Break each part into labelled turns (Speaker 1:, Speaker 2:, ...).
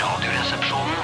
Speaker 1: Radioresepsjonen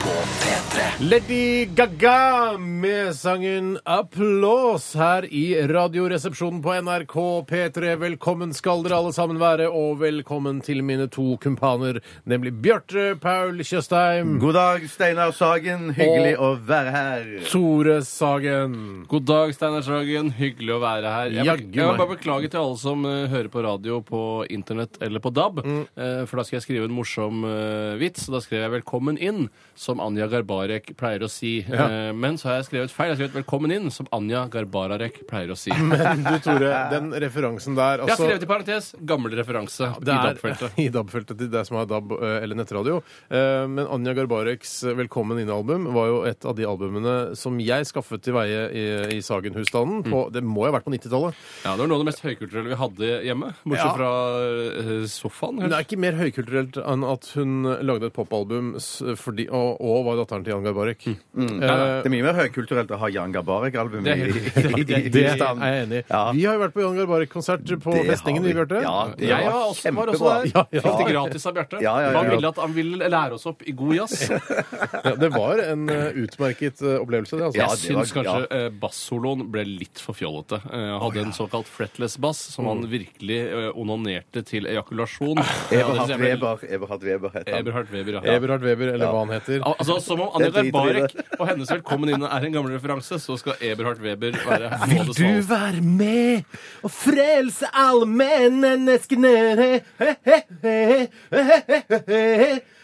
Speaker 1: På P3
Speaker 2: Lady Gaga med sangen 'Applaus' her i Radioresepsjonen på NRK P3. Velkommen skal dere alle sammen være, og velkommen til mine to kumpaner, nemlig Bjarte Paul Tjøstheim
Speaker 3: God dag, Steinar Sagen. Hyggelig å være her.
Speaker 2: Tore Sagen.
Speaker 4: God dag, Steinar Sagen. Hyggelig å være her. Jeg,
Speaker 2: Jaggu
Speaker 4: jeg vil
Speaker 2: meg.
Speaker 4: bare beklage til alle som eh, hører på radio på internett eller på DAB.
Speaker 2: Mm.
Speaker 4: eh, for da skal jeg skrive en morsom eh, vits, og da skrev jeg 'Velkommen inn', som Anja Garbarek pleier å si. Eh, men så har jeg skrevet feil. Jeg har skrevet 'Velkommen inn', som Anja Garbarek pleier å si. Jeg
Speaker 2: Men du, Tore, den referansen der
Speaker 4: har
Speaker 2: altså,
Speaker 4: skrevet i parentes gammel referanse
Speaker 2: det
Speaker 4: i
Speaker 2: er
Speaker 4: DAB-feltet.
Speaker 2: i DAB-feltet til deg som har DAB eh, eller nettradio. Eh, Men Anja Garbareks 'Velkommen inn'-album var jo et av de albumene som jeg skaffet til veie i, i Sagen-husstanden. på- Det må jo ha vært på 90-tallet.
Speaker 4: Ja, det var noe av det mest høykulturelle vi hadde hjemme, bortsett
Speaker 2: Ja.
Speaker 4: fra eh, sofaen.
Speaker 2: Men
Speaker 4: helt.
Speaker 2: det er ikke mer høykulturelt enn at hun lagde et popalbum s- fordi- og, og var datteren til Jan Garbarek. Eh,
Speaker 3: Det er mye mer høykulturelt å ha Jan Gabarek-album i,
Speaker 4: Det er helt-
Speaker 3: i, i, i,
Speaker 2: det er
Speaker 3: stand.
Speaker 2: jeg enig i.
Speaker 3: Ja.
Speaker 2: Vi har jo vært på Jan Garbarek-konsert på
Speaker 3: Det har
Speaker 2: Festningen, vi, Bjarte.
Speaker 3: Ja, det
Speaker 4: Jeg var
Speaker 3: var
Speaker 4: også, var også
Speaker 3: kjempebra.
Speaker 4: der.
Speaker 2: Ja, ja.
Speaker 4: Fikk det gratis av Bjarte.
Speaker 3: Ja, ja, ja,
Speaker 4: Han
Speaker 3: ja.
Speaker 4: ville at han ville lære oss opp i god jazz.
Speaker 2: Ja, det var en eh, utmerket eh, opplevelse, det. Altså.
Speaker 3: Ja, det var-
Speaker 4: Jeg syns kanskje eh, bassoloen ble litt for fjollete. Eh, Han hadde en såkalt fretless bass som
Speaker 3: Mm.
Speaker 4: han virkelig eh, onanerte til ejakulasjon. Ja, det
Speaker 3: Eh, Eberhard
Speaker 4: stemmer.
Speaker 3: Weber, Eberhard Weber het han.
Speaker 4: Eberhard Weber, ja.
Speaker 2: Eberhard Weber, eller hva han heter.
Speaker 4: Al- Altså, Som om Anja
Speaker 3: Jeg driter i
Speaker 4: Garbarek og hennes 'Velkommen inn' er en gammel referanse, så skal Eberhard Weber være både smal-
Speaker 2: være med og frelse alle menneskene?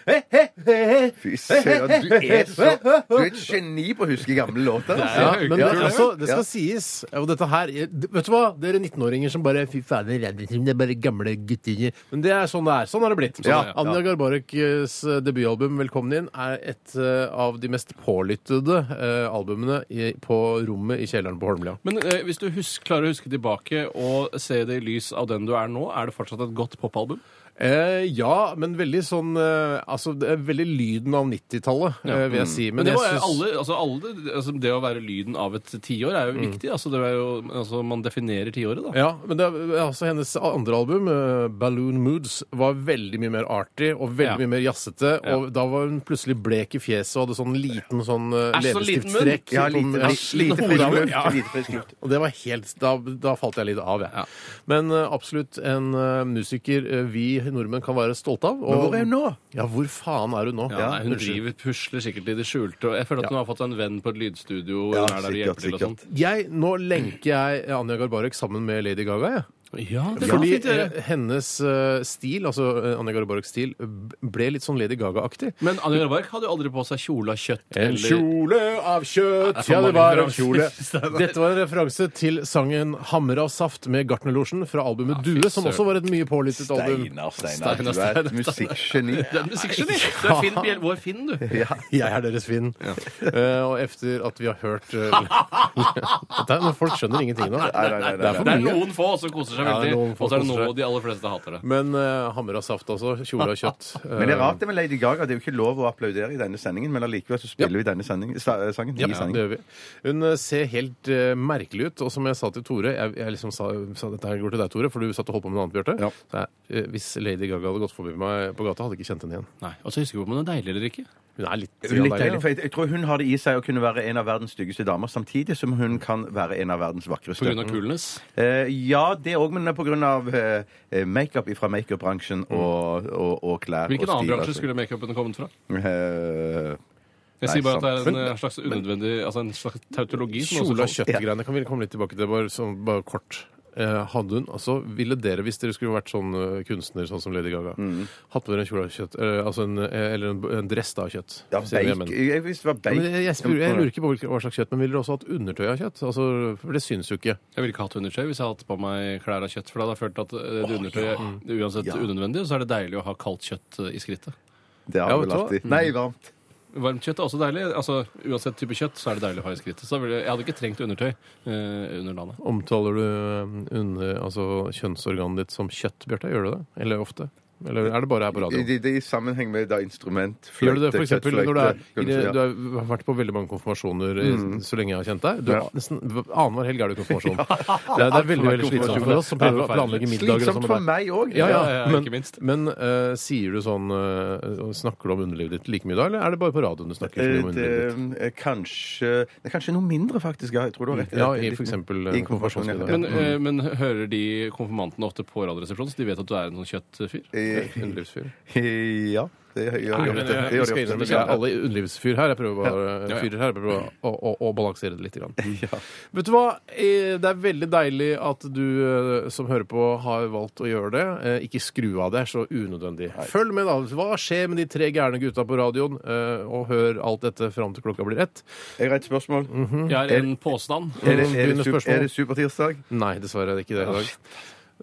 Speaker 3: Fy søren, du er så Du er et geni på å huske gamle låter.
Speaker 4: Ja,
Speaker 2: Ja,
Speaker 3: altså.
Speaker 2: men
Speaker 4: ja,
Speaker 2: altså, det skal
Speaker 3: ja.
Speaker 2: sies. Og dette her Vet du hva? Dere 19-åringer som bare Fy fader, Radioresepsjonen, det er bare gamle guttinger. Men det er sånn det er. Sånn har det blitt.
Speaker 3: Ja,
Speaker 2: Sånn er det. Anja Garbareks eh, debutalbum 'Velkommen inn' er et eh, av de mest pålyttede eh, albumene i, på rommet i kjelleren på Holmlia.
Speaker 4: Men eh, hvis du husk, klarer å huske tilbake og se det i lys av den du er nå, er det fortsatt et godt popalbum?
Speaker 2: Eh, ja, men veldig sånn eh, Altså, det er veldig lyden av 90-tallet, eh, vil jeg si. Men,
Speaker 4: Mm. Men det,
Speaker 2: jeg
Speaker 4: var,
Speaker 2: syns-
Speaker 4: alle, altså alle, altså det å være lyden av et tiår er jo
Speaker 3: Mm.
Speaker 4: viktig. Altså det er jo, altså man definerer tiåret, da.
Speaker 2: Ja, men det, er- altså hennes andre album, eh, 'Balloon Moods', var veldig mye mer artig og veldig
Speaker 4: Ja.
Speaker 2: mye mer jazzete.
Speaker 4: Ja.
Speaker 2: Og da var hun plutselig blek i fjeset og hadde sånn liten sånn eh,
Speaker 4: Æsj, sånn liten munn.
Speaker 2: leppestifttrekk.
Speaker 3: Ja,
Speaker 2: sånn-
Speaker 3: lite,
Speaker 2: ja,
Speaker 3: li- lite
Speaker 2: liten
Speaker 3: frisk
Speaker 2: hodeavl.
Speaker 3: luft.
Speaker 2: Ja.
Speaker 3: Lite frisk luft.
Speaker 2: Og det var helt, da, da falt jeg litt av, jeg.
Speaker 4: Ja.
Speaker 2: Men eh, absolutt en eh, musiker eh, vi nordmenn kan være stolte av.
Speaker 3: Men
Speaker 2: og-
Speaker 3: hvor er hun nå?
Speaker 2: Ja, hvor faen er hun nå?
Speaker 4: Ja, nei, hun
Speaker 2: unnskyld.
Speaker 4: driver pusler sikkert i det skjulte. Og jeg føler at hun har fått seg en venn på et lydstudio. og
Speaker 3: Ja,
Speaker 4: hun er der og
Speaker 3: sikkert,
Speaker 4: hjelper til og sånn.
Speaker 3: sikkert.
Speaker 2: Jeg, nå lenker jeg Anja Garbarek sammen med Lady Gaga, jeg.
Speaker 4: sånn. Ja, det kan
Speaker 2: Fordi
Speaker 4: fint gjøre.
Speaker 2: eh, hennes eh, stil, altså eh, Anja Garbareks stil, b- ble litt sånn Lady Gaga-aktig.
Speaker 4: Men Anja Garbark hadde jo aldri på seg kjole av kjøtt.
Speaker 2: En kjole av kjøtt,
Speaker 4: Det er for
Speaker 2: ja det
Speaker 4: mange
Speaker 2: var en kjole.
Speaker 4: referanser. Steinar.
Speaker 2: Dette var en referanse til sangen 'Hammer av saft' med Gartnerlosjen fra albumet Due, som også var et mye pålyttet album.
Speaker 3: Steinar, Steinar,
Speaker 4: Steinar,
Speaker 3: du er
Speaker 4: Steinar.
Speaker 3: et musikkgeni.
Speaker 4: Det er en musikkgeni! Du er Finn Bjell, vår Finn, du.
Speaker 3: Ja.
Speaker 2: Jeg er deres Finn. Eh, og efter at vi har hørt eh, Dette er- men Folk skjønner ingenting nå.
Speaker 3: Nei, nei, nei,
Speaker 2: Det er
Speaker 3: nei,
Speaker 2: for
Speaker 4: Det er
Speaker 2: mye.
Speaker 4: noen få som koser seg
Speaker 2: Ja, det er
Speaker 4: veldig,
Speaker 2: noen få
Speaker 4: og så er det
Speaker 2: koser
Speaker 4: noen
Speaker 2: seg.
Speaker 4: og de aller fleste hater det.
Speaker 2: Men eh, 'Hammer av saft', altså. Kjole av kjøtt. Eh,
Speaker 3: Men det er rart det med Lady Gaga. Det er jo ikke lov å applaudere i denne sendingen, men allikevel så spiller vi denne sendingen, sa- sangen.
Speaker 2: Ja,
Speaker 3: i
Speaker 2: det
Speaker 3: sendingen.
Speaker 2: gjør vi. Hun eh, ser helt eh, merkelig ut. Og som jeg sa til Tore Jeg, jeg liksom sa, sa dette her går til deg, Tore, for du satt og holdt på med noe annet, Bjarte.
Speaker 3: Ja.
Speaker 2: Så jeg, eh, hvis Lady Gaga hadde gått forbi meg på gata, hadde jeg ikke kjent henne igjen.
Speaker 4: Nei, Og så husker vi ikke om hun er deilig eller ikke.
Speaker 2: Hun er litt,
Speaker 3: Hun er Litt
Speaker 2: ja,
Speaker 3: deilig,
Speaker 2: deilig,
Speaker 3: for jeg, jeg tror hun har det i seg å kunne være en av verdens styggeste damer, samtidig som hun kan være en av verdens
Speaker 4: På grunn
Speaker 3: vakreste.
Speaker 4: av coolness.
Speaker 3: Eh, ja, det òg, men på grunn av eh, makeup fra makeupbransjen
Speaker 2: Mm.
Speaker 3: og, og, og klær
Speaker 4: Hvilken
Speaker 3: og
Speaker 4: annen
Speaker 3: stil,
Speaker 4: bransje
Speaker 3: altså.
Speaker 4: skulle makeupen kommet fra?
Speaker 3: Eh,
Speaker 4: Jeg
Speaker 3: Nei,
Speaker 4: sier bare at det er en
Speaker 3: sant.
Speaker 4: eh, slags unødvendig Altså en slags tautologi.
Speaker 2: ja.
Speaker 4: som også
Speaker 2: Kjole og
Speaker 4: kalles-
Speaker 2: kjøtt-greiene kan vi komme litt tilbake til, bare, sånn, bare kort. Eh, hadde hun, altså, Ville dere, hvis dere skulle vært sånn eh, kunstner sånn som Lady Gaga,
Speaker 3: Mm.
Speaker 2: hatt på dere en kjole av kjøtt, eh, altså en, eh, eller en, en dress da av kjøtt?
Speaker 3: ja,
Speaker 2: sier jeg, men-
Speaker 3: bake. Jeg, hvis det var
Speaker 2: Ja,
Speaker 3: bake
Speaker 2: men jeg, jeg, spør, jeg lurer ikke på hvilke- hva slags kjøtt, men ville dere også hatt undertøy av kjøtt? Altså, for det syns jo ikke.
Speaker 4: Jeg ville ikke hatt undertøy hvis jeg hadde hatt på meg klær av kjøtt. For da hadde jeg følt at eh, det undertøyet er uansett
Speaker 3: Ja.
Speaker 4: unødvendig, og så er det deilig å ha kaldt kjøtt eh, i skrittet.
Speaker 3: Det har
Speaker 2: Ja,
Speaker 3: vel
Speaker 2: vet du hva? Mm.
Speaker 3: alltid Nei, varmt.
Speaker 4: Varmt kjøtt er også deilig. Altså, Uansett type kjøtt så er det deilig å ha i skrittet. Så da ville, jeg hadde ikke trengt undertøy eh, under landet.
Speaker 2: Omtaler du eh, under, altså, kjønnsorganet ditt som kjøtt, Bjarte? Gjør du det? Eller ofte? Eller er det bare her på
Speaker 3: I,
Speaker 2: radio?
Speaker 3: det- det er I sammenheng med da instrument,
Speaker 2: Gjør du det
Speaker 3: fløyte,
Speaker 2: for eksempel
Speaker 3: kjøttfløyte,
Speaker 2: når du, er, i det,
Speaker 3: kanskje,
Speaker 2: du
Speaker 3: ja.
Speaker 2: har vært på veldig mange konfirmasjoner i- så lenge jeg har kjent deg? Du,
Speaker 3: Ja.
Speaker 2: nesten Annenhver helg er du i konfirmasjon. Det, er, det er veldig veldig slitsomt for oss som prøver å planlegge middager. og
Speaker 3: Slitsomt
Speaker 2: sånn
Speaker 3: for
Speaker 2: med deg.
Speaker 3: meg òg.
Speaker 2: Ja, ja,
Speaker 4: Ja, ja,
Speaker 2: men,
Speaker 4: ikke minst.
Speaker 2: men eh, sier du sånn eh, Snakker du om underlivet ditt like mye da, eller er det bare på radioen du snakker så mye om underlivet ditt?
Speaker 3: eh, kanskje Det er kanskje noe mindre, faktisk. Ja, jeg tror du har rett.
Speaker 2: Ja, i for eksempel, eh,
Speaker 3: I konfirmasjon, ja. Mm.
Speaker 4: Men, eh, men hører de konfirmantene ofte på Radioresepsjonen, så de vet at du er en sånn kjøttfyr?
Speaker 3: Eh,
Speaker 2: Underlivsfyr.
Speaker 3: Ja, det gjør gjør de
Speaker 2: Men,
Speaker 3: ofte.
Speaker 2: eh,
Speaker 3: Det
Speaker 2: vi
Speaker 3: gjør
Speaker 2: skal
Speaker 3: de
Speaker 2: innrømme
Speaker 3: ofte.
Speaker 2: at jeg er alle underlivsfyr her. Jeg prøver bare
Speaker 4: ja.
Speaker 2: fyrer her, jeg prøver å, å, å, å balansere det litt. Grann. Vet du hva? Eh, Det er veldig deilig at du eh, som hører på, har valgt å gjøre det. Eh, Ikke skru av, det er så unødvendig. Følg med, da. Hva skjer med de tre gærne gutta på radioen? Eh, Og hør alt dette fram til klokka blir ett.
Speaker 3: Jeg har et spørsmål.
Speaker 2: Mhm.
Speaker 4: Jeg har en påstand.
Speaker 3: Mm. Er det, er
Speaker 2: Begynner
Speaker 3: det, sup-
Speaker 2: spørsmål.
Speaker 3: er det supertirsdag?
Speaker 2: Nei, dessverre er det ikke det i dag.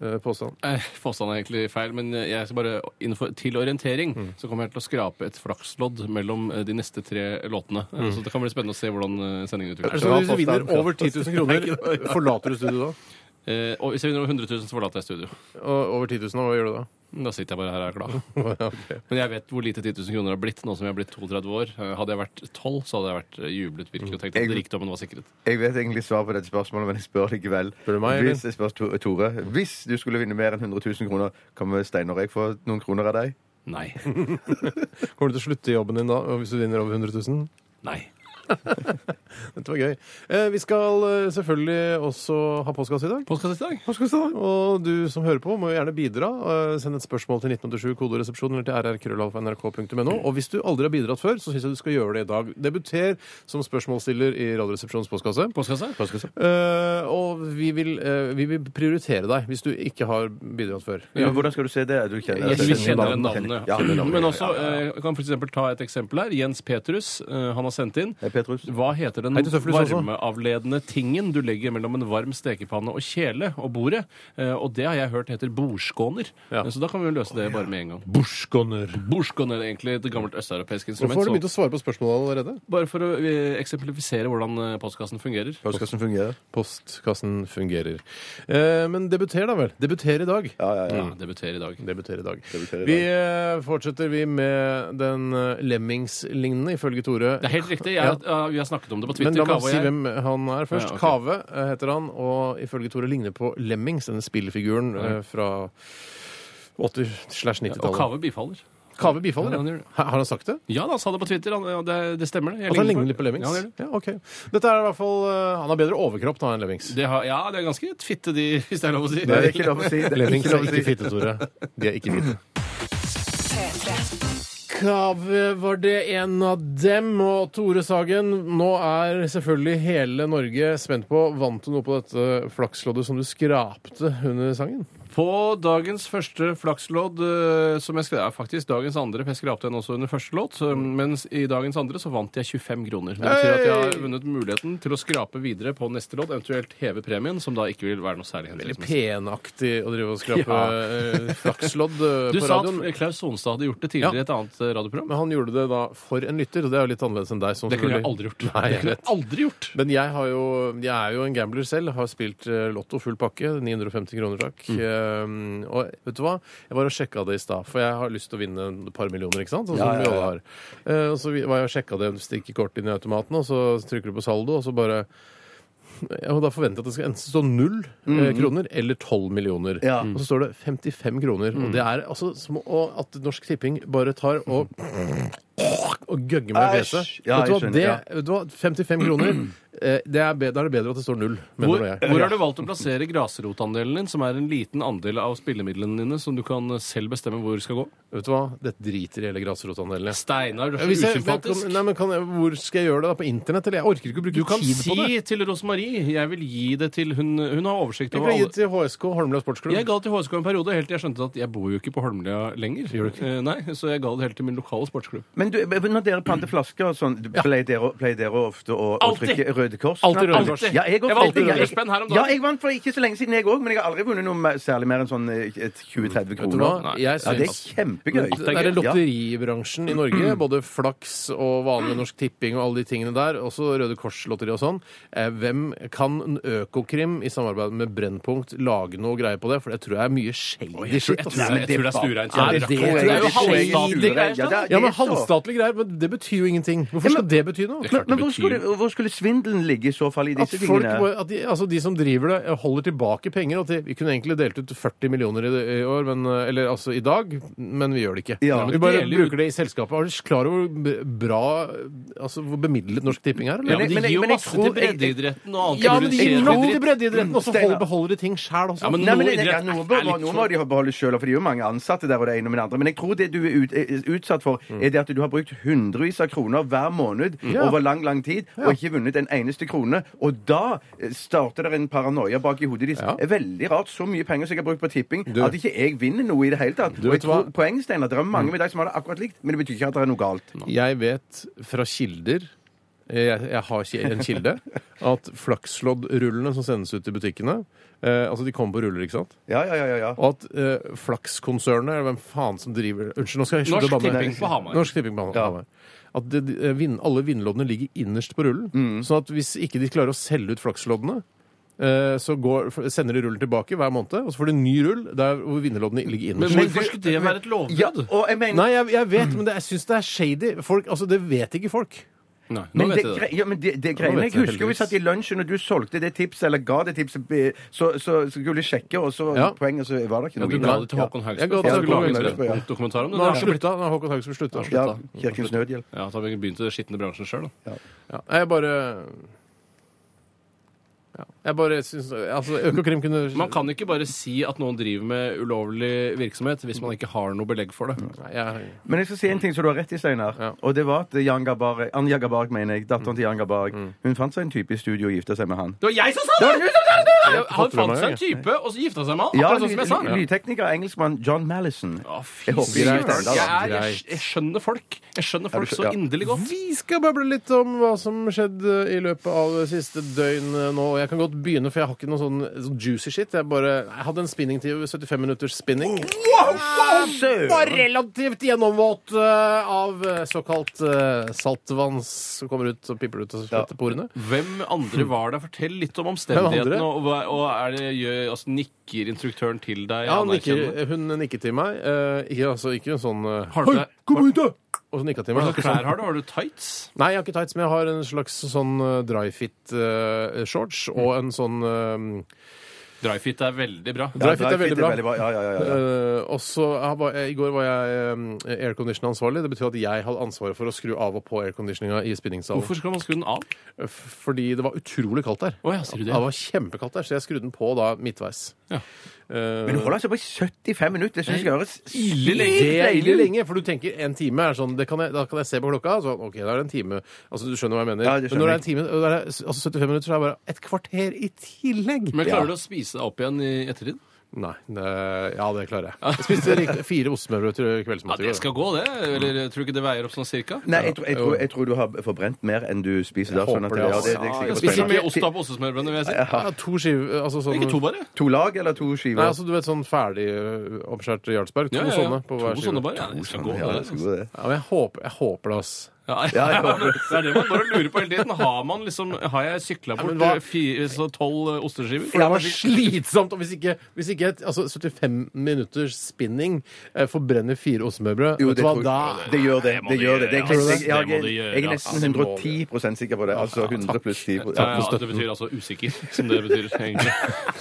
Speaker 2: Eh, Påstand.
Speaker 4: Eh, Påstanden er egentlig feil, men eh, jeg skal bare innenfor, til orientering
Speaker 3: Mm.
Speaker 4: så kommer jeg til å skrape et flakslodd mellom eh, de neste tre låtene. Eh,
Speaker 3: Mm.
Speaker 4: Så det kan bli spennende å se hvordan eh, sendingen
Speaker 2: Er det
Speaker 4: utvikler seg.
Speaker 2: sånn at
Speaker 3: bra
Speaker 2: Hvis du vinner
Speaker 3: påstand.
Speaker 2: over 10 000 kroner, forlater du studio da?
Speaker 4: Eh, Og hvis jeg vinner over 100 000, så forlater jeg studio.
Speaker 2: Og over 10 000, hva gjør du da?
Speaker 4: Da sitter jeg bare her og er glad.
Speaker 2: Ok.
Speaker 4: Men jeg vet hvor lite 10 000 kroner har blitt nå som jeg har blitt 32 år. Eh, Hadde jeg vært 12, så hadde jeg vært eh, jublet virkelig og tenkt
Speaker 3: Jeg-
Speaker 4: at rikdommen var sikret.
Speaker 3: Jeg vet egentlig svar på dette spørsmålet, men jeg spør likevel.
Speaker 2: Spør du meg, eller?
Speaker 3: Hvis jeg spør To- Tore Hvis du skulle vinne mer enn 100 000 kroner, kan vi Steinar og jeg få noen kroner av deg?
Speaker 4: Nei.
Speaker 2: Kommer du til å slutte i jobben din da hvis du vinner over 100 000?
Speaker 4: Nei.
Speaker 2: Dette var gøy. Eh, vi skal eh, selvfølgelig også ha påskehatt i dag.
Speaker 4: Påskast i dag.
Speaker 2: Og du som hører på, må jo gjerne bidra. Eh, send et spørsmål til 1987 kodoresepsjon eller til rrkrøllalfa.nrk.no. Og hvis du aldri har bidratt før, så syns jeg du skal gjøre det i dag. Debuter som spørsmålsstiller i Radioresepsjonens postkasse.
Speaker 4: Påskast i dag.
Speaker 2: Eh, og vi vil, eh, vi vil prioritere deg hvis du ikke har bidratt før.
Speaker 3: Men Hvordan skal du se det? Du kjenner,
Speaker 4: Jeg
Speaker 2: Vi
Speaker 4: kjenner
Speaker 2: navnet.
Speaker 4: navnet.
Speaker 3: Ja,
Speaker 4: absolutt.
Speaker 3: navnet,
Speaker 4: Men også,
Speaker 3: ja, ja.
Speaker 4: eh, jeg kan for eksempel ta et eksempel her. Jens Petrus, eh, han har sendt inn.
Speaker 3: Hei, Petrus.
Speaker 4: Hva heter den
Speaker 2: Hei til Søflus også.
Speaker 4: varmeavledende tingen du legger mellom en varm stekepanne og kjele og bordet? Eh, Og det har jeg hørt heter bordskåner.
Speaker 2: Ja.
Speaker 4: Så da kan vi jo løse det bare med en gang.
Speaker 2: Bushgoner.
Speaker 4: Bordskåner er egentlig et gammelt østeuropeisk
Speaker 2: Hvorfor
Speaker 4: instrument.
Speaker 2: har du
Speaker 4: så-
Speaker 2: begynt å svare på spørsmålet allerede?
Speaker 4: Bare for å eh, eksemplifisere hvordan eh, postkassen fungerer.
Speaker 3: Postkassen fungerer.
Speaker 2: Postkassen fungerer. Eh, men debuter, da vel. Debuter i dag.
Speaker 3: Ja, ja, ja.
Speaker 4: Ja, debuterer Mm, i dag.
Speaker 2: Debuterer i dag.
Speaker 3: Debuterer i
Speaker 2: Vi eh, fortsetter vi med den eh, Lemmings-lignende, ifølge Tore.
Speaker 4: Det er helt riktig. Jeg, ja, vi har snakket om det på Twitter.
Speaker 2: Men la
Speaker 4: Kave
Speaker 2: meg
Speaker 4: og
Speaker 2: si
Speaker 4: jeg.
Speaker 2: hvem han er først.
Speaker 4: Ja, ok.
Speaker 2: Kave eh, heter han, og ifølge Tore ligner på Lemmings, denne spillfiguren eh, fra 80-slash-90-tallet.
Speaker 4: Og Kave bifaller.
Speaker 2: Kave
Speaker 4: Ja,
Speaker 2: bifaller,
Speaker 4: han
Speaker 2: ja.
Speaker 4: gjør det.
Speaker 2: Ha- Har han sagt det?
Speaker 4: Ja, da, han sa det på Twitter. Han, ja, det, det stemmer. det. Jeg
Speaker 2: At han
Speaker 4: på-
Speaker 2: ligner litt på Lemmings?
Speaker 4: Ja, han gjør det.
Speaker 2: Ja, ok. Dette er i hvert fall eh, Han har bedre overkropp da enn Lemmings.
Speaker 4: Det har, ja, det er ganske et fitte, de, hvis det er lov å si.
Speaker 3: Nei, det er ikke lov å si. Det er
Speaker 2: Lemmings
Speaker 3: ikke
Speaker 2: er
Speaker 3: lov å
Speaker 2: ikke
Speaker 3: si.
Speaker 2: fitte, Tore. De er ikke fitte.
Speaker 5: P3.
Speaker 2: Kave eh, var det en av dem, og Tore Sagen, nå er selvfølgelig hele Norge spent på Vant du noe på dette flaksloddet som du skrapte under sangen?
Speaker 4: På dagens første flakslodd, eh, som jeg skrev, er faktisk dagens andre, for jeg skrapte en også under første låt, så- mens i dagens andre så vant jeg 25 kroner. Det betyr at jeg har vunnet muligheten til å skrape videre på neste låt, eventuelt heve premien, som da ikke vil være noe særlig hensiktsmessig.
Speaker 2: Penaktig å drive og skrape
Speaker 4: Ja.
Speaker 2: eh, flakslodd eh,
Speaker 4: Du
Speaker 2: på
Speaker 4: sa
Speaker 2: radioen.
Speaker 4: at Klaus Sonstad hadde gjort det tidligere i et annet eh, radioprogram.
Speaker 2: Men han gjorde det da for en lytter, og det er jo litt annerledes enn deg. Som
Speaker 4: Det kunne jeg
Speaker 2: selvfølgelig-
Speaker 4: aldri gjort.
Speaker 2: Nei,
Speaker 4: det
Speaker 2: jeg
Speaker 4: kunne
Speaker 2: vet.
Speaker 4: jeg aldri gjort.
Speaker 2: Men jeg, har jo, jeg er jo en gambler selv. Har spilt eh, Lotto full pakke. 950 kroner, takk.
Speaker 3: Mm.
Speaker 2: Eh, og vet du hva? Jeg var og sjekka det i stad, for jeg har lyst til å vinne et par millioner. ikke sant? Sånn som
Speaker 3: Ja, ja,
Speaker 2: vi alle
Speaker 3: ja.
Speaker 2: har. Eh, og så vi- var jeg og sjekka det, du stikker kortet inn i automaten, og så trykker du på saldo, og så bare ja, og Da forventer jeg at det skal enten stå null eh, kroner eller tolv millioner.
Speaker 3: Mm. Ja. Mm.
Speaker 2: Og så står det 55 kroner. Og det er altså som å, at Norsk Tipping bare tar og og gøgge meg i fjeset.
Speaker 3: Æsj! Ja,
Speaker 2: vet, du hva,
Speaker 3: jeg skjønner,
Speaker 2: det,
Speaker 3: ja.
Speaker 2: vet du hva, 55 kroner eh, det er be- Da er det bedre at det står null, mener
Speaker 4: Hvor,
Speaker 2: jeg.
Speaker 4: hvor har du valgt å plassere grasrotandelen din, som er en liten andel av spillemidlene dine, som du kan eh, selv bestemme hvor skal gå?
Speaker 2: Vet du hva, det driter i hele grasrotandelene.
Speaker 4: Steinar, du er
Speaker 2: Hvis
Speaker 4: så
Speaker 2: jeg, men,
Speaker 4: usympatisk.
Speaker 2: kan, nei, men kan jeg, hvor skal jeg gjøre det? da? På internett? eller? Jeg orker ikke å bruke
Speaker 4: Du kan
Speaker 2: tid på det.
Speaker 4: si til Rosemarie Jeg vil gi det til Hun, hun har oversikt
Speaker 2: Jeg
Speaker 4: over
Speaker 2: kan gi
Speaker 4: alle
Speaker 2: det til HSK, Holmlia Sportsklubb.
Speaker 4: jeg ga det til HSK en periode, helt til jeg skjønte at jeg bor jo ikke på Holmlia lenger. Eh, Nei, Så jeg ga det helt til min lokale sportsklubb.
Speaker 3: Men Men du, når dere
Speaker 2: Mm.
Speaker 3: planter flasker og sånn, du- pleier dere, pleier dere ofte å, å
Speaker 4: Alltid.
Speaker 3: trykke Røde Kors?
Speaker 4: Alltid Røde
Speaker 3: Alltid.
Speaker 4: Kors.
Speaker 3: Ja, jeg,
Speaker 4: Jeg vant Rødkorspenn her om dagen.
Speaker 3: Ja, jeg vant for ikke så lenge siden, jeg òg, men jeg har aldri vunnet noe mer- særlig mer enn sånn eh, 20-30
Speaker 2: Mm. Vet du
Speaker 3: kroner.
Speaker 2: hva?
Speaker 4: Nei.
Speaker 2: Jeg
Speaker 3: Ja, det er
Speaker 2: syns
Speaker 3: kjempegøy.
Speaker 2: Det er lotteribransjen i Norge, både Flaks og vanlig Norsk Tipping og alle de tingene der, også Røde Kors-lotteri og sånn. Eh, Hvem kan en Økokrim i samarbeid med Brennpunkt lage noe greie på det? For det tror jeg er mye shady shit.
Speaker 4: Jeg
Speaker 2: ass.
Speaker 4: tror det- jeg tror det er stureint.
Speaker 2: Ja, det- det tror jeg
Speaker 4: kjære. Det er jo
Speaker 2: er shady.
Speaker 4: halvstatlig
Speaker 3: Ja, det er-
Speaker 4: greier. sånn.
Speaker 3: det
Speaker 2: Ja, men
Speaker 3: er så-
Speaker 2: halvstatlige greier, men det betyr jo ingenting. Hvorfor skal det bety noe?
Speaker 3: Men,
Speaker 4: klart det
Speaker 3: men hvor, skulle, hvor skulle svindelen ligge i så fall i
Speaker 2: At,
Speaker 3: disse
Speaker 2: folk,
Speaker 3: tingene?
Speaker 2: må- at de, altså de som driver det, holder tilbake penger. Og at de, vi kunne egentlig delt ut 40 millioner i, det- i år, men, eller altså i dag, men vi gjør det ikke.
Speaker 3: Ja.
Speaker 2: vi bare
Speaker 4: Deler ut-
Speaker 2: bruker det i selskapet. Er du klar over hvor b- bra Altså hvor bemidlet Norsk Tipping er?
Speaker 4: Ja,
Speaker 2: Eller?
Speaker 4: men
Speaker 3: men
Speaker 4: de
Speaker 3: jeg-
Speaker 4: gir jo
Speaker 3: men jeg
Speaker 4: masse
Speaker 3: tror-
Speaker 4: til
Speaker 3: jeg-
Speaker 4: breddeidretten og annet.
Speaker 2: Ja, men de gir nok
Speaker 4: Dritt.
Speaker 2: til breddeidretten, og så hold-
Speaker 3: Steinar.
Speaker 2: beholder de ting sjæl også.
Speaker 4: Ja, men
Speaker 3: Nei, men
Speaker 4: noe
Speaker 3: det, det,
Speaker 4: idrett
Speaker 3: noe,
Speaker 4: er
Speaker 3: bør,
Speaker 4: litt
Speaker 3: noe må
Speaker 4: sånn.
Speaker 3: de beholde sjøl, for det er jo mange ansatte der, og det ene med det andre. Men jeg tror det du er ut, er utsatt for, er det at du har brukt hundrevis av kroner hver måned
Speaker 2: Mm. Ja.
Speaker 3: over lang, lang tid, og ikke vunnet en eneste krone. Og da eh, starter det en paranoia bak i hodet ditt.
Speaker 2: Ja.
Speaker 3: Det er Veldig rart, så mye penger som jeg har brukt på tipping,
Speaker 2: Du-
Speaker 3: at ikke jeg vinner noe i det hele tatt.
Speaker 2: Du
Speaker 3: Og jeg
Speaker 2: vet hva? Mm.
Speaker 3: tror poeng, Steinar, det er mange med deg som har det akkurat likt, men det betyr ikke at det er noe galt.
Speaker 2: Jeg vet fra kilder eh, jeg, jeg har ki- en kilde. At flaksloddrullene som sendes ut i butikkene eh, Altså, de kommer på ruller, ikke sant?
Speaker 3: Ja, ja, ja, ja. ja.
Speaker 2: Og at eh, Flakskonsernet, eller hvem faen som driver Unnskyld, nå skal jeg slutte
Speaker 4: Norsk
Speaker 2: å banne.
Speaker 4: Tipping på Hamar.
Speaker 2: Norsk Tipping på Hamar. At det, de, eh, vinn- alle vinnerloddene ligger innerst på rullen. Sånn at hvis ikke de klarer å selge ut flaksloddene, eh, så går, f- sender de rullen tilbake hver måned, og så får de en ny rull der hvor vinnerloddene ligger
Speaker 4: Men
Speaker 2: innerst.
Speaker 4: hvorfor skulle det være et
Speaker 3: Ja,
Speaker 4: lovbrudd?
Speaker 3: og jeg mener
Speaker 2: Nei, jeg, jeg vet, men det, jeg syns det er shady. Folk, altså, det vet ikke folk.
Speaker 4: Nei, nå
Speaker 3: Men
Speaker 4: vet
Speaker 3: det,
Speaker 4: jeg det.
Speaker 3: grei- ja, men det, det greiene,
Speaker 2: vet
Speaker 3: jeg
Speaker 2: jeg
Speaker 3: husker jo vi
Speaker 2: heldigvis.
Speaker 3: satt i lunsjen, og du solgte det tipset, eller ga det tipset, be- så, så, så skulle du sjekke, og så
Speaker 2: Ja.
Speaker 3: poenget, så var det ikke
Speaker 4: Ja,
Speaker 3: noe.
Speaker 4: du ga det til Håkon
Speaker 2: Jeg ga
Speaker 4: Haugstad.
Speaker 2: det
Speaker 4: for
Speaker 2: til
Speaker 4: Han skulle
Speaker 2: Håkon
Speaker 4: lage en
Speaker 3: Haugstad, ja.
Speaker 4: dokumentar om det.
Speaker 2: Nå har han
Speaker 4: Det er-
Speaker 2: slutta. Nå har Håkon Haugstad slutta.
Speaker 3: Ja, Kirkens Nødhjelp.
Speaker 4: Ja, så har vi begynt i det skitne bransjen sjøl, da.
Speaker 2: Ja, jeg bare ja, Jeg bare syns Altså, Økokrim kunne
Speaker 4: Man kan ikke bare si at noen driver med ulovlig virksomhet hvis man ikke har noe belegg for det.
Speaker 2: Nei, jeg,
Speaker 3: Men jeg skal si en ting som du har rett i, Steinar.
Speaker 2: Ja.
Speaker 3: Og det var at Jan Gabarek, Anja Gabarek, mener jeg,
Speaker 4: Mm.
Speaker 3: datteren til Jan Gabarek, hun fant seg en type i studio og gifta seg med han.
Speaker 4: Det var jeg som sa det! Jeg- Han
Speaker 2: Fått det
Speaker 4: fant
Speaker 2: med
Speaker 4: seg en
Speaker 2: meg,
Speaker 4: type, og så gifta seg med han.
Speaker 3: Ja,
Speaker 4: Akkurat sånn som jeg sa.
Speaker 3: ly- lydtekniker, engelskmann John Mallison.
Speaker 4: Å, fy
Speaker 3: Jeg håper
Speaker 4: søren.
Speaker 3: ikke det er det, da.
Speaker 4: Jeg er- Jeg jeg skjønner folk. Jeg skjønner folk
Speaker 3: du skjø-
Speaker 4: så
Speaker 3: ja.
Speaker 4: inderlig godt.
Speaker 2: Vi skal bable litt om hva som skjedde i løpet av det siste døgn nå. og Jeg kan godt begynne, for jeg har ikke noe sånn sånn juicy shit. Jeg bare jeg hadde en spinningtid, 75 minutters spinning. Var relativt gjennomvåt eh, av eh, såkalt eh, saltvann som kommer ut og pipler ut og
Speaker 3: Ja.
Speaker 2: sletter porene.
Speaker 4: Hvem andre var der? Fortell litt om
Speaker 2: Hvem
Speaker 4: omstendighetene.
Speaker 2: andre?
Speaker 4: Og, hva- og er det, gjør, altså, nikker instruktøren til deg?
Speaker 2: Ja, han nikker,
Speaker 4: anerkjennende?
Speaker 2: hun nikket til meg. eh, ikke, altså, ikke en sånn eh,
Speaker 4: Har du
Speaker 2: «Hei,
Speaker 4: det?
Speaker 2: kom ut, da! Og så nikka til
Speaker 4: Hva
Speaker 2: meg.
Speaker 4: slags klær har du? Har du tights?
Speaker 2: Nei, jeg har ikke tights, men jeg har en slags sånn eh, dry fit eh, shorts og en sånn eh,
Speaker 4: Dryfit er veldig bra.
Speaker 2: Dry fit er
Speaker 3: Dryfit
Speaker 2: veldig bra.
Speaker 3: Ja, ja, ja, ja.
Speaker 2: Eh, og så jeg var, jeg, I går var jeg um, aircondition-ansvarlig. Det betyr at jeg hadde ansvaret for å skru av og på airconditioninga i spinningsalen.
Speaker 4: Hvorfor skal man skru den av?
Speaker 2: F- Fordi det var utrolig kaldt der.
Speaker 4: Å, ja, sier du det?
Speaker 2: det var kjempekaldt der, Så jeg skrudde den på da midtveis.
Speaker 4: Ja.
Speaker 2: Eh,
Speaker 3: Men hun holder seg på i 75 minutter, det synes jeg høres
Speaker 4: Ille lenge.
Speaker 2: det er
Speaker 3: deilig
Speaker 2: veldig
Speaker 3: ut.
Speaker 2: lenge, for du tenker en time er sånn det kan jeg, Da kan jeg se på klokka. Så, ok, da er det en time. Altså, Du skjønner hva jeg mener.
Speaker 3: Ja, det skjønner
Speaker 2: Men når det er en time, og det er, altså 75 minutter, så er det bare et kvarter i tillegg.
Speaker 4: Men klarer du å spise deg opp igjen i ettertid?
Speaker 2: Nei. Det, ja, det klarer jeg. Jeg spiste rikt- fire ostesmørbrød til
Speaker 4: Ja,
Speaker 2: kveldsmat i
Speaker 4: det
Speaker 2: går.
Speaker 4: skal gå, det. Eller jeg tror ikke det veier opp sånn cirka?
Speaker 3: Nei, jeg tror, jeg, tror, jeg tror du har forbrent mer enn du spiser da. Sånn at
Speaker 2: håper
Speaker 3: det,
Speaker 2: det,
Speaker 3: ja,
Speaker 2: altså.
Speaker 3: det, det er
Speaker 4: Ja,
Speaker 3: jeg
Speaker 4: jeg
Speaker 3: sikker på.
Speaker 4: spiser mye ost av på ostesmørbrødene, vil jeg si.
Speaker 2: Ja, to skiver altså sånn,
Speaker 4: Ikke to, bare.
Speaker 3: To lag eller to
Speaker 2: Nei,
Speaker 3: skiver?
Speaker 2: altså du vet sånn ferdig ø, oppskjært Jarlsberg. To
Speaker 4: Ja, ja, ja.
Speaker 2: sånne på hver
Speaker 4: to
Speaker 2: skive.
Speaker 4: sånne bare. Ja, det skal gå,
Speaker 3: Ja, det
Speaker 4: det.
Speaker 3: skal gå, det.
Speaker 2: Ja, men jeg håper, jeg håper det, ass.
Speaker 3: Ja,
Speaker 4: Ja,
Speaker 3: jeg
Speaker 4: ja.
Speaker 3: håper det.
Speaker 4: Det er det man bare lurer på hele tiden. Har man liksom Har jeg sykla bort
Speaker 2: men hva-
Speaker 4: eh, fire- så tolv eh, osteskiver?
Speaker 2: For det var slitsomt. Og hvis ikke, hvis ikke et, altså 75 minutters spinning eh, forbrenner fire ostemørbrød,
Speaker 3: Jo,
Speaker 2: vet
Speaker 3: det
Speaker 2: du hva,
Speaker 3: tror jeg-
Speaker 2: da
Speaker 3: Det gjør det. det, gjør det. det,
Speaker 4: Det må du
Speaker 3: jeg, jeg,
Speaker 4: gjøre,
Speaker 3: jeg, jeg er
Speaker 4: ass.
Speaker 3: nesten 110 sikker på det. Altså 100 pluss 10
Speaker 4: Ja, ja, det betyr altså usikker, som det betyr egentlig.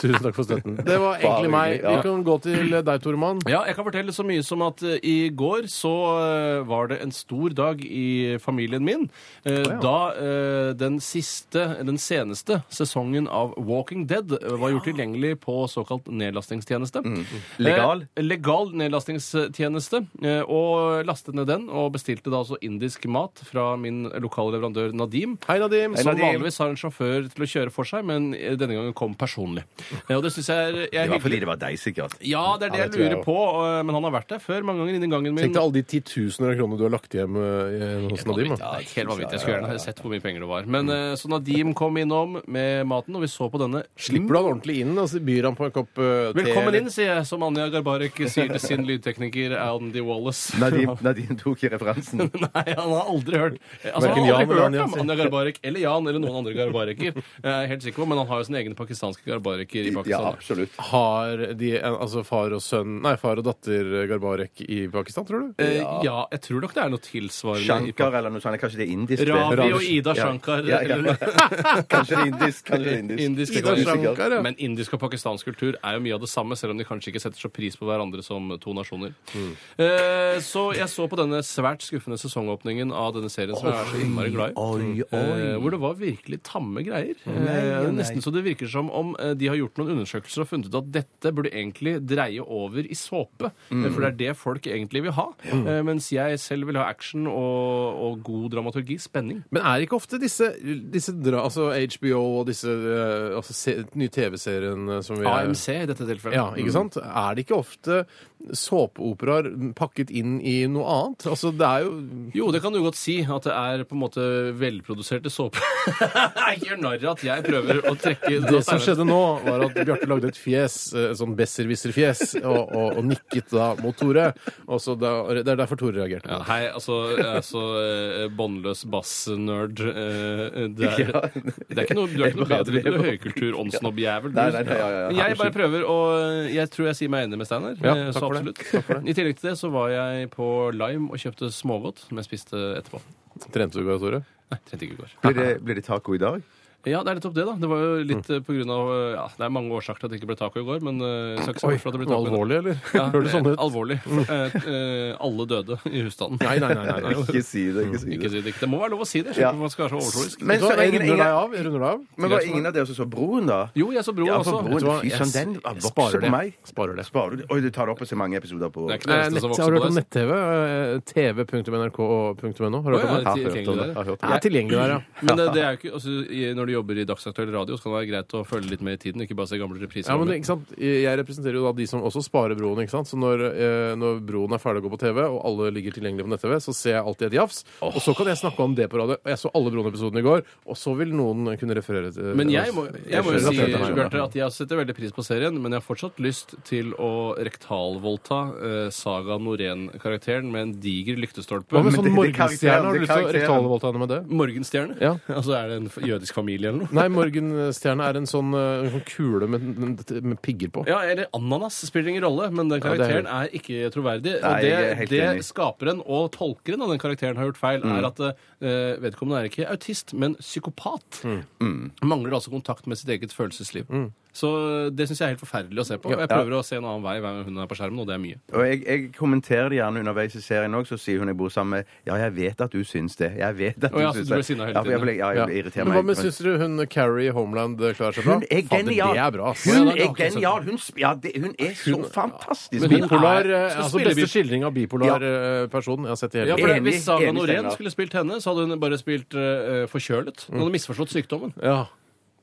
Speaker 2: Tusen takk for støtten. Det var egentlig meg. Vi
Speaker 3: Ja.
Speaker 2: kan gå til deg, Toremann.
Speaker 4: eh, Ja, jeg kan fortelle så mye som at eh, i går så eh, var det en stor dag i familien min. Eh, Da eh, den siste, den seneste sesongen av Walking Dead eh, var gjort tilgjengelig på såkalt nedlastingstjeneste.
Speaker 3: Mm. Legal?
Speaker 4: Eh, legal nedlastingstjeneste. eh, Og lastet ned den, og bestilte da altså indisk mat fra min lokale leverandør Nadim.
Speaker 2: Hei, Nadim.
Speaker 4: Som
Speaker 3: Nadim.
Speaker 4: vanligvis har en sjåfør til å kjøre for seg, men eh, denne gangen kom personlig. Eh, Og det syns jeg er, jeg
Speaker 3: Det
Speaker 4: er
Speaker 3: var fordi
Speaker 4: hyggelig.
Speaker 3: det var deg, sikkert.
Speaker 4: Ja, det er det
Speaker 2: Ja, det
Speaker 4: jeg
Speaker 2: tror jeg
Speaker 4: lurer på, eh, men han har vært der før mange ganger innen gangen min.
Speaker 2: Tenk deg alle de titusener av kroner du har lagt hjem eh, hos Nadim.
Speaker 4: Vanvittig,
Speaker 2: da.
Speaker 4: Ja, helt vanvittig. Jeg skulle gjerne sett hvor mye penger det var. Men eh, Så Nadim kom innom med maten, og vi så på denne.
Speaker 2: Slipper du han ordentlig inn, og så byr han på en kopp eh, te?
Speaker 4: Velkommen
Speaker 2: eller-
Speaker 4: inn, sier jeg, som Anja Garbarek sier til sin lydtekniker Andy Wallace.
Speaker 3: Nadim, Nadim tok i referansen.
Speaker 4: Nei, han har aldri hørt altså,
Speaker 2: Hverken
Speaker 4: Han har
Speaker 2: Jan eller
Speaker 4: aldri hørt
Speaker 2: Anja
Speaker 4: om
Speaker 2: sier.
Speaker 4: Anja Garbarek eller Jan eller noen andre garbareker. Jeg er helt sikker på, Men han har jo sine egne pakistanske garbareker i
Speaker 3: Ja,
Speaker 4: Pakistan.
Speaker 3: absolutt.
Speaker 2: Har de en, altså far og sønn Nei, far og datter eh, Garbarek i Pakistan, tror du?
Speaker 4: Eh, ja, jeg tror nok det er noe tilsvarende. i
Speaker 3: Shankar eller noe sånt. Kanskje det er indisk? det.
Speaker 4: Ravi og
Speaker 2: Ravi-
Speaker 4: Ida
Speaker 3: Ja.
Speaker 4: Shankar.
Speaker 3: Ja, ja.
Speaker 4: eller-
Speaker 3: Kanskje det er indisk. Kanskje det er indisk.
Speaker 4: Indisk,
Speaker 2: Ida
Speaker 4: det kan være.
Speaker 2: Shankar, ja.
Speaker 4: Men indisk og pakistansk kultur er jo mye av det samme, selv om de kanskje ikke setter så pris på hverandre som to nasjoner. Eh, så jeg så på denne svært skuffende sesongåpningen av denne serien som jeg er så innmari glad i.
Speaker 3: Oi,
Speaker 4: Eh, hvor det var virkelig tamme greier. Eh, nesten så det virker som om eh, de har gjort noen undersøkelser og funnet ut at dette burde egentlig dreie over i såpe. Eh, For det er det folk egentlig vil ha. Eh, mens jeg selv vil ha action og, og god dramaturgi. Spenning.
Speaker 2: Men er ikke ofte disse, disse dra, altså HBO og disse eh, altså, se, nye TV-serien som vi er-
Speaker 4: AMC i dette tilfellet. Mm.
Speaker 2: Ja, ikke sant? Er det ikke ofte såpeoperaer pakket inn i noe annet? Altså, det er jo
Speaker 4: Jo, det kan du godt si. At det er på en måte velproduserte såper. Ikke gjør narr av at jeg prøver å trekke
Speaker 2: Det som skjedde nå, var at Bjarte lagde et fjes, eh, et sånn besserwisser-fjes, og, og, og nikket da mot Tore. Og så da, det er derfor Tore reagerte.
Speaker 4: Ja, hei, altså, altså eh, båndløs bass-nerd. eh, Det, er-
Speaker 3: Ja.
Speaker 4: det er ikke noe, du er ikke
Speaker 3: Jeg
Speaker 4: noe
Speaker 3: bare-
Speaker 4: bedre til noe høykultur-åndsnobbjævel.
Speaker 3: Nei, nei, nei, ja, ja, ja.
Speaker 4: Men jeg bare prøver, og jeg tror jeg sier meg enig med Steinar.
Speaker 2: Ja,
Speaker 4: eh,
Speaker 2: takk
Speaker 4: så
Speaker 2: for det.
Speaker 4: absolutt. I tillegg til det så var jeg på Lime og kjøpte smågodt, som jeg spiste etterpå.
Speaker 2: Trente du i går, Tore?
Speaker 4: Nei, trente ikke i går.
Speaker 3: Blir det, blir det taco i dag?
Speaker 4: Ja, det er nettopp det, da. Det var jo
Speaker 2: Mm.
Speaker 4: litt eh, på grunn av eh, Ja, det er mange årsaker til at det ikke ble taco i går, men eh, jeg skal ikke se bort fra at det ble taco. i dag.
Speaker 2: Alvorlig, eller?
Speaker 4: Ja,
Speaker 2: Høres sånn
Speaker 4: eh,
Speaker 2: ut.
Speaker 4: Alvorlig. Eh, eh, alle døde i husstanden.
Speaker 2: Nei, nei, nei. nei, nei.
Speaker 3: Ikke si det. ikke si
Speaker 4: Ikke
Speaker 3: det.
Speaker 4: si det. Det må være lov å si det. Jeg
Speaker 3: Ja.
Speaker 4: skjønner ikke hvorfor man skal være så overtroisk.
Speaker 3: Men
Speaker 2: Vet du
Speaker 3: så
Speaker 2: hva, jeg
Speaker 3: ingen-
Speaker 2: runder deg
Speaker 3: ingen-
Speaker 2: av. Jeg runder deg av.
Speaker 3: Men var ingen av dere som så Broen, da?
Speaker 4: Jo, jeg så broren
Speaker 3: Ja, for
Speaker 4: også.
Speaker 3: broren,
Speaker 2: Vet du hva?
Speaker 3: fy
Speaker 2: Jeg
Speaker 3: søren, den
Speaker 2: s- jeg
Speaker 3: vokser
Speaker 2: sparer
Speaker 3: på
Speaker 2: det.
Speaker 3: meg.
Speaker 2: Sparer det.
Speaker 3: Sparer du? Oi, du tar det opp på så mange episoder på
Speaker 4: Det er ikke
Speaker 2: Eh,
Speaker 4: det eneste
Speaker 2: nett,
Speaker 4: som vokser
Speaker 2: har du
Speaker 4: på
Speaker 2: hørt om
Speaker 4: deg.
Speaker 2: nett-TV? Eh, tv.nrk.no? Har du
Speaker 4: Å,
Speaker 2: hørt
Speaker 4: ja,
Speaker 2: om det?
Speaker 3: hørt om
Speaker 4: til-
Speaker 3: det,
Speaker 4: tilgjengelig der.
Speaker 3: har hørt om
Speaker 2: Det er tilgjengelig der, ja.
Speaker 4: Men eh, det er jo ikke, altså, i- når du jobber i dagsaktuell radio, så kan det være greit å følge litt med i tiden, ikke bare se gamle repriser.
Speaker 2: Ja, men ikke sant? Jeg representerer jo da de som også sparer broen. ikke sant? Så når, eh, når broen er ferdig å gå på TV, og alle ligger tilgjengelig på nett-TV, så ser jeg alltid et jafs. Og så kan jeg snakke om det på radio. Og Jeg så alle broen-episodene i går, og så vil noen kunne referere til
Speaker 4: Men jeg må, jeg må jo si
Speaker 2: referere til meg, ja.
Speaker 4: Bjarte, at jeg setter veldig pris på serien, men jeg har fortsatt lyst til å rektalvoldta eh, Saga Norén-karakteren med en diger lyktestolpe.
Speaker 2: Hva med
Speaker 3: Men
Speaker 2: sånn
Speaker 3: det- det er
Speaker 2: morgenstjerne? Har du
Speaker 3: karakteren,
Speaker 2: lyst til å
Speaker 3: det er karakteren.
Speaker 2: rektalvoldta henne med det?
Speaker 4: Morgenstjerne?
Speaker 2: Ja.
Speaker 4: Altså er det en f- jødisk familie eller noe?
Speaker 2: Nei, morgenstjerne er en sånn, eh, en sånn kule med, med, med pigger på.
Speaker 4: Ja, eller ananas spiller ingen rolle, men den
Speaker 2: Ja, det er-
Speaker 4: karakteren er ikke troverdig.
Speaker 3: Nei,
Speaker 4: Og
Speaker 3: jeg er
Speaker 4: det,
Speaker 3: helt enig. Mm.
Speaker 4: det skaperen og tolkeren av den karakteren har gjort feil, er at eh, vedkommende er ikke autist, men psykopat.
Speaker 3: Mm.
Speaker 4: Mangler altså kontakt med sitt eget følelsesliv. Så eh, det syns jeg er helt forferdelig å se på. Jeg prøver å se en annen vei hver gang hun er på skjermen, og det er mye.
Speaker 3: Og jeg, jeg kommenterer det gjerne underveis i serien òg, så sier hun jeg bor sammen med Ja, jeg vet at du syns det. Jeg vet at
Speaker 4: Å, ja,
Speaker 3: du
Speaker 4: så
Speaker 3: syns
Speaker 4: du
Speaker 3: det.
Speaker 4: blir sinna hele
Speaker 3: Ja, for jeg
Speaker 4: tiden.
Speaker 3: ble- Ja,
Speaker 2: Ja.
Speaker 3: jeg irriterer
Speaker 2: Men hva
Speaker 3: meg.
Speaker 2: med syns dere hun Carrie i Homeland eh, klarer seg bra?
Speaker 3: Hun er
Speaker 2: Fader,
Speaker 3: genial!
Speaker 2: det er bra, ass.
Speaker 3: Hun
Speaker 4: Ja, det
Speaker 3: er
Speaker 4: har ikke jeg sett.
Speaker 3: genial! Hun, sp- ja, det, hun er så fantastisk!
Speaker 4: Men hun
Speaker 3: god.
Speaker 2: Bipolar,
Speaker 4: Nei,
Speaker 2: eh,
Speaker 4: så
Speaker 2: altså
Speaker 4: spiller
Speaker 2: Beste
Speaker 4: vi-
Speaker 2: skildring av bipolar eh, person jeg har sett i hele
Speaker 4: Ja,
Speaker 2: mitt
Speaker 4: for det,
Speaker 3: Enig,
Speaker 4: Hvis Saga
Speaker 3: enig,
Speaker 4: Norén
Speaker 3: Steinar. Mm.
Speaker 4: skulle spilt henne, så hadde hun bare spilt eh, forkjølet. Hun hadde misforstått sykdommen.
Speaker 2: liv. Ja.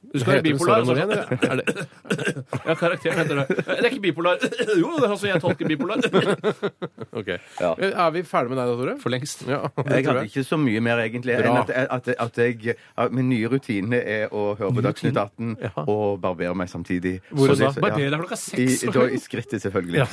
Speaker 4: Du skal være
Speaker 2: Heter hun Sara
Speaker 4: bipolar. altså.
Speaker 2: Norén, eller? Er det-
Speaker 4: Ja, karakteren heter det. Det er ikke bipolar. Jo, det er altså jeg tolker bipolar.
Speaker 2: Ok. Eh,
Speaker 3: Ja.
Speaker 2: Er vi ferdige med deg da, Tore?
Speaker 4: For lengst.
Speaker 2: Ja, det tror
Speaker 3: Jeg hadde
Speaker 2: jeg.
Speaker 3: ikke så mye mer, egentlig, enn
Speaker 2: Bra.
Speaker 3: at, at, at jeg at Min nye rutine er å høre på Dagsnytt 18 og barbere meg samtidig.
Speaker 2: Hvor
Speaker 3: Så
Speaker 2: da?
Speaker 3: det- ja.
Speaker 4: Barberer deg klokka
Speaker 3: I,
Speaker 4: seks.
Speaker 3: da, I skrittet, selvfølgelig.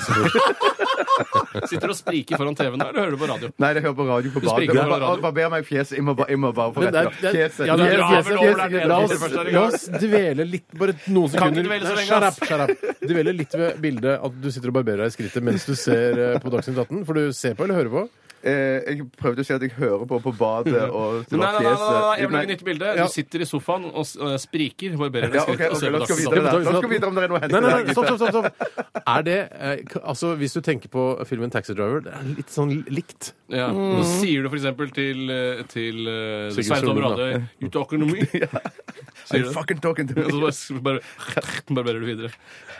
Speaker 4: Sitter og spriker foran TV-en her, eller hører du på radio?
Speaker 3: Nei, jeg hører på radio på badet.
Speaker 4: spriker på
Speaker 3: Bare-
Speaker 4: radio.
Speaker 3: Barber meg i fjeset. Jeg må bare, jeg må bare få
Speaker 2: Men
Speaker 3: rett
Speaker 2: det er-
Speaker 3: da.
Speaker 2: det er-
Speaker 3: Fjeset.
Speaker 2: ja, det er-
Speaker 4: Du drar vel over
Speaker 2: fjeset.
Speaker 4: der nede
Speaker 2: La
Speaker 4: for
Speaker 2: oss,
Speaker 4: første gang.
Speaker 2: la oss dvele litt Bare noen
Speaker 4: Kan
Speaker 2: sekunder
Speaker 4: ikke dvele så
Speaker 2: Nei,
Speaker 4: lenge,
Speaker 2: Shut up,
Speaker 4: ass.
Speaker 2: shut up. Dvele litt ved bildet at du sitter og barberer deg i skrittet mens du ser eh, på Dagsnytt 18. For du ser på eller hører på?
Speaker 3: Eh, jeg prøvde å si at jeg hører på på badet og
Speaker 4: Nei, nei, nei, nei, nei, nei, jeg vil lage
Speaker 3: Nei.
Speaker 4: nytt bilde.
Speaker 2: Ja.
Speaker 4: Du sitter i sofaen og s- øh, spriker, barberer
Speaker 3: Ja,
Speaker 4: deg
Speaker 3: ok,
Speaker 4: skutt og
Speaker 3: ok,
Speaker 4: ser
Speaker 3: la
Speaker 4: på
Speaker 3: oss gå
Speaker 4: Dagsnytt
Speaker 3: videre.
Speaker 4: atten.
Speaker 3: der. La oss gå videre om det er noe å hente
Speaker 2: Nei, nei,
Speaker 3: der,
Speaker 2: nei, stopp, stopp, stopp. stopp. Er det eh, k- Altså, hvis du tenker på filmen Taxi Driver, det er litt sånn likt.
Speaker 4: Ja. Så sier du for eksempel til, øh, til øh,
Speaker 2: Mm. Sigurd
Speaker 4: Svein Tom
Speaker 2: Solund, da.
Speaker 4: Radøy You talking to me? Sier
Speaker 3: I'm
Speaker 4: du det?
Speaker 3: fucking talking to
Speaker 4: Og så
Speaker 3: you.
Speaker 4: bare s- bare barberer du videre.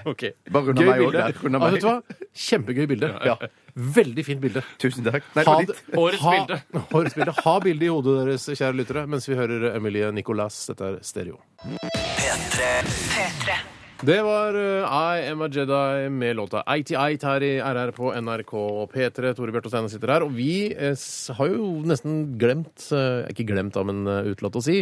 Speaker 2: Okay.
Speaker 3: Bare unna
Speaker 2: Gøy
Speaker 3: meg òg
Speaker 2: bilde.
Speaker 3: der. Unna
Speaker 2: Ah,
Speaker 3: meg.
Speaker 2: vet du hva? Kjempegøy bilde.
Speaker 3: Ja.
Speaker 2: Veldig fint bilde.
Speaker 3: Tusen takk. Nei, det
Speaker 2: Ha
Speaker 3: var
Speaker 2: det-
Speaker 3: ditt.
Speaker 4: Årets
Speaker 2: ha-
Speaker 4: bilde.
Speaker 2: Årets bilde. Ha bildet i hodet deres, kjære lyttere, mens vi hører Emilie Nicolas. Dette er stereo.
Speaker 1: P3
Speaker 5: P3.
Speaker 2: Det var eh, I Am A Jedi med låta Eye to Eye her i RR på NRK P3. Tore Bjarte og Steinar sitter her. Og vi eh, s- har jo nesten glemt, eh, ikke glemt da, men eh, utelatt å si,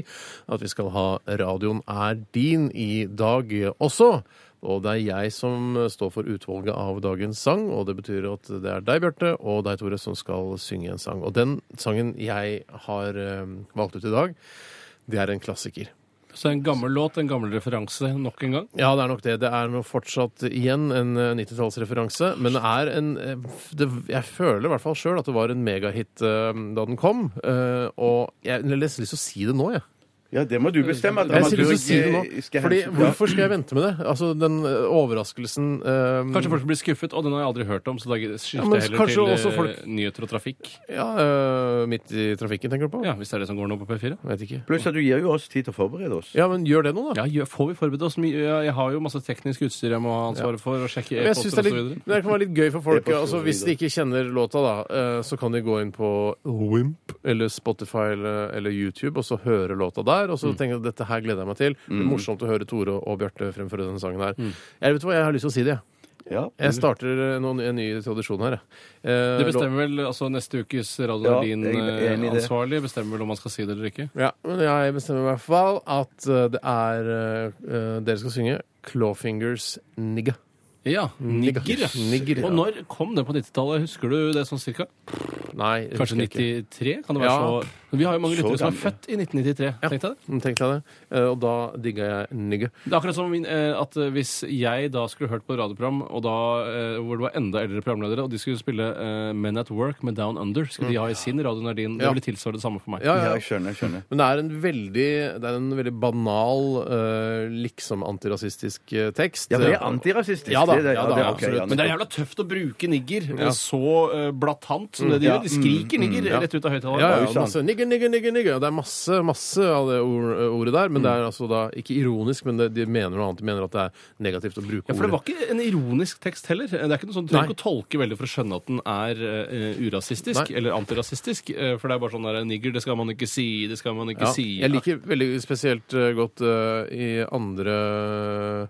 Speaker 2: at vi skal ha Radioen er din i dag også. Og det er jeg som eh, står for utvalget av dagens sang, og det betyr at det er deg, Bjarte, og deg, Tore, som skal synge en sang. Og den sangen jeg har eh, valgt ut i dag, det er en klassiker.
Speaker 4: Så en gammel låt, en gammel referanse nok en gang.
Speaker 2: Ja, det er nok det. Det er nå fortsatt igjen en eh, 90-tallsreferanse. Men det er en eh, f- det, Jeg føler i hvert fall sjøl at det var en megahit eh, da den kom. eh, Og jeg har nesten lyst til å si det nå, jeg.
Speaker 3: Ja, det må du bestemme.
Speaker 2: Jeg har nesten lyst til å
Speaker 3: dramaturg-
Speaker 2: si det
Speaker 3: skal
Speaker 2: nå. Fordi,
Speaker 3: hensyn- Ja.
Speaker 2: hvorfor skal jeg vente med det? Altså, den eh, overraskelsen eh,
Speaker 4: Kanskje folk blir skuffet, og den har jeg aldri hørt om, så da skifter
Speaker 2: Ja, men
Speaker 4: jeg heller
Speaker 2: kanskje
Speaker 4: til eh,
Speaker 2: også folk-
Speaker 4: nyheter og trafikk.
Speaker 2: Ja, eh, midt i trafikken, tenker du på?
Speaker 4: Ja, Hvis det er det som går nå på P4.
Speaker 2: Vet ikke.
Speaker 3: Pluss at du gir jo oss tid til å forberede oss.
Speaker 2: Ja, men gjør det nå, da.
Speaker 4: Ja, gjør- Får vi forberedt oss mye? Ja, Jeg har jo masse teknisk utstyr jeg må ha ansvaret for, og sjekke
Speaker 2: Jeg synes
Speaker 4: e-poster
Speaker 2: det,
Speaker 4: osv.
Speaker 2: er litt, det kan være litt gøy for folk.
Speaker 3: E-poster og
Speaker 2: Altså,
Speaker 3: så
Speaker 2: hvis de
Speaker 3: videre.
Speaker 2: ikke kjenner låta, da, eh, så kan de gå inn på Wimp eller Spotify eller, eller YouTube og så høre låta der. Og
Speaker 4: Mm.
Speaker 2: så tenke at dette her gleder jeg meg til. Det er morsomt å høre Tore og Bjarte fremføre denne sangen her.
Speaker 4: Mm.
Speaker 2: Jeg vet hva, jeg har lyst til å si det. jeg.
Speaker 3: Ja.
Speaker 2: Jeg starter eh, noen, en ny tradisjon her. jeg. Eh, lå-
Speaker 4: Det Mm. bestemmer vel altså neste ukes Radio
Speaker 3: Ja, jeg er enig i det.
Speaker 4: Nardin-ansvarlig bestemmer vel om man skal si det eller ikke.
Speaker 2: Ja, men jeg bestemmer i hvert fall at eh, det er eh, eh, Dere skal synge Clawfingers Nigga.
Speaker 4: Ja, Nigger. ja.
Speaker 2: Nigger, ja.
Speaker 4: Og når kom den på 90-tallet? Husker du det sånn cirka?
Speaker 2: Nei, jeg
Speaker 4: Kanskje
Speaker 2: husker ikke.
Speaker 4: 93? Kan det være
Speaker 2: Ja.
Speaker 4: så Vi har jo mange
Speaker 3: Så
Speaker 4: lyttere som er
Speaker 3: gamle.
Speaker 4: født i 1993. Tenkte jeg det.
Speaker 2: Mm, Tenkte jeg det. Eh, Og da digga jeg nigga.
Speaker 4: Det er akkurat som min, eh, at eh, hvis jeg da skulle hørt på et radioprogram og da, eh, hvor det var enda eldre programledere, og de skulle spille eh, Men at Work med Down Under, skulle de ha i sin Radio Nardin. Det
Speaker 2: Mm. Ja.
Speaker 4: ville tilsvare det samme for meg.
Speaker 2: Ja, ja,
Speaker 3: ja,
Speaker 2: ja.
Speaker 3: jeg skjønner. jeg skjønner
Speaker 2: Men det er en veldig, det er en veldig banal, eh, liksom antirasistisk eh, tekst.
Speaker 3: Ja, men det er antirasistisk.
Speaker 2: Ja da,
Speaker 3: det er det.
Speaker 2: ja da,
Speaker 3: det er ok,
Speaker 2: absolutt.
Speaker 3: ja,
Speaker 4: Men det er jævla tøft å bruke nigger
Speaker 2: Ja. Mm.
Speaker 4: eh, så eh, blatant som det de
Speaker 3: Ja.
Speaker 4: gjør. De skriker nigger
Speaker 2: ja.
Speaker 4: rett ut av høyttaleren.
Speaker 2: Ja,
Speaker 3: Det er
Speaker 2: ja,
Speaker 3: jo sant.
Speaker 2: masse nigger, nigger, nigger, nigger. Det er masse masse av det ord, ordet der.
Speaker 4: Mm.
Speaker 2: Men det er altså da ikke ironisk, men det, de mener noe annet. De mener at det er negativt å bruke
Speaker 4: Ja, for Det var
Speaker 2: ordet.
Speaker 4: ikke en ironisk tekst heller. Det er ikke noe sånn, Du trenger ikke å tolke veldig for å skjønne at den er eh, urasistisk
Speaker 2: Nei.
Speaker 4: eller antirasistisk. eh, for det er bare sånn der, nigger, det skal man ikke si, det skal man ikke
Speaker 2: Ja,
Speaker 4: si.
Speaker 2: jeg liker veldig spesielt eh, godt eh, i andre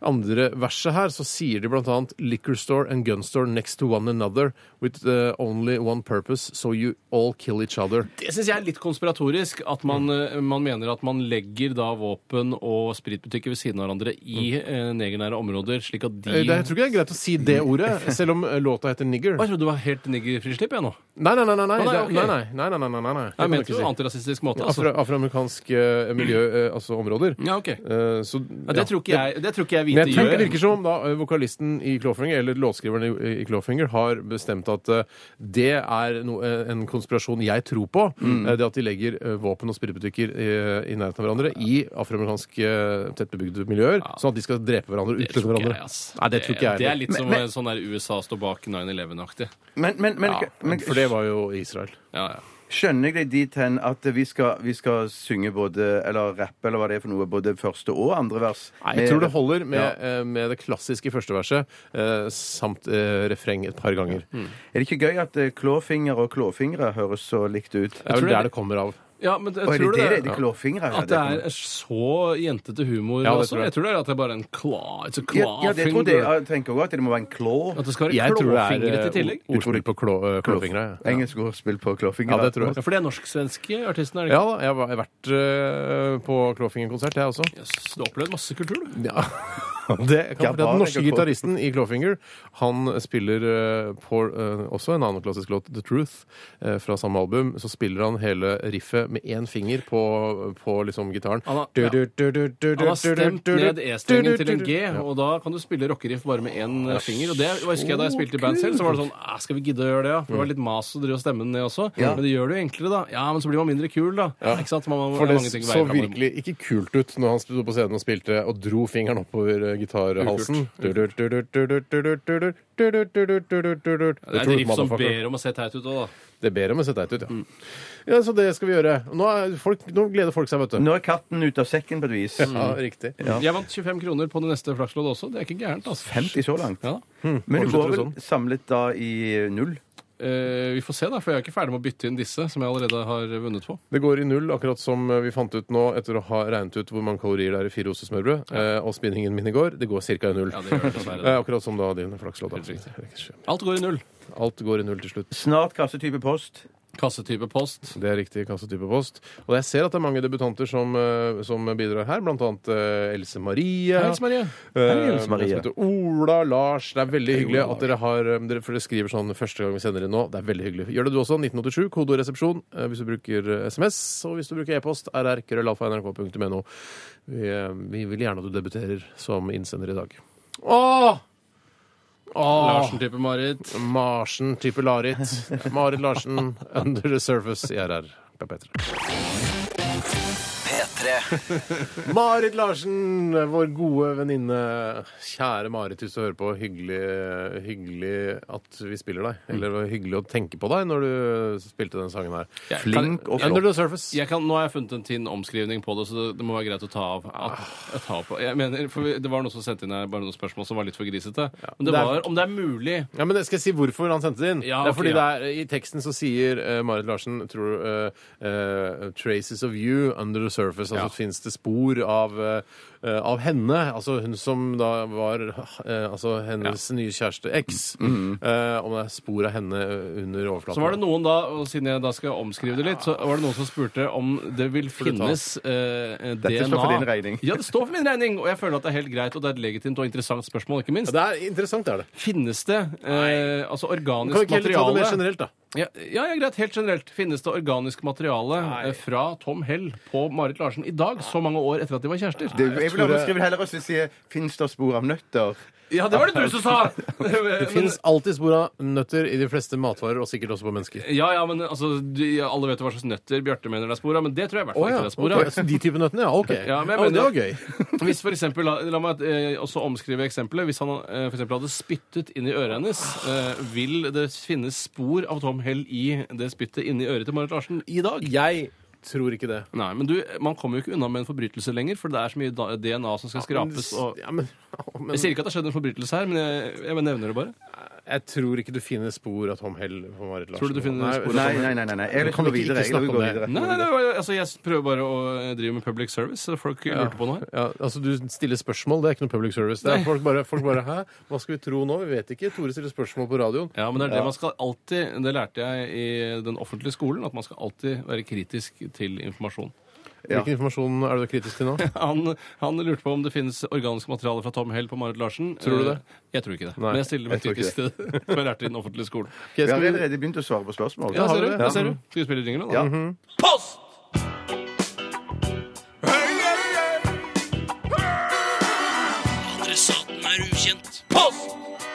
Speaker 2: andre verset her, så sier de blant annet liquor store and gun store next to one another with eh, only one purpose, so you all kill each other.
Speaker 4: Det syns jeg er litt konspiratorisk. At man,
Speaker 2: Mm.
Speaker 4: eh, man mener at man legger da våpen og spritbutikker ved siden av hverandre i eh, negernære områder, slik at
Speaker 2: Mm.
Speaker 4: de
Speaker 2: Eh, Det, jeg tror ikke det er greit å si det ordet, selv om eh, låta heter nigger.
Speaker 4: Å, jeg trodde det var helt niggerfrislipp, jeg nå.
Speaker 2: Nei, nei, nei. nei, nei,
Speaker 4: Å, nei,
Speaker 2: det-
Speaker 4: ok.
Speaker 2: nei, nei, nei, nei, nei, nei, nei, nei. Det kan
Speaker 4: Jeg
Speaker 2: du
Speaker 4: mente jo
Speaker 2: ikke si.
Speaker 4: antirasistisk måte.
Speaker 2: Afro,
Speaker 4: Altså.
Speaker 2: Afroamerikansk eh, miljø, eh, altså områder.
Speaker 4: Ja, ok. Ja,
Speaker 2: Eh, så,
Speaker 4: det, tror ikke jeg, det tror ikke jeg hvite
Speaker 2: Men jeg tror
Speaker 4: gjør.
Speaker 2: det virker som om da eh, vokalisten i Clawfinger, eller låtskriveren i, i Clawfinger, har bestemt at eh, det er no, eh, en konspirasjon jeg tror på.
Speaker 4: Mm.
Speaker 2: eh, det at de legger eh, våpen og spritbutikker i, i nærheten av hverandre i afroamerikanske eh, tettbebygde miljøer, sånn at de skal drepe hverandre og
Speaker 4: Det
Speaker 2: utslette
Speaker 4: tror ikke
Speaker 2: hverandre.
Speaker 4: jeg, ass.
Speaker 2: Nei, det tror ikke jeg
Speaker 4: Det er
Speaker 2: heller.
Speaker 4: litt som
Speaker 3: men-
Speaker 4: eh, sånn der USA står bak 9-11-aktig.
Speaker 3: Men, men, men, men
Speaker 2: For det var jo Israel.
Speaker 4: Ja, ja.
Speaker 3: skjønner jeg deg dit hen at vi skal, vi skal synge både Eller rappe, eller hva det er for noe, både første og andre vers?
Speaker 2: Nei, jeg tror det holder med, eh, med det klassiske første verset eh, samt eh, refreng et par ganger.
Speaker 3: Er det ikke gøy at eh, klåfinger og klåfingre høres så likt ut?
Speaker 2: Det er
Speaker 4: tror
Speaker 2: vel
Speaker 4: det-
Speaker 2: der det kommer av.
Speaker 4: ja men jeg
Speaker 3: Og er det
Speaker 4: tror
Speaker 3: det?
Speaker 4: det,
Speaker 3: Er det klåfingre?
Speaker 4: At det er så jentete humor.
Speaker 2: Ja, det
Speaker 4: altså.
Speaker 2: tror jeg.
Speaker 4: Jeg tror det er at det er bare en claw. It's a
Speaker 3: ja,
Speaker 4: claw
Speaker 3: ja, det
Speaker 4: finger.
Speaker 3: trodde jeg. Jeg tenker også at det må være en klå.
Speaker 4: At det skal være
Speaker 2: Jeg tror det er
Speaker 4: klåfingret i
Speaker 2: eh,
Speaker 4: tillegg.
Speaker 2: o- ordspill på klå, eh, klåfingra. Ja.
Speaker 3: Engelsk ordspill på klåfingre.
Speaker 2: ja, det tror
Speaker 4: Ja,
Speaker 2: jeg.
Speaker 4: for det er norsk-svenske artisten, er det
Speaker 2: Ja
Speaker 4: ikke?
Speaker 2: da, jeg har vært eh, på Klåfinger-konsert, jeg også.
Speaker 4: Yes, du har opplevd masse kultur, du.
Speaker 2: Ja. Det kan jeg fortelle at Den norske
Speaker 3: Gabarek og Paul.
Speaker 2: gitaristen i Clawfinger han spiller eh, på eh, også en annen klassisk låt, The Truth, eh, fra samme album. Så spiller han hele riffet med én finger på, på liksom gitaren.
Speaker 4: Han har- ja. Han har stemt ned E-strengen til en G, og da kan du spille rockeriff bare med én eh, finger. Og det husker jeg da jeg spilte i band selv, så var det sånn "Ah, Skal vi gidde å gjøre det, ja?
Speaker 2: Mm.
Speaker 4: For det var litt mas å drive og stemme den ned også. Men det gjør det jo enklere, da. Ja, men så blir man mindre kul, da. Ikke sant? Man,
Speaker 2: For det
Speaker 4: det er mange ting å
Speaker 2: så
Speaker 4: veie fremover.
Speaker 2: virkelig ikke kult ut når han sto på scenen og spilte og dro fingeren oppover eh, gitarhalsen.
Speaker 4: Det
Speaker 2: Det
Speaker 4: er et riff som ber om å se teit ut òg, da.
Speaker 2: Det ber om å se teit ut, ja. Ja, Så det skal vi gjøre. Nå, er folk, nå gleder folk seg, vet du.
Speaker 3: Nå er katten ute av sekken på et vis.
Speaker 2: Ja, riktig.
Speaker 4: Jeg vant 25 kroner på det neste flakslodd også. Det er ikke gærent, altså.
Speaker 3: 50 så langt.
Speaker 4: Ja.
Speaker 3: Men Hm, du sånn?
Speaker 2: fortsetter
Speaker 3: går
Speaker 2: det
Speaker 3: vel samlet da i null?
Speaker 4: Eh, vi får se, da, for jeg er ikke ferdig med å bytte inn disse som jeg allerede har vunnet på.
Speaker 2: Det går i null, akkurat som eh, vi fant ut nå etter å ha regnet ut hvor mange kalorier det er i fire oser smørbrød, eh, og spinningen min i går. Det går ca. i null.
Speaker 4: Ja, det gjør det dessverre.
Speaker 2: Eh, akkurat som da din flakslåt.
Speaker 4: Helt riktig. Alt går i null.
Speaker 2: Alt går i null til slutt.
Speaker 3: Snart kassetype post.
Speaker 4: Kassetype post.
Speaker 2: Det er riktig kassetype post. Og jeg ser at det er mange debutanter som, eh, som bidrar her, blant annet eh, Else Marie.
Speaker 4: Hei, Else Marie.
Speaker 2: Eh,
Speaker 3: Else Marie.
Speaker 2: som heter Ola, Lars. Det er veldig hyggelig at dere har eh, dere, For dere skriver sånn første gang vi sender inn nå. Det er veldig hyggelig. Gjør det du også. 1987, kodeord resepsjon eh, hvis du bruker eh, SMS. Og hvis du bruker e-post, rr.krøllalfa.nrk.no. Vi, eh, vi vil gjerne at du debuterer som innsender i dag. Åh! Åh!
Speaker 4: Larsen-type Marit.
Speaker 2: Marsen type Larit. Marit Larsen, Under the Surface i RR. på P3.
Speaker 1: P3.
Speaker 2: Marit Larsen, vår gode venninne. Kjære Marit, hvis du hører på. Hyggelig, hyggelig at vi spiller deg. Eller det var hyggelig å tenke på deg når du spilte den sangen her.
Speaker 4: Jeg-
Speaker 3: Flink og
Speaker 2: Under
Speaker 3: flott.
Speaker 2: the surface.
Speaker 4: Jeg kan, nå har jeg funnet en tynn omskrivning på det, så det- det må være greit å ta av. At, å ta av på. Jeg mener, for vi- det var noen som sendte inn her bare noen spørsmål som var litt for grisete. Men det
Speaker 2: det er-
Speaker 4: var om det er mulig.
Speaker 2: Ja, men Skal jeg si hvorfor han sendte det inn?
Speaker 4: Ja,
Speaker 2: det er
Speaker 4: ok,
Speaker 2: fordi
Speaker 4: ja.
Speaker 2: det er, I teksten så sier eh, Marit Larsen tror, du, eh, eh, 'Traces of you under the surface'.
Speaker 4: Ja.
Speaker 2: Altså fins det spor av, eh, eh, av henne? Altså hun som da var eh, altså hennes nye kjæreste X. Eh, om det er spor av henne under overflaten.
Speaker 4: Mm. Så var det noen da, og siden jeg da skal omskrive det litt, så var det noen som spurte om det vil
Speaker 2: du ta?
Speaker 4: finnes eh, DNA.
Speaker 3: Dette står for din regning.
Speaker 4: Ja, det står for min regning, og jeg føler at det er helt greit, og det er et legitimt og interessant spørsmål, ikke minst.
Speaker 2: Ja, det er interessant, det er det.
Speaker 4: Finnes det eh, altså organisk
Speaker 2: Kan vi
Speaker 4: materiale?
Speaker 2: ikke heller ta det mer generelt, da?
Speaker 4: Ja, ja, ja, greit. Helt generelt. Finnes det organisk materiale eh, fra Tom Hell på Marit Larsen i dag, så mange år etter at de var kjærester?
Speaker 3: Det, jeg vil overskrive heller og så si 'Fins det spor av nøtter'?
Speaker 4: Ja, det var det du som sa! Men-
Speaker 2: Det fins alltid spor av nøtter i de fleste matvarer, og sikkert også på mennesker.
Speaker 4: Ja, ja, men altså, du, ja, alle vet jo hva slags nøtter Bjarte mener det er spor av, men det tror jeg i hvert fall ikke det er spor av.
Speaker 2: ok, så De type nøttene, ja. Ok.
Speaker 4: Ja, men jeg
Speaker 2: Ja, men det
Speaker 4: mener-
Speaker 2: var gøy.
Speaker 4: Hvis for eksempel, la, la meg eh, også omskrive eksempelet. Hvis han eh, for eksempel hadde spyttet inn i øret hennes, eh, vil det finnes spor av Tom Hell i det spyttet inni øret til Marit Larsen i dag?
Speaker 2: Jeg tror ikke det.
Speaker 4: Nei, men du, man kommer jo ikke unna med en forbrytelse lenger, for det er så mye da- DNA som skal skrapes. og...
Speaker 2: Ja, men, ja, men
Speaker 4: Jeg sier ikke at det skjedde en forbrytelse her, men jeg, jeg bare nevner det bare.
Speaker 2: jeg tror ikke du finner spor av Tom Hell på Marit Larsen.
Speaker 4: Tror du du finner
Speaker 2: Nei,
Speaker 4: spor av
Speaker 3: Nei, nei, nei. nei, nei. Jeg vil
Speaker 2: Kan
Speaker 3: gå
Speaker 2: vi ikke-
Speaker 3: videre.
Speaker 2: ikke
Speaker 3: Jeg vil
Speaker 2: snakke
Speaker 3: gå
Speaker 2: om det?
Speaker 3: videre.
Speaker 4: Nei, nei, nei, altså Jeg prøver bare å eh, drive med public service. så Folk lurte på noe her.
Speaker 2: Ja, altså Du stiller spørsmål, det er ikke noe public service. Det er folk, bare, folk bare 'hæ, hva skal vi tro nå?' Vi vet ikke. Tore stiller spørsmål på radioen.
Speaker 4: Ja, men Det er det man skal alltid, det lærte jeg i den offentlige skolen, at man skal alltid være kritisk til informasjon.
Speaker 3: Ja.
Speaker 2: Hvilken informasjon er du kritisk til nå?
Speaker 4: Han, han lurte på om det finnes organisk materiale fra Tom Hell på Marit Larsen.
Speaker 2: Tror du det?
Speaker 4: Eh, Jeg tror ikke det.
Speaker 2: Nei,
Speaker 4: men jeg stiller meg
Speaker 3: jeg tror
Speaker 4: kritisk til det. Som jeg lærte i den offentlige skolen.
Speaker 2: Ok,
Speaker 3: Vi har
Speaker 2: skal vi...
Speaker 3: allerede begynt å svare på spørsmål.
Speaker 4: Ja,
Speaker 2: har vi
Speaker 4: ser du?
Speaker 2: det? Mhm.
Speaker 4: Ja, ser du? Skal vi spille jingle nå?
Speaker 3: Ja.
Speaker 6: Adressaten er ukjent. Post!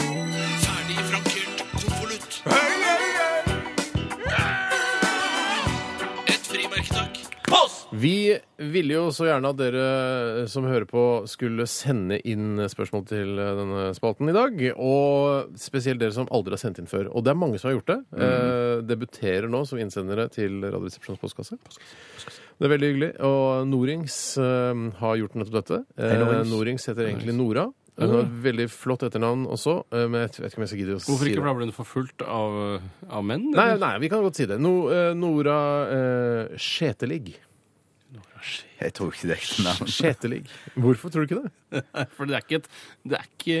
Speaker 6: Ferdig frankert konvolutt. Et frimerke, takk. Post!
Speaker 2: Vi ville jo så gjerne at dere eh, som hører på, skulle sende inn spørsmål til eh, denne spalten i dag. Og spesielt dere som aldri har sendt inn før. Og det er mange som har gjort det. Eh, debuterer nå som innsendere til Radioresepsjonens postkasse. Det er veldig hyggelig. Og Norings eh, har gjort nettopp dette. Eh,
Speaker 3: Norings.
Speaker 2: Norings heter egentlig Nora. Hun har et veldig flott etternavn også, eh, men jeg vet ikke om jeg skal gidde å si det.
Speaker 4: Hvorfor ikke blir hun forfulgt av, av menn?
Speaker 2: Nei,
Speaker 4: eller?
Speaker 2: nei, vi kan godt si det. No, eh, Nora eh, Skjetelig.
Speaker 3: Jeg tror ikke det er et navn.
Speaker 2: Skjetelig. Hvorfor tror du ikke det?
Speaker 4: For det er ikke et Det er ikke,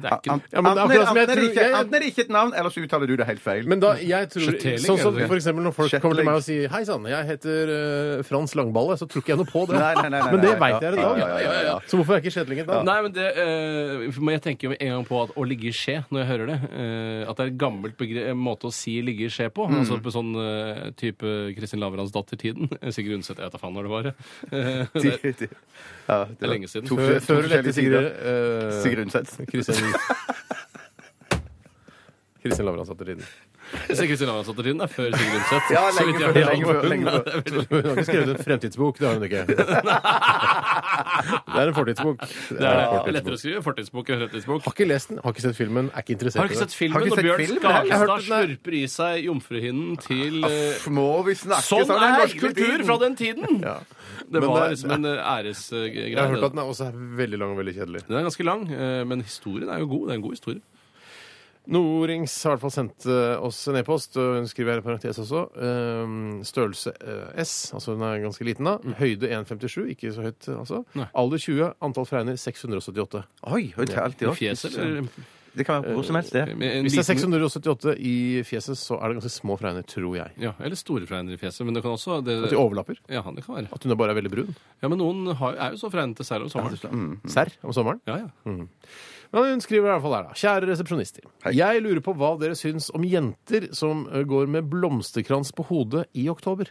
Speaker 4: det er ikke
Speaker 3: Ant-
Speaker 2: Ja, men det er
Speaker 3: Enten er
Speaker 2: akkurat som jeg
Speaker 3: enten er det
Speaker 2: tror-
Speaker 3: ikke-
Speaker 2: jeg-
Speaker 3: enten er det ikke et navn, eller så uttaler du det helt feil.
Speaker 2: Men da, jeg tror,
Speaker 4: Skjetelig,
Speaker 2: sånn som
Speaker 4: eller?
Speaker 2: for eksempel Når folk kommer til
Speaker 3: Skjetelig.
Speaker 2: meg og sier 'Hei sann, jeg heter eh, Frans Langballe', så tror ikke jeg noe på det.
Speaker 3: Nei, nei, nei, nei,
Speaker 2: Men det
Speaker 3: nei.
Speaker 2: veit jeg er i
Speaker 3: Ja,
Speaker 2: dag.
Speaker 3: ja, ja, ja, ja.
Speaker 2: Så hvorfor er ikke Skjetling et navn?
Speaker 4: Nei, men det eh, for meg- Jeg tenker jo med en gang på at å ligge i skje, når jeg hører det eh, At det er et gammelt begre en måte å si ligge i skje på. Altså på sånn eh, type Kristin Lavrans datter-tiden. Sigrid Undset, jeg vet da faen når det var. eh.
Speaker 3: De-
Speaker 4: det er
Speaker 3: de- ja, det
Speaker 4: lenge siden.
Speaker 3: to-
Speaker 2: Før-
Speaker 3: to
Speaker 2: Før eller
Speaker 3: forskjellige
Speaker 2: etter Sigrid
Speaker 3: sider.
Speaker 2: eh,
Speaker 3: Sigrid Undset.
Speaker 2: Kristin Kristin Lavran satt i tiden.
Speaker 4: så Kristin Lavrans datter-tiden er før Sigrid Undset.
Speaker 3: Ja,
Speaker 4: så
Speaker 3: lenge
Speaker 4: vidt
Speaker 3: før,
Speaker 4: jeg
Speaker 3: lenge
Speaker 4: vet.
Speaker 3: før, lenge før.
Speaker 4: Nei, det er veldig-
Speaker 2: Hun har ikke skrevet en fremtidsbok, det har hun ikke. Det er en fortidsbok. Det er
Speaker 4: det er
Speaker 2: en
Speaker 4: det.
Speaker 2: fortidsbok.
Speaker 4: lettere å skrive fortidsbok enn fremtidsbok.
Speaker 2: Har ikke lest den, har ikke sett filmen, er ikke interessert
Speaker 4: Har du ikke sett
Speaker 3: Har
Speaker 4: filmen
Speaker 3: ikke
Speaker 4: når
Speaker 3: sett
Speaker 4: Bjørn sånn
Speaker 3: filmen? Jeg har hørt
Speaker 4: Skalstad
Speaker 3: den der.
Speaker 4: slurper i seg jomfruhinnen til eh,
Speaker 3: Uff, Må vi snakke
Speaker 4: Sånn er
Speaker 3: hele
Speaker 4: norsk kultur
Speaker 3: tiden?
Speaker 4: fra den tiden! Det
Speaker 2: Men det-
Speaker 4: var liksom en æresgreie.
Speaker 2: Jeg har hørt at den er også er veldig lang og veldig kjedelig.
Speaker 4: Den er ganske lang, eh, men historien er jo god. Det er en god historie.
Speaker 2: Norings har i hvert fall sendt eh, oss en e-post, og hun skriver her i parentes også. eh, Størrelse eh, S, altså hun er ganske liten da. Høyde 1,57, ikke så høyt eh, altså.
Speaker 4: Mm. Nei.
Speaker 2: Alder 20, antall fregner 678.
Speaker 3: Oi, høyt helt,
Speaker 4: I
Speaker 3: ja.
Speaker 4: fjeset, eller?
Speaker 3: Det kan være hvor som helst, det.
Speaker 4: Med en
Speaker 2: Hvis det er
Speaker 4: liten-
Speaker 2: 678 i fjeset, så er det ganske små fregner, tror jeg.
Speaker 4: Ja, eller store fregner i fjeset. Men det kan også det,
Speaker 2: At de overlapper.
Speaker 4: Ja, det kan være.
Speaker 2: At hun bare er veldig brun.
Speaker 4: Ja, Men noen har, er jo så fregnete særlig om
Speaker 2: Eh,
Speaker 4: sommeren.
Speaker 3: Mm.
Speaker 2: Serr om sommeren.
Speaker 4: Ja, ja.
Speaker 2: Men hun skriver i hvert fall her, da. Kjære resepsjonister. Jeg lurer på hva dere syns om jenter som eh, går med blomsterkrans på hodet i oktober.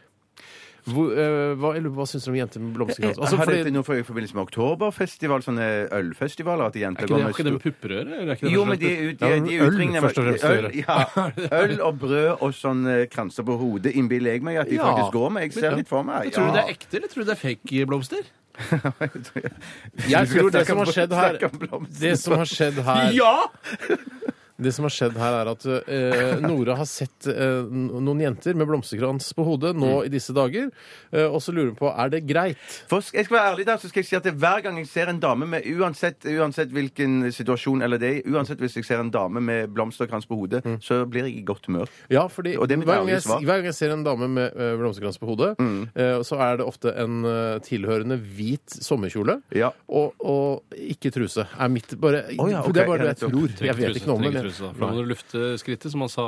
Speaker 2: Hvor, eh, hva, jeg lurer på, hva syns dere om jenter med
Speaker 4: Eh,
Speaker 2: blomsterkrans? Altså,
Speaker 3: har
Speaker 2: fordi-
Speaker 3: dette noe for- i forbindelse med oktoberfestival, sånne ølfestivaler? At jenter
Speaker 4: Er
Speaker 3: går
Speaker 4: ikke det, har
Speaker 3: med
Speaker 4: ikke det
Speaker 3: stor-
Speaker 4: med pupperøre? eller Er ikke det
Speaker 3: Jo,
Speaker 4: noe
Speaker 3: men de,
Speaker 4: slags-
Speaker 3: de,
Speaker 2: Ja,
Speaker 3: de,
Speaker 2: øl,
Speaker 3: utringner-
Speaker 2: først og fremst,
Speaker 3: øl,
Speaker 2: dere.
Speaker 3: ja, øl og brød og sånn eh, kranser på hodet innbiller jeg meg at de
Speaker 2: Ja.
Speaker 3: faktisk går med. Jeg ser litt for meg.
Speaker 4: Tror du det er ekte, eller tror du det er fake blomster?
Speaker 2: Jeg
Speaker 3: Vi skal
Speaker 2: tror det
Speaker 3: snakke
Speaker 2: som
Speaker 3: om-
Speaker 2: har skjedd her
Speaker 3: snakke om blomster.
Speaker 2: Det som har skjedd her,
Speaker 4: Ja!
Speaker 2: det som har skjedd her er at eh, Nora har sett eh, n- noen jenter med blomsterkrans på hodet
Speaker 3: Mm.
Speaker 2: nå i disse dager, eh, og så lurer hun på er det greit.
Speaker 3: For jeg skal være ærlig der, så skal jeg si at det, hver gang jeg ser en dame med uansett, uansett hvilken situasjon eller det er, uansett hvis jeg ser en dame med blomsterkrans på hodet,
Speaker 2: Mm.
Speaker 3: så blir jeg i godt humør.
Speaker 2: Ja, fordi
Speaker 3: Og det er
Speaker 2: hver
Speaker 3: mitt
Speaker 2: gang,
Speaker 3: ærlige
Speaker 2: jeg,
Speaker 3: svar.
Speaker 2: hver gang jeg ser en dame med eh, blomsterkrans på hodet,
Speaker 3: Mm.
Speaker 2: eh, så er det ofte en eh, tilhørende hvit sommerkjole
Speaker 3: Ja.
Speaker 2: og, og ikke truse. Er mitt bare,
Speaker 3: Å ja,
Speaker 2: for Det
Speaker 3: ok,
Speaker 2: er bare det jeg
Speaker 3: jeg vet jo.
Speaker 2: tror. Jeg vet ikke noe om
Speaker 4: det.
Speaker 2: det.
Speaker 4: For da må du lufte skrittet, som han sa.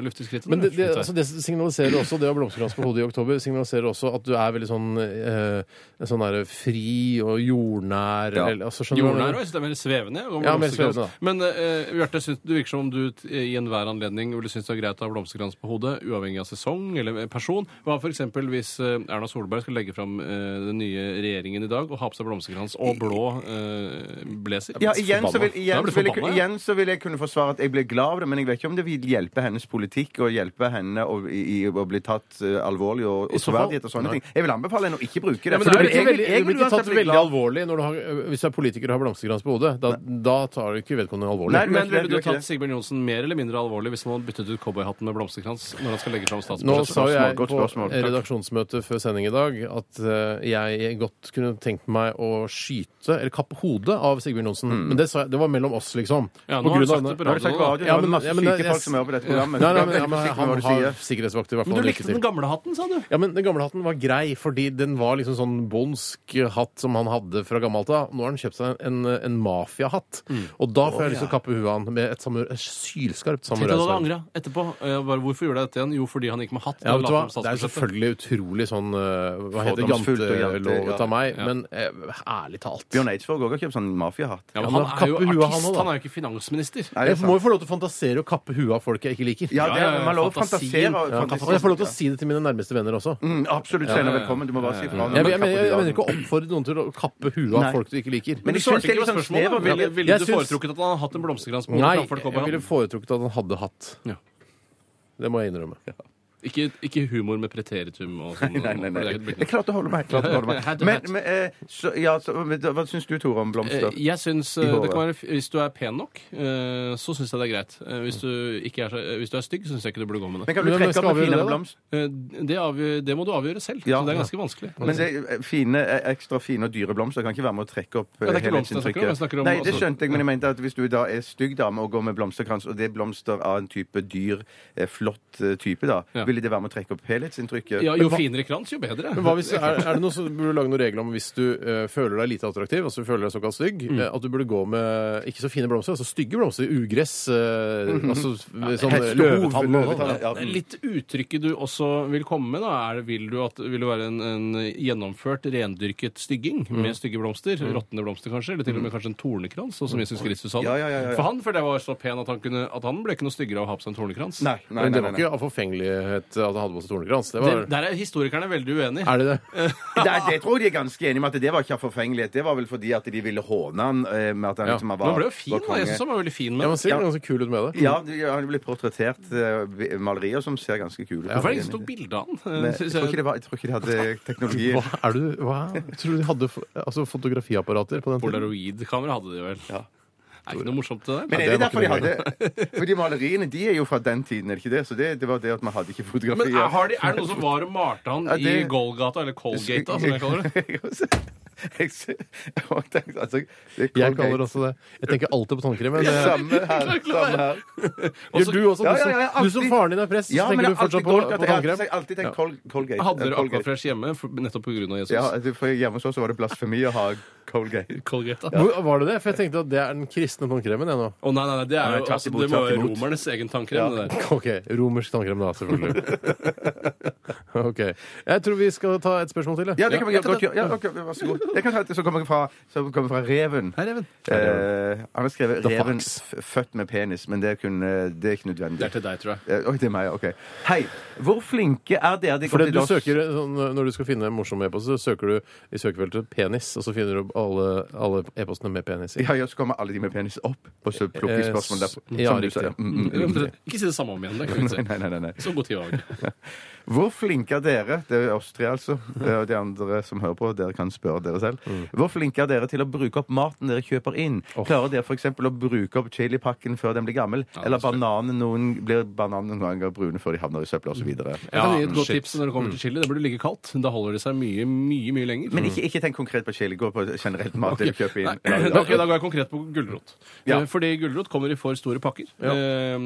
Speaker 4: Lufte skrittet.
Speaker 2: Men det, det,
Speaker 4: Slutt her.
Speaker 2: altså det signaliserer også det å ha blomsterkrans på hodet i oktober signaliserer også at du er veldig sånn, eh, sånn der, fri og jordnær.
Speaker 3: Ja.
Speaker 2: Eller, altså, skjønner du hva jeg mener?
Speaker 4: Jordnær òg. Jeg synes det er mer svevende. jeg, å gå med
Speaker 2: Ja, mer
Speaker 4: blomsterkrans.
Speaker 2: svevende,
Speaker 4: Men eh, Bjarte, synes, du virker som om du t- i enhver anledning ville synes det er greit å ha blomsterkrans på hodet, uavhengig av sesong eller eh, person. Hva f.eks. hvis eh, Erna Solberg skal legge fram eh, den nye regjeringen i dag og ha på seg blomsterkrans og blå eh, blazer?
Speaker 3: Ja, igjen så, vil,
Speaker 4: Forbanna. Da
Speaker 3: igjen,
Speaker 4: blir
Speaker 3: så
Speaker 4: du
Speaker 3: vil jeg,
Speaker 4: forbanna, ja.
Speaker 3: igjen så vil jeg kunne forsvare at jeg blir glad av det, men jeg vet ikke om det vil hjelpe hennes politikk og hjelpe henne å, i, i, å bli tatt eh, alvorlig og, og
Speaker 2: så fall-
Speaker 3: troverdighet og sånne ting. Jeg vil anbefale henne å ikke bruke det.
Speaker 2: Ja, men du
Speaker 3: for da
Speaker 2: blir
Speaker 3: vil
Speaker 2: ikke,
Speaker 3: jeg-
Speaker 2: veldig,
Speaker 3: jeg
Speaker 2: du blir
Speaker 3: vil
Speaker 2: ikke
Speaker 3: uansett
Speaker 2: tatt
Speaker 3: bli
Speaker 2: veldig
Speaker 3: glad.
Speaker 2: alvorlig når du har, hvis du er politiker og har blomsterkrans på hodet. Da, da tar du ikke vedkommende alvorlig.
Speaker 3: Nei, du
Speaker 4: Men
Speaker 3: gjør
Speaker 4: ville
Speaker 3: ikke det,
Speaker 4: du
Speaker 3: gjør ikke
Speaker 4: tatt
Speaker 3: det.
Speaker 4: Sigbjørn Johnsen mer eller mindre alvorlig hvis han hadde byttet ut cowboyhatten med blomsterkrans når han skal legge fram
Speaker 2: Nå
Speaker 4: statsbudsjettet?
Speaker 2: sa jo jeg
Speaker 3: godt
Speaker 2: på
Speaker 3: spørsmål. Takk.
Speaker 2: redaksjonsmøtet før sending i dag at eh, jeg godt kunne tenkt meg å skyte, eller kappe hodet av Sigbjørn Johnsen.
Speaker 3: Hmm.
Speaker 2: Men det, sa jeg, det var mellom oss, liksom.
Speaker 4: Ja, nå
Speaker 2: På
Speaker 4: har
Speaker 2: grunn
Speaker 4: du
Speaker 2: av
Speaker 4: sagt det
Speaker 2: denne-
Speaker 4: på
Speaker 3: Nå har du sagt på
Speaker 4: Ja,
Speaker 3: radioen,
Speaker 2: men-
Speaker 3: nå er det masse
Speaker 2: ja, men det-
Speaker 3: syke folk som hører på dette programmet.
Speaker 2: Nei, nei,
Speaker 3: Du
Speaker 2: men,
Speaker 3: er
Speaker 2: ja, men
Speaker 3: veldig forsiktig med
Speaker 2: han
Speaker 3: hva du
Speaker 2: har
Speaker 3: sier.
Speaker 2: sikkerhetsvakter i hvert
Speaker 4: Men
Speaker 2: fall.
Speaker 4: du
Speaker 2: lykke
Speaker 4: likte den
Speaker 2: til.
Speaker 4: gamle hatten, sa du?
Speaker 2: Ja, men Den gamle hatten var grei, fordi den var liksom sånn bondsk hatt som han hadde fra gammelt av. Nå har han kjøpt seg en, en mafiahatt,
Speaker 4: Mm.
Speaker 2: og da får jeg lyst til å kappe huet av han med et, samur, et sylskarpt
Speaker 4: Tenk at du hadde
Speaker 2: samuraisverd.
Speaker 4: angra etterpå. Eh, bare, hvorfor gjorde jeg dette igjen? Jo, fordi han gikk med hatt.
Speaker 2: Ja,
Speaker 4: når
Speaker 2: vet
Speaker 4: han
Speaker 2: du hva?
Speaker 4: la
Speaker 2: Det er
Speaker 4: frem
Speaker 2: jo
Speaker 4: statsbudsjettet.
Speaker 2: selvfølgelig utrolig sånn eh, Hva heter det?
Speaker 3: Fordomsfullt og jante-
Speaker 2: jantelovet av meg.
Speaker 4: ja.
Speaker 2: Men eh, ærlig talt.
Speaker 3: Bjørn Eidsvåg òg har kjøpt sånn mafiahatt.
Speaker 4: Ja,
Speaker 2: Ja,
Speaker 4: men
Speaker 2: men
Speaker 4: han er jo
Speaker 2: kappe huet, han
Speaker 4: artist,
Speaker 2: også, da.
Speaker 4: han er jo ikke finansminister.
Speaker 3: Nei, det er
Speaker 2: Jeg må
Speaker 3: sant.
Speaker 2: jo få lov til å fantasere og kappe huet av folk jeg ikke liker.
Speaker 3: Ja, det
Speaker 4: Ja,
Speaker 3: er,
Speaker 4: ja, ja,
Speaker 3: man lover å fantasere.
Speaker 4: fantasien.
Speaker 3: og
Speaker 2: Ja,
Speaker 3: fantasere.
Speaker 2: og jeg får lov til å si det til mine nærmeste venner også.
Speaker 3: Mm, Absolutt, Steinar. Velkommen. Du må bare si fra.
Speaker 2: Jeg, jeg, jeg, jeg, mener ikke å oppfordre noen til å kappe huet av
Speaker 3: Nei.
Speaker 2: folk du ikke liker.
Speaker 3: Men
Speaker 4: Du
Speaker 3: jeg synes det
Speaker 4: svarte
Speaker 3: er
Speaker 4: ikke
Speaker 3: litt
Speaker 4: på
Speaker 3: sånn
Speaker 4: spørsmålet.
Speaker 3: snev av-
Speaker 4: Ville, ville
Speaker 2: Jeg
Speaker 4: du
Speaker 2: syns-
Speaker 4: foretrukket at han hadde hatt en blomsterkrans på hodet
Speaker 2: Nei, jeg
Speaker 4: framfor
Speaker 2: ville
Speaker 4: cowboyhatten?
Speaker 2: foretrukket at han hadde hatt.
Speaker 4: Ja.
Speaker 2: Det må jeg innrømme.
Speaker 4: Ikke, ikke humor med preteritum og sånn.
Speaker 3: Nei, nei, nei.
Speaker 4: for det er ikke et
Speaker 3: Jeg klarte å holde meg. jeg klarte å holde meg. Men, men eh, så, ja, så, men da- hva syns du, Tore, om blomster?
Speaker 4: Eh, Jeg synes, eh,
Speaker 3: I håret.
Speaker 4: det kan være, f- Hvis du er pen nok, eh, så syns jeg det er greit. Eh, Hvis du, ikke er, så, eh, hvis du er stygg, syns jeg ikke du burde gå med det.
Speaker 3: Men kan du
Speaker 2: Men hvem
Speaker 3: trekke
Speaker 2: skal
Speaker 3: opp en
Speaker 2: avgjøre
Speaker 3: finere
Speaker 2: det, da?
Speaker 3: blomst?
Speaker 4: Eh, Det, avgjør, det må du avgjøre selv.
Speaker 3: Ja.
Speaker 4: så det er ganske vanskelig.
Speaker 3: Men det er fine, eh, ekstra fine og dyre blomster kan ikke være med å trekke opp eh,
Speaker 4: Ja, det er ikke blomster jeg snakker om, jeg snakker om- altså.
Speaker 3: Nei, det skjønte jeg, men jeg mente at hvis du da er stygg dame og går med blomsterkrans, og det er blomster av en type dyr, eh, flott eh, type, da,
Speaker 4: Ja.
Speaker 3: vil ville det være med å trekke opp helhetsinntrykket?
Speaker 4: Ja, jo finere krans, jo bedre.
Speaker 2: Men hva hvis, er, er det noe som burde du lage noen regler om hvis du eh, føler deg lite attraktiv, altså du føler deg såkalt stygg, eh, at du burde gå med ikke så fine blomster, altså stygge blomster, ugress, eh, altså sånn
Speaker 3: hest og hov,
Speaker 2: løvetann og
Speaker 3: løvetann,
Speaker 2: sånn?
Speaker 3: ja.
Speaker 4: Det er Litt uttrykket du også vil komme med, da, er vil du, at, vil du være en, en gjennomført, rendyrket stygging
Speaker 3: Mm.
Speaker 4: med stygge blomster? Råtne blomster, kanskje? Eller til og med kanskje en tornekrans, sånn som Jesus Kristus hadde?
Speaker 3: Mm. Ja, ja, ja, ja.
Speaker 4: For han følte jeg var så pen at han, kunne, at han ble ikke noe styggere av å ha på seg en tornekrans.
Speaker 3: Nei,
Speaker 2: Men
Speaker 3: nei, nei,
Speaker 2: det var
Speaker 3: nei, nei.
Speaker 2: ikke av forfengelighet at han hadde på seg tornekrans. Det
Speaker 4: Det,
Speaker 2: var,
Speaker 4: der er historikerne veldig uenige.
Speaker 2: er det det?
Speaker 3: Det, det tror jeg de er ganske enige med at det var ikke av forfengelighet. Det var vel fordi at de ville håne han eh, med at han
Speaker 2: Ja.
Speaker 3: liksom var
Speaker 4: Men han ble jo fin,
Speaker 3: var
Speaker 4: da. Jeg
Speaker 3: konge.
Speaker 4: synes han var veldig fin
Speaker 2: Ja,
Speaker 4: med
Speaker 2: man
Speaker 4: det.
Speaker 2: ser ganske kul ut med det.
Speaker 3: Ja, de- ja, han ble portrettert eh, malerier som ser ganske kule ut.
Speaker 4: Hvorfor er det ingen som tok bilde av han?
Speaker 3: Men
Speaker 4: Eh,
Speaker 3: jeg
Speaker 4: synes
Speaker 3: tror ikke
Speaker 4: jeg-
Speaker 3: det var- jeg tror ikke de hadde teknologi.
Speaker 2: Hva er du, hva? Tror du de hadde fo- altså, fotografiapparater på den tiden?
Speaker 4: Polaroid-kamera hadde de vel.
Speaker 3: Ja.
Speaker 4: Er ikke noe morsomt til det?
Speaker 3: Men
Speaker 2: Ja, det
Speaker 3: er det
Speaker 2: var
Speaker 3: derfor de
Speaker 2: ikke
Speaker 3: hadde For de maleriene de er jo fra den tiden, er det ikke det? Så det, det var det at man hadde ikke
Speaker 4: Men
Speaker 3: fotografier.
Speaker 4: er, har de, er det noen som var og malte han
Speaker 3: Ja,
Speaker 4: i
Speaker 3: det-
Speaker 4: Golgata, eller Colgata, som jeg kaller det?
Speaker 3: Jeg sy- jeg tenkte, altså, det er
Speaker 2: Jeg kaller
Speaker 3: Colgate.
Speaker 2: det også det. Jeg tenker alltid på tannkremen. men eh,
Speaker 3: Samme her. Samme her.
Speaker 2: det- Gjør du også?
Speaker 3: Ja,
Speaker 2: Du
Speaker 3: ja,
Speaker 2: som,
Speaker 3: ja, jeg
Speaker 2: du som
Speaker 3: alltid-
Speaker 2: faren din er prest, så
Speaker 3: Ja, men
Speaker 2: tenker
Speaker 3: jeg
Speaker 2: du
Speaker 3: har alltid
Speaker 2: fortsatt på, på
Speaker 3: Colgate. Jeg har
Speaker 2: tannkrem?
Speaker 3: alltid- alltid tenkt Col Colgate.
Speaker 4: Hadde dere
Speaker 3: Eh, Colgate.
Speaker 4: Aquafresh hjemme for, nettopp pga. Jesus?
Speaker 3: Ja, det- for hjemme hos oss var det blasfemi å ha Colgate.
Speaker 4: Colgate, da. Å
Speaker 2: Hvor- Var det det? For jeg tenkte at det er den kristne tannkremen, jeg nå.
Speaker 4: nei, nei, nei, det, er
Speaker 3: Nei,
Speaker 4: jo,
Speaker 3: tvert
Speaker 4: altså,
Speaker 3: imot,
Speaker 4: det må
Speaker 3: tvert
Speaker 4: være
Speaker 3: imot.
Speaker 4: romernes egen tankrem.
Speaker 3: Ja.
Speaker 4: det der.
Speaker 2: Ok, romersk tannkrem da, selvfølgelig. ok. Jeg tror vi skal ta et spørsmål til. jeg.
Speaker 3: Ja, det kan vi
Speaker 2: Ja,
Speaker 3: godt gjøre. Ja, ok, vær så god. Jeg kan ta et som kommer fra, som kommer fra Reven.
Speaker 2: Hei, Reven.
Speaker 3: Eh, han har skrevet
Speaker 2: The
Speaker 3: 'Reven
Speaker 2: Fox.
Speaker 3: f- født med penis', men det er, kun, eh, det er ikke nødvendig.
Speaker 4: Det er til deg, tror jeg.
Speaker 3: Eh, Oi, det er meg, ok. Hei, hvor flinke er dere? De
Speaker 2: For det
Speaker 3: går
Speaker 2: du
Speaker 3: til
Speaker 2: søker, sånn, Når du skal finne en morsom e-post, så søker du i søkefeltet 'penis', og så finner du opp alle, alle e-postene med penis i.
Speaker 3: Ja, ja, så kommer alle de med penis opp, og så plukker de
Speaker 2: Eh,
Speaker 3: spørsmål derpå.
Speaker 2: ja,
Speaker 3: som du
Speaker 2: riktig.
Speaker 3: sa. Mm, mm, mm.
Speaker 4: Ikke si det samme om igjen. Det kan vi ikke
Speaker 3: Nei, nei, nei, nei.
Speaker 4: si. Så god tid var det.
Speaker 3: Hvor flinke er dere? Det er oss tre, altså. eh, Og de andre som hører på, dere kan spørre dere selv.
Speaker 4: Mm.
Speaker 3: Hvor flinke er dere til å bruke opp maten dere kjøper inn? Klarer dere f.eks. å bruke opp chilipakken før den blir gammel? Eller bananen noen, blir bananen noen ganger brune før de havner i søpla
Speaker 4: Mm.
Speaker 3: osv.?
Speaker 4: Jeg kan gi et godt
Speaker 2: shit.
Speaker 4: tips når det kommer til chili. Det burde ligge kaldt. Da holder det seg mye, mye mye lenger.
Speaker 3: Men ikke, ikke tenk konkret på chili. Gå på generelt mat dere kjøper inn.
Speaker 4: Nei,
Speaker 3: Ja,
Speaker 4: da-
Speaker 3: ja.
Speaker 4: ok, Da går jeg konkret på gulrot.
Speaker 3: Ja.
Speaker 4: Eh, Fordi gulrot kommer i for store pakker. Eh,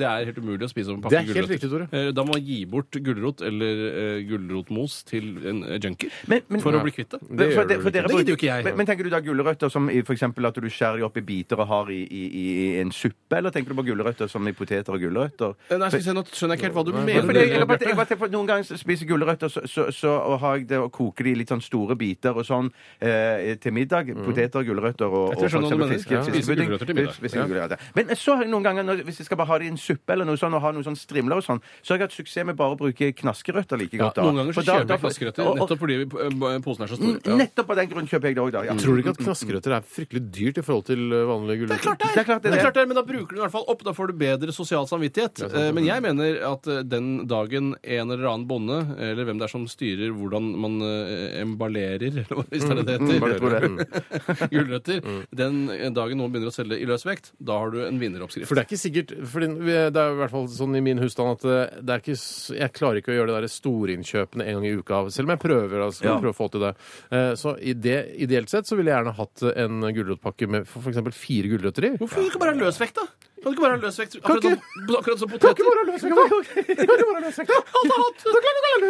Speaker 4: Det er helt umulig å spise opp en pakke
Speaker 2: Det er helt
Speaker 4: gulrøtter.
Speaker 2: riktig, Tore.
Speaker 4: Eh, Da må man gi bort gulrot eller eh, gulrotmos til en eh, junkie
Speaker 3: Men- men-
Speaker 4: for
Speaker 3: Ja.
Speaker 4: å bli kvitt det.
Speaker 3: Men
Speaker 2: Det
Speaker 3: for
Speaker 2: gjør du
Speaker 3: for
Speaker 2: vel
Speaker 3: dere
Speaker 4: ikke. Det gidder jo
Speaker 3: bruker-
Speaker 4: ikke jeg.
Speaker 3: Men, men tenker du da gulrøtter som i for eksempel at du skjærer de opp i biter og har i, i, i i en suppe, eller tenker du på gulrøtter som i poteter og gulrøtter?
Speaker 4: Eh, Nei, skal vi se, nå skjønner jeg ikke helt hva du
Speaker 3: Ja, for det- jeg,
Speaker 4: mener.
Speaker 3: jeg, bare- jeg bare tenker på Noen ganger spiser jeg gulrøtter, så, så, så og har jeg det og koker de i litt sånn store biter og sånn eh, til middag. Poteter, gulrøtter og, og
Speaker 4: Jeg tror jeg skjønner hva du mener.
Speaker 3: fiske-
Speaker 4: Ja. Spiser
Speaker 3: fiskepudding.
Speaker 4: gulrøtter til middag.
Speaker 3: Spiser gulrøtter. Men så har jeg noen ganger, når, hvis jeg skal bare ha det i en suppe eller noe sånn, og ha noen sånn strimler og sånn, så har jeg hatt suksess med bare å bruke knaskerøtter like
Speaker 4: Ja,
Speaker 3: godt da.
Speaker 4: noen ganger så
Speaker 3: For da-
Speaker 4: kjøper
Speaker 3: da-
Speaker 4: jeg flaskerøtter
Speaker 3: og- og-
Speaker 4: nettopp fordi vi- eh, posene er så store.
Speaker 3: Mm, Nettopp av den grunn kjøper jeg det òg, da. Ja.
Speaker 2: Tror du ikke at knaskerøtter er fryktelig dyrt i forhold til eh, vanlige
Speaker 4: Det er
Speaker 2: gulrøtter?
Speaker 4: klart det er!
Speaker 3: Det er klart det er.
Speaker 4: klart det er, men da bruker du den i hvert fall opp. Da får du bedre sosial samvittighet. Eh, Men jeg mener at eh, den dagen en eller annen bonde, eller hvem det er som styrer hvordan man eh, emballerer, eller hva- hvis det er det det
Speaker 3: jeg tror
Speaker 4: heter,
Speaker 3: det.
Speaker 4: gulrøtter,
Speaker 3: Mm.
Speaker 4: den eh, dagen noen begynner å selge i løs vekt, da har du en vinneroppskrift.
Speaker 2: For det er ikke sikkert fordi Det er i hvert fall sånn i min husstand at eh, det er ikke, s- jeg klarer ikke å gjøre det der storinnkjøpene en gang i uka, selv om jeg prøver. Altså,
Speaker 3: Ja.
Speaker 2: prøver å få til det. Eh, Så i det, ideelt sett så ville jeg gjerne hatt en gulrotpakke med f.eks. fire gulrøtter i.
Speaker 4: Hvorfor kan du ikke bare ha løsvekt, da? Kan du ikke bare ha løsvekt? Akkurat,
Speaker 2: ikke-
Speaker 4: som- akkurat som poteter.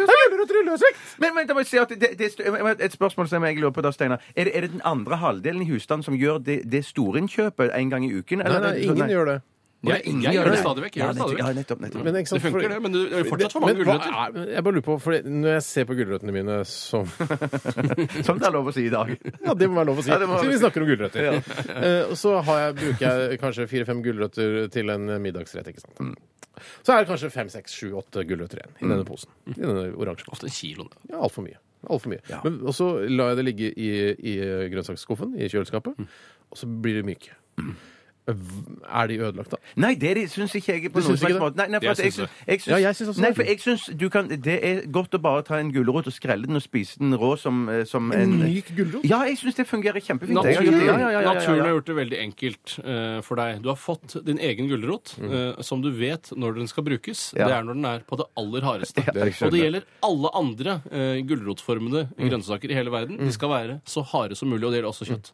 Speaker 3: Men, men da må jeg si at det, det, er Et spørsmål som jeg lurer på da, Steinar. Er det, er det den andre halvdelen i husstanden som gjør det, det storinnkjøpet en gang i uken?
Speaker 2: Nei, nei, ingen gjør det.
Speaker 4: Jeg,
Speaker 3: Ingen
Speaker 4: jeg
Speaker 3: gjør
Speaker 4: gjør det
Speaker 3: det.
Speaker 4: stadig vekk. Jeg
Speaker 3: Ja,
Speaker 4: gjør det stadig
Speaker 3: nettopp, ja,
Speaker 4: vekk.
Speaker 3: nettopp, nettopp.
Speaker 2: Men, ikke sant,
Speaker 4: Mm. Det
Speaker 2: for-
Speaker 4: funker, det, men du det er fortsatt for mange
Speaker 2: Men hva
Speaker 4: gulrøtter.
Speaker 2: er- Jeg bare lurer på, for Når jeg ser på gulrøttene mine som
Speaker 3: Som det Sånn er lov å si i dag.
Speaker 2: Ja, det må være lov å si.
Speaker 3: Ja, det må være
Speaker 2: Siden vi
Speaker 3: lov å
Speaker 2: snakker om gulrøtter. Eh, og så har jeg, bruker jeg kanskje fire-fem gulrøtter til en middagsrett. ikke sant?
Speaker 3: Mm.
Speaker 2: Så er det kanskje fem, seks, sju, åtte gulrøtter igjen i denne posen. I denne oransje.
Speaker 4: Ofte en kilo. da.
Speaker 2: Ja, altfor mye. Alt for mye. Men, og så lar jeg det ligge i, i grønnsaksskuffen i
Speaker 3: Mm.
Speaker 2: kjøleskapet, og så blir de myke. Er de ødelagt, da?
Speaker 3: Nei, det, er det syns ikke jeg
Speaker 2: Du
Speaker 3: på noen
Speaker 2: syns
Speaker 3: slags
Speaker 2: ikke det?
Speaker 3: måte. Nei, nei, for
Speaker 4: Jeg
Speaker 3: at jeg
Speaker 4: syns
Speaker 3: syns, jeg syns,
Speaker 2: Ja, jeg syns også
Speaker 3: nei,
Speaker 2: det.
Speaker 3: for jeg syns du kan Det er godt å bare ta en gulrot og skrelle den og spise den rå som, eh, som en
Speaker 2: myk gulrot?
Speaker 3: Ja, jeg syns det fungerer kjempefint. Jeg har gjort
Speaker 4: Naturen,
Speaker 3: det. Ja, ja, ja, ja, ja, ja.
Speaker 4: naturen har gjort det veldig enkelt eh, for deg. Du har fått din egen gulrot, eh, som du vet når den skal brukes.
Speaker 3: Mm. Ja.
Speaker 4: Det er når den er på det aller hardeste.
Speaker 3: Ja, jeg Mm. skjønner.
Speaker 4: og det gjelder alle andre uh, gulrotformede grønnsaker i
Speaker 3: Mm.
Speaker 4: hele verden. De skal være så harde som mulig, og det gjelder også kjøtt.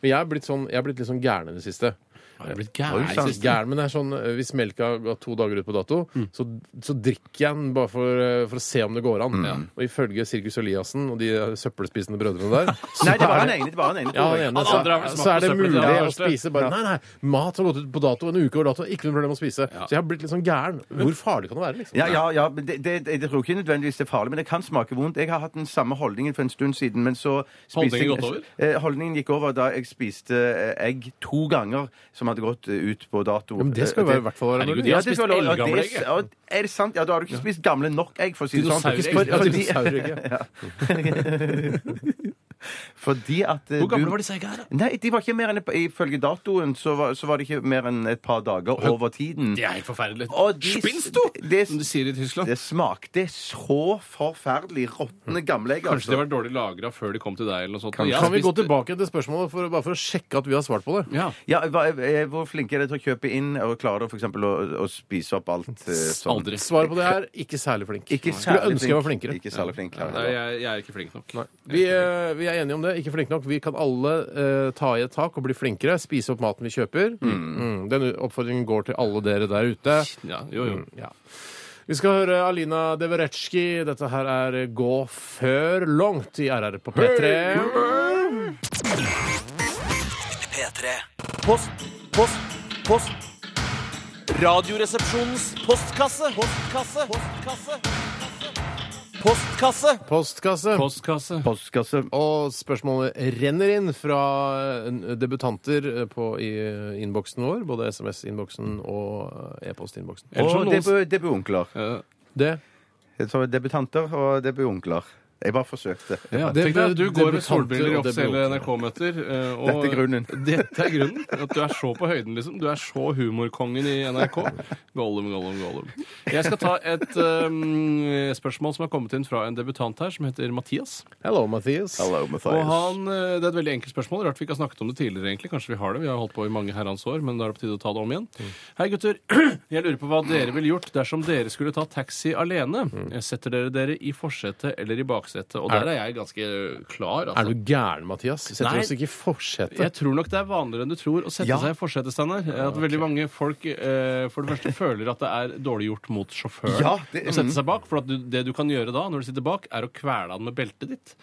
Speaker 2: Men jeg er blitt, sånn, jeg er blitt litt sånn gæren i det siste.
Speaker 4: Mm. Jeg er blitt
Speaker 2: Nei,
Speaker 4: gæren.
Speaker 2: jeg er ikke gæren, men det er sånn, eh, Hvis melka har gått to dager ut på dato,
Speaker 4: Mm.
Speaker 2: så, så drikker jeg den bare for, eh, for å se om det går
Speaker 4: Mm.
Speaker 2: an. Og ifølge Sirkus Eliassen og de eh, søppelspisende brødrene der så
Speaker 3: Nei, det var
Speaker 2: er
Speaker 3: han ene. Det var han ene.
Speaker 2: ja, den
Speaker 3: tror jeg.
Speaker 2: ene,
Speaker 4: Han andre har vel
Speaker 2: så,
Speaker 4: smakt
Speaker 2: så er det
Speaker 4: på søppel,
Speaker 2: mulig
Speaker 4: det er
Speaker 2: å
Speaker 4: det verste.
Speaker 2: spise bare Nei, nei, mat har gått ut på dato en uke over dato. Ikke noe problem å spise. Så jeg har blitt litt sånn gæren. Hvor farlig kan det være? liksom?
Speaker 3: Ja, ja, ja, men det, det, jeg tror ikke nødvendigvis det er farlig, men det kan smake vondt. Jeg har hatt den samme holdningen for en stund siden, men så spiste
Speaker 4: Holdningen
Speaker 3: jeg-
Speaker 4: gått over?
Speaker 3: Eh, Holdningen gikk over da jeg spiste eh, egg to ganger som hadde gått eh, ut på dato.
Speaker 2: Ja, men det skal jo
Speaker 3: Eh,
Speaker 2: være, i hvert fall være mulig.
Speaker 4: Herregud, jeg
Speaker 3: Ja,
Speaker 4: har
Speaker 3: det
Speaker 4: spist
Speaker 3: skal være lov. Ja,
Speaker 4: eldgamle
Speaker 3: det
Speaker 4: egg.
Speaker 3: er- ja, Er det sant? Ja, da har du ikke spist gamle nok egg, for å si det sånn.
Speaker 4: Dinosauregg.
Speaker 3: For-
Speaker 2: Ja,
Speaker 3: fordi-
Speaker 2: dinosauregg, ja.
Speaker 3: Fordi at eh,
Speaker 4: Hvor gamle
Speaker 3: du-
Speaker 4: var disse eggene? her, da?
Speaker 3: Nei, de var ikke mer enn Ifølge datoen så var, så var det ikke mer enn et par dager over tiden.
Speaker 4: Det er helt forferdelig.
Speaker 3: Og de-
Speaker 4: Spinsto!
Speaker 3: det-
Speaker 4: Som de sier i Tyskland.
Speaker 3: Det smakte så forferdelig råtne gamle egg.
Speaker 4: Mm.
Speaker 3: altså.
Speaker 4: Kanskje de var dårlig lagra før de kom til deg? eller noe sånt.
Speaker 3: Kanskje.
Speaker 4: Jeg har
Speaker 2: Kan vi gå
Speaker 4: spist-
Speaker 2: tilbake til spørsmålet for, bare for å sjekke at vi har svart på det?
Speaker 4: Ja.
Speaker 3: Ja, hva, eh, Hvor flinke er dere til å kjøpe inn og klarer dere for eksempel å, å spise opp alt eh, sånn?
Speaker 4: Aldri.
Speaker 2: Svaret på det er ikke særlig flink.
Speaker 3: Ikke
Speaker 2: Skulle
Speaker 3: særlig
Speaker 2: ønske jeg var flinkere.
Speaker 3: Ikke særlig flink. ja.
Speaker 4: Nei, jeg, jeg er ikke flink nok.
Speaker 2: Vi, eh, vi er enige om det. Ikke flinke nok. Vi kan alle eh, ta i et tak og bli flinkere. Spise opp maten vi kjøper. Mm. Den oppfordringen går til alle dere der ute.
Speaker 4: Ja, jo,
Speaker 3: Mm.
Speaker 4: jo.
Speaker 2: Ja. Vi skal høre Alina Deveretski. Dette her er Gå før langt i RR på P3.
Speaker 1: P3.
Speaker 7: Post, post, post. Radioresepsjonens postkasse. Postkasse. Postkasse. Postkasse.
Speaker 2: Postkasse.
Speaker 4: Postkasse.
Speaker 3: Postkasse.
Speaker 2: Og spørsmålet renner inn fra eh, debutanter eh, på, i eh, innboksen vår. Både SMS-innboksen og eh, e-postinnboksen.
Speaker 4: Ellers har
Speaker 3: Og
Speaker 4: noen-
Speaker 3: debu- debutonkler.
Speaker 4: Eh,
Speaker 2: Det
Speaker 3: Jeg tror Debutanter og debutonkler. Jeg bare forsøkte.
Speaker 4: Ja,
Speaker 2: Det
Speaker 4: tenk deg at du
Speaker 2: ble
Speaker 4: går med
Speaker 2: debutanter
Speaker 4: solbriller i
Speaker 2: og
Speaker 4: offisielle
Speaker 2: debutanter.
Speaker 4: NRK-møter. eh, og-
Speaker 3: Dette er grunnen.
Speaker 4: Dette er grunnen. At du er så på høyden, liksom. Du er så humorkongen i NRK. Gollum, Gollum, Gollum. Jeg skal ta et eh, spørsmål som har kommet inn fra en debutant her, som heter Mathias.
Speaker 2: Hello, Mathias.
Speaker 3: Hello,
Speaker 4: Og
Speaker 3: Matthias.
Speaker 4: han, eh, Det er et veldig enkelt spørsmål. Rart vi ikke har snakket om det tidligere. egentlig. Kanskje vi har det. Vi har holdt på i mange herrens år, men da er det på tide å ta det om igjen.
Speaker 2: Mm.
Speaker 4: Hei, gutter. Jeg lurer på hva dere ville gjort dersom dere skulle ta taxi alene. Setter dere dere i forsetet eller i baksetet? Og
Speaker 2: Mm. Er-
Speaker 4: der er jeg ganske klar.
Speaker 2: Er
Speaker 4: altså.
Speaker 2: du gæren, Mathias? Setter
Speaker 4: Nei.
Speaker 2: oss ikke i forsetet.
Speaker 4: Jeg tror nok det er vanligere enn du tror å sette seg i forsetet, Steinar. At veldig mange folk eh, for det første føler at det er dårlig gjort mot sjåføren
Speaker 3: Ja, det-
Speaker 4: å
Speaker 2: mm.
Speaker 4: sette seg bak. For at du, det du kan gjøre da, når du sitter bak, er å kvele han med beltet ditt.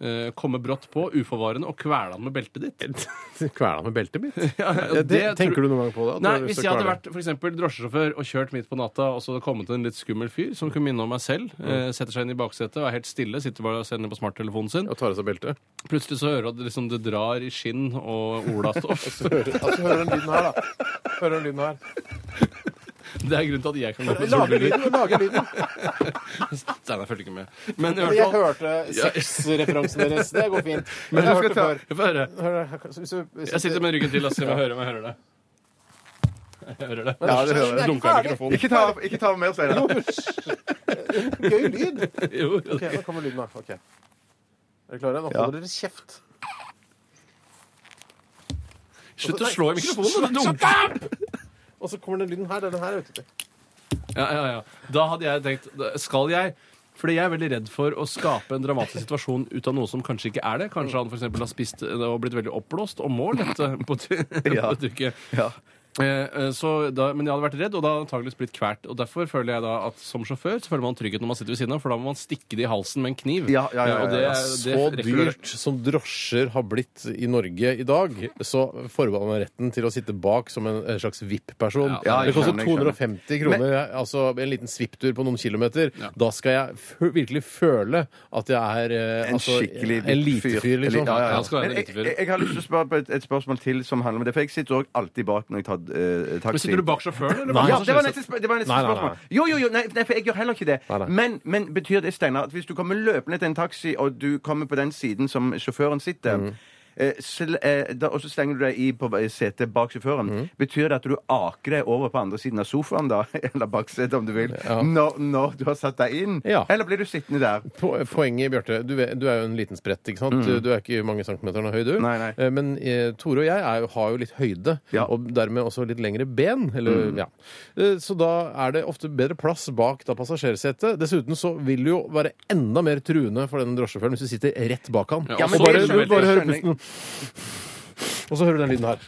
Speaker 4: Eh, komme brått på, uforvarende, og kvele han med beltet ditt.
Speaker 2: Kvela med beltet mitt?
Speaker 4: ja,
Speaker 2: Ja, det,
Speaker 4: det
Speaker 2: tenker
Speaker 4: tror-
Speaker 2: du noen gang på det? at
Speaker 4: Nei,
Speaker 2: du har lyst
Speaker 4: Hvis
Speaker 2: til
Speaker 4: jeg
Speaker 2: å
Speaker 4: hadde
Speaker 2: kvele?
Speaker 4: vært for eksempel, drosjesjåfør og kjørt midt på natta, og så hadde det kommet en litt skummel fyr som kunne minne om meg selv,
Speaker 2: Mm.
Speaker 4: eh, setter seg inn i baksetet og er helt stille, sitter bare og ser ned på smarttelefonen sin,
Speaker 2: Og tar av seg beltet?
Speaker 4: plutselig så hører du at det liksom, det drar i skinn og olastoff.
Speaker 2: Altså, hører den lyden her, da. Hører den lyden her.
Speaker 4: Det er grunnen til at jeg kan gå på
Speaker 2: Lager
Speaker 4: solbriller.
Speaker 2: lyden! Lager lyden.
Speaker 4: Steinar fulgte ikke med. Men i
Speaker 2: Jeg
Speaker 4: hvert fall
Speaker 2: hørte sexreferansen deres. Det går fint. Men jeg
Speaker 3: jeg
Speaker 2: hørte
Speaker 3: skal
Speaker 2: før.
Speaker 4: Jeg får høre.
Speaker 2: Hør, hvis du- hvis
Speaker 4: Jeg sitter
Speaker 2: du-
Speaker 4: med ryggen til og ser om jeg hører om jeg hører det. Jeg hører det.
Speaker 3: Ja, det hører jeg.
Speaker 4: Dunka i mikrofonen.
Speaker 3: Ikke ta, ikke ta mer, Steinar.
Speaker 2: Gøy lyd!
Speaker 4: Jo, jo.
Speaker 2: Ok, Nå kommer lyden, da. Ok. Er dere klare? Nå holder dere kjeft.
Speaker 4: Slutt å slå i mikrofonen! du dunker.
Speaker 2: Og så kommer den lyden her. Den her er ute til.
Speaker 4: Ja, ja, ja. Da hadde jeg tenkt da- Skal jeg fordi jeg er veldig redd for å skape en dramatisk situasjon ut av noe som kanskje ikke er det. Kanskje han for eksempel har spist eh, og blitt veldig oppblåst og må lette på
Speaker 3: Ja.
Speaker 4: trykket.
Speaker 3: Ja.
Speaker 4: Eh, eh, så da, men jeg hadde vært redd, og da antakeligvis blitt kvært. Og Derfor føler jeg da at som sjåfør så føler man trygghet når man sitter ved siden av, for da må man stikke det i halsen med en kniv.
Speaker 3: Ja, ja, ja,
Speaker 4: Eh, og det-
Speaker 3: ja, ja.
Speaker 2: Så
Speaker 4: det rekker du-
Speaker 2: dyrt som drosjer har blitt i Norge i dag, så forbeholder man retten til å sitte bak som en en slags VIP-person.
Speaker 3: Ja,
Speaker 2: det
Speaker 3: jeg
Speaker 2: koster
Speaker 3: skjønner, jeg skjønner.
Speaker 2: 250 kroner, jeg- altså en liten svipptur på noen kilometer. Da skal jeg fø- virkelig føle at jeg er eh,
Speaker 3: En
Speaker 2: altså,
Speaker 3: skikkelig
Speaker 2: en elitefyr, liksom.
Speaker 3: Ja, ja,
Speaker 4: Ja,
Speaker 3: ja.
Speaker 4: han skal være en
Speaker 3: Men
Speaker 4: elitefyr.
Speaker 3: jeg, jeg, jeg har lyst til å spørre på et, et spørsmål til som handler om det. For jeg sitter òg alltid bak når jeg tar eh,
Speaker 4: Men
Speaker 3: taxi.
Speaker 4: Sitter du bak sjåføren, eller?
Speaker 2: Nei.
Speaker 4: bak
Speaker 3: Ja,
Speaker 4: han
Speaker 3: det var
Speaker 4: som
Speaker 3: neste, sp det var neste
Speaker 2: Nei, nei, nei.
Speaker 3: spørsmål. Jo, jo, jo, nei, nei, for jeg gjør heller ikke det.
Speaker 2: Nei, nei.
Speaker 3: Men, men betyr det, Steinar, at hvis du kommer løpende til en taxi, og du kommer på den siden som sjåføren sitter eh, sl- eh, da, og så slenger du deg i på vei- setet bak sjåføren. Betyr det at du aker deg over på andre siden av sofaen, da? Eller baksetet, om du vil. Når, når du har satt deg inn?
Speaker 2: Ja.
Speaker 3: Eller blir du sittende der?
Speaker 2: Po- Poenget, Bjarte, du, vet- du er jo en liten sprett, ikke sant? Du er ikke mange centimeterne høy, du.
Speaker 3: Nei, nei.
Speaker 2: Eh, Men eh, Tore og jeg er, jo- har jo litt høyde,
Speaker 3: Ja.
Speaker 2: og dermed også litt lengre ben. Eller, ja. Eh, Så da er det ofte bedre plass bak da passasjersetet. Dessuten så vil det jo være enda mer truende for den drosjesjåføren hvis du sitter rett bak han.
Speaker 4: Ja,
Speaker 2: og
Speaker 4: men
Speaker 2: bare,
Speaker 4: så-
Speaker 2: du, bare hører
Speaker 3: skjønner jeg.
Speaker 2: pusten. Og så hører du den lyden her.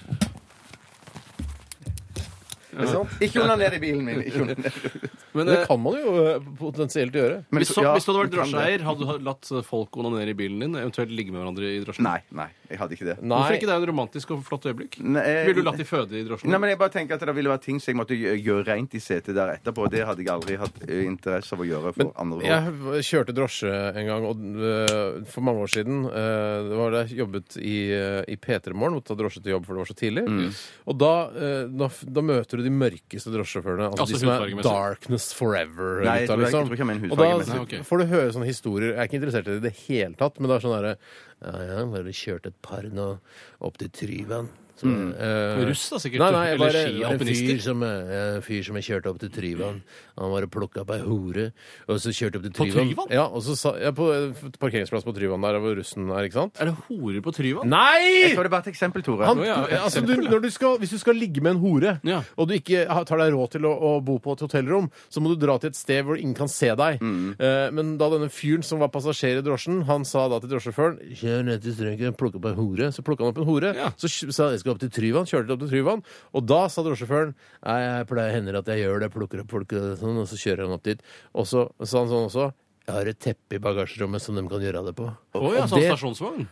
Speaker 3: Ikke sant? Ikke under ned i bilen min. Ikke under ned.
Speaker 4: Men,
Speaker 2: Det
Speaker 4: eh,
Speaker 2: kan man jo eh, potensielt gjøre.
Speaker 3: Men
Speaker 4: hvis,
Speaker 3: så-
Speaker 4: så,
Speaker 3: ja,
Speaker 4: hvis du hadde vært
Speaker 3: du kan det.
Speaker 4: drosjeeier, hadde du ha- latt folk onanere i bilen din? Eventuelt ligge med hverandre i drosjen?
Speaker 3: Nei, nei, jeg hadde ikke det.
Speaker 2: Nei.
Speaker 4: Hvorfor ikke? Det er jo et romantisk og flott øyeblikk.
Speaker 3: Nei,
Speaker 4: Ville du latt de føde i drosjen?
Speaker 3: Nei, men jeg bare tenker at Det ville vært ting som jeg måtte gjø- gjøre rent i setet der etterpå. Det hadde jeg aldri hatt eh, interesse av å gjøre for andre folk.
Speaker 2: Jeg kjørte drosje en gang og, øh, for mange år siden. øh, det var da jeg jobbet i, øh, i P3 Morgen, måtte ta drosje til jobb for det var så tidlig.
Speaker 3: Mm.
Speaker 2: Og da, øh, da, f- da møter du de mørkeste drosjesjåførene. Altså,
Speaker 4: Altså
Speaker 2: de som er
Speaker 4: hudfargemessig.
Speaker 2: Darkness Forever.
Speaker 3: Nei, jeg
Speaker 2: gutta,
Speaker 3: tror jeg- jeg
Speaker 2: liksom.
Speaker 3: tror ikke jeg mener
Speaker 2: og da
Speaker 3: hudfargemessig.
Speaker 4: Nei, ok.
Speaker 2: får du høre sånne historier. Jeg er ikke interessert i det i det hele tatt, men det er sånn derre ja, ja, bare kjørt et par nå opp til Tryvann. Så,
Speaker 3: Mm.
Speaker 2: eh,
Speaker 4: Russ da, sikkert.
Speaker 2: Nei, nei, jeg
Speaker 4: Eller
Speaker 2: bare, en
Speaker 4: skialpinister.
Speaker 2: fyr som, eh, en fyr som jeg kjørte opp til Tryvann. Han var og plukka opp ei hore, og så kjørte opp til Tryvann.
Speaker 4: Tryvann?
Speaker 2: Ja, og så sa, ja, på eh, parkeringsplass på Tryvann der hvor russen er, ikke sant?
Speaker 4: Er det horer på Tryvann?
Speaker 2: Nei!
Speaker 3: Så var det bare et eksempel, Tore.
Speaker 2: Han,
Speaker 4: Å, ja, et
Speaker 2: altså, du,
Speaker 4: eksempel, ja.
Speaker 2: når du skal, hvis du skal ligge med en hore,
Speaker 4: Ja.
Speaker 2: og du ikke har- tar deg råd til å, å bo på et hotellrom, så må du dra til et sted hvor ingen kan se deg.
Speaker 3: Mm.
Speaker 2: Eh, men da denne fyren som var passasjer i drosjen, han sa da til drosjesjåføren Kjør ned til strøket, plukk opp en hore. Så plukka han opp en hore.
Speaker 4: Ja.
Speaker 2: Så kj- sa jeg skal opp til Tryvann, kjørte opp til Tryvann. Og da sa drosjesjåføren Nei, jeg pleier hender at jeg gjør det, plukker opp folk og sånn, og så kjører han opp dit. Og så sa han sånn også Jeg har et teppe i bagasjerommet som de kan gjøre av det på.
Speaker 4: Å ja,
Speaker 2: Og
Speaker 4: sånn
Speaker 2: det-
Speaker 4: stasjonsvogn?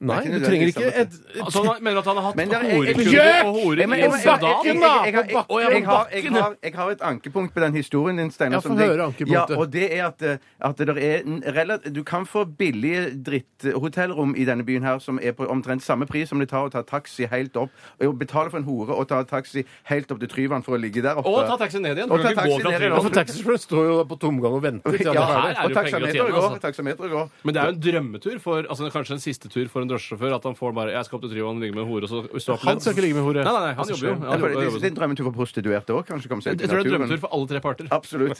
Speaker 2: Nei,
Speaker 3: Det er
Speaker 2: du
Speaker 3: ikke
Speaker 2: trenger
Speaker 3: nødvendigvis
Speaker 2: ikke
Speaker 3: samme
Speaker 2: et
Speaker 4: Altså, han har- mener at han har hatt
Speaker 3: Men det er-
Speaker 4: horekunder og horer
Speaker 3: Jeg- men-
Speaker 4: i
Speaker 3: jeg- jeg-
Speaker 4: en
Speaker 3: jeg-
Speaker 4: sandal?
Speaker 3: jeg- jeg- jeg- jeg-
Speaker 2: På bakken,
Speaker 3: jeg- jeg har-
Speaker 2: på
Speaker 3: jeg har- Jeg har et ankepunkt på den historien din, Steinar.
Speaker 2: Ja,
Speaker 3: som
Speaker 2: få
Speaker 3: deg-
Speaker 2: høre ankepunktet.
Speaker 3: Ja, og det er at, eh, at det der er en relat- Du kan få billige dritthotellrom i denne byen her som er på omtrent samme pris som det tar å ta taxi helt opp og betale for en hore og ta taxi helt opp til Tryvann for å ligge der oppe.
Speaker 4: Og ta taxi ned igjen.
Speaker 3: Og
Speaker 4: Du
Speaker 3: ta
Speaker 4: kan ikke
Speaker 3: taxi
Speaker 4: gå fra
Speaker 3: ned igjen.
Speaker 4: Tryvann.
Speaker 2: Ja, for taxisjåføren står jo på tomgang og venter til han er ferdig.
Speaker 4: her er
Speaker 3: ja, og
Speaker 4: det jo
Speaker 3: taksameteret
Speaker 4: penger å tjene,
Speaker 3: går.
Speaker 4: altså.
Speaker 3: Taksameteret går.
Speaker 4: Men det er jo en drømmetur for altså kanskje en siste tur for en drosjesjåfør. At han får bare 'Jeg skal opp til Tryvann, ligge med en hore', og så stå opp
Speaker 2: Han skal ikke ligge med hore.
Speaker 4: Nei, nei, nei, han jobber jo.
Speaker 3: Ja,
Speaker 4: Han
Speaker 3: for det,
Speaker 4: jobber,
Speaker 3: det,
Speaker 4: jobber.
Speaker 3: det er en drømmetur for prostituerte òg, kanskje? Komme seg ut
Speaker 4: Jeg
Speaker 3: i
Speaker 4: tror det er en drømmetur
Speaker 3: naturen.
Speaker 4: for alle tre parter.
Speaker 3: Absolutt.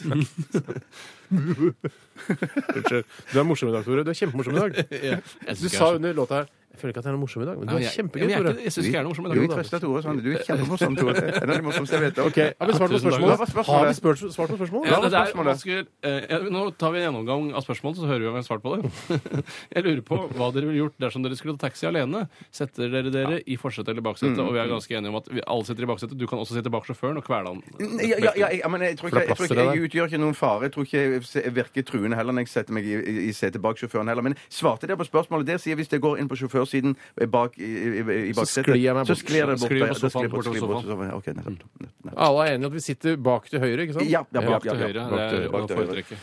Speaker 2: Unnskyld. Du er morsom i dag, Tore. Du er kjempemorsom i dag.
Speaker 4: Jeg
Speaker 2: Du
Speaker 4: synes ikke
Speaker 2: sa
Speaker 4: jeg er så-
Speaker 2: under låta her Jeg føler ikke at jeg er morsom i dag, men du
Speaker 4: Nei,
Speaker 2: er
Speaker 4: jeg-
Speaker 2: kjempegøy,
Speaker 4: jeg er
Speaker 2: Tore.
Speaker 4: ikke- Jeg syns ikke jeg er noe morsom.
Speaker 3: Jo,
Speaker 4: men
Speaker 3: vi
Speaker 4: det er
Speaker 3: trøster Tore sånn. Du er kjempemorsom, Tore. Det er En av de morsomste jeg vet om.
Speaker 2: Ok, Har vi svart på
Speaker 4: Tusen
Speaker 3: Hva var
Speaker 4: takk.
Speaker 2: spørsmålet?
Speaker 3: spørsmålet?
Speaker 2: Har vi spurt- svart på spørsmålet?
Speaker 4: Ja,
Speaker 3: Hva var
Speaker 4: det er
Speaker 3: spørsmålet?
Speaker 4: vanskelig- eh, ja, nå tar vi en gjennomgang av spørsmålet, så hører vi om vi har svart på det. Jeg lurer på hva dere ville gjort dersom dere skulle ta taxi alene. Setter dere dere i forsetet eller baksetet? Og vi er ganske enige om at vi alle sitter i baksetet. Du kan også sitte bak sjåføren og kvele han.
Speaker 3: Ja, ja, ja, jeg, men jeg tror ikke, jeg,
Speaker 2: plass
Speaker 3: tror
Speaker 2: til
Speaker 3: ikke
Speaker 2: det
Speaker 3: jeg utgjør ikke noen fare. Jeg tror ikke jeg se- virker truende heller når jeg setter meg i, i, i setet bak sjåføren heller. Men svarte dere på spørsmålet der, sier jeg hvis jeg går inn på sjåførsiden eh, bak, i, i, i baksetet,
Speaker 2: sklir jeg meg bort.
Speaker 3: så sklir det bort.
Speaker 4: Sklir
Speaker 3: ja,
Speaker 4: på
Speaker 3: da
Speaker 4: sofaen,
Speaker 3: sklir jeg bort,
Speaker 4: bortover
Speaker 3: sklir bort, sofaen. Ja, ok, nettopp, nettopp, nettopp.
Speaker 2: Alle er enige om at vi sitter bak til høyre, ikke sant?
Speaker 3: Ja, ja,
Speaker 4: Bak til
Speaker 3: ja, ja,
Speaker 4: høyre. Det
Speaker 3: bak til høyre,
Speaker 4: er å
Speaker 3: bak til høyre.
Speaker 4: foretrekke.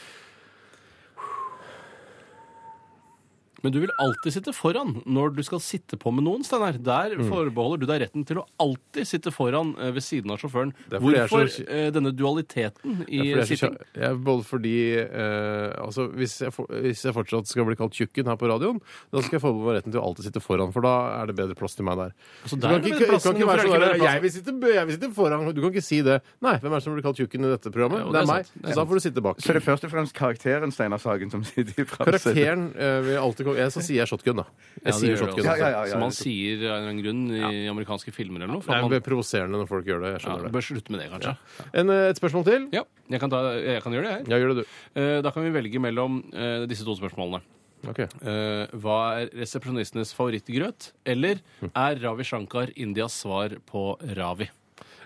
Speaker 4: Men du vil alltid sitte foran når du skal sitte på med noen, Steinar. Der forbeholder du deg retten til å alltid sitte foran eh, ved siden av sjåføren.
Speaker 2: Det er fordi jeg er
Speaker 4: Hvorfor
Speaker 2: så-
Speaker 4: eh, denne dualiteten
Speaker 2: Ja,
Speaker 4: i
Speaker 2: for jeg er så
Speaker 4: sitting?
Speaker 2: kjær- jeg, både fordi eh, altså, hvis, jeg for, hvis jeg fortsatt skal bli kalt tjukken her på radioen, da skal jeg forbeholde meg retten til å alltid sitte foran, for da er det bedre plass til meg der.
Speaker 4: Altså,
Speaker 2: du
Speaker 4: der
Speaker 2: kan
Speaker 4: er det
Speaker 2: ikke,
Speaker 4: bedre plass,
Speaker 2: kan ikke
Speaker 4: men
Speaker 2: være sånn
Speaker 4: hvorfor er det
Speaker 2: der,
Speaker 4: ikke bedre plass?
Speaker 2: jeg, vil sitte, b- 'Jeg vil sitte foran'. Du kan ikke si det. Nei, hvem er det som blir kalt tjukken i dette programmet?
Speaker 4: Ja, jo,
Speaker 2: det er
Speaker 4: det er
Speaker 2: meg.
Speaker 4: sant. Det
Speaker 2: Så
Speaker 4: er
Speaker 2: da får du sitte bak.
Speaker 3: Så det er først og fremst karakteren Steinar Sagen som sitter i framsetet.
Speaker 2: Karakteren eh, vil alltid komme jeg, Så sier jeg shotgun, da. Jeg
Speaker 4: Ja, det
Speaker 2: sier
Speaker 4: gjør det
Speaker 2: shotgun. altså.
Speaker 3: Ja,
Speaker 4: også.
Speaker 3: ja, ja, liksom. ja,
Speaker 4: Som man
Speaker 3: nettopp.
Speaker 4: sier av en eller annen grunn i amerikanske filmer eller noe.
Speaker 2: Det
Speaker 4: For
Speaker 2: er
Speaker 4: man,
Speaker 2: vel provoserende når folk gjør det. Jeg
Speaker 4: ja,
Speaker 2: skjønner det.
Speaker 4: bør slutte med det, kanskje.
Speaker 2: En, eh, et spørsmål til?
Speaker 4: Ja, jeg kan, ta, jeg kan gjøre det, jeg.
Speaker 2: Ja, gjør det, du.
Speaker 4: Eh, Da kan vi velge mellom eh, disse to spørsmålene.
Speaker 2: Ok.
Speaker 4: Eh, hva er resepsjonistenes favorittgrøt? Eller er Ravi Shankar Indias svar på Ravi?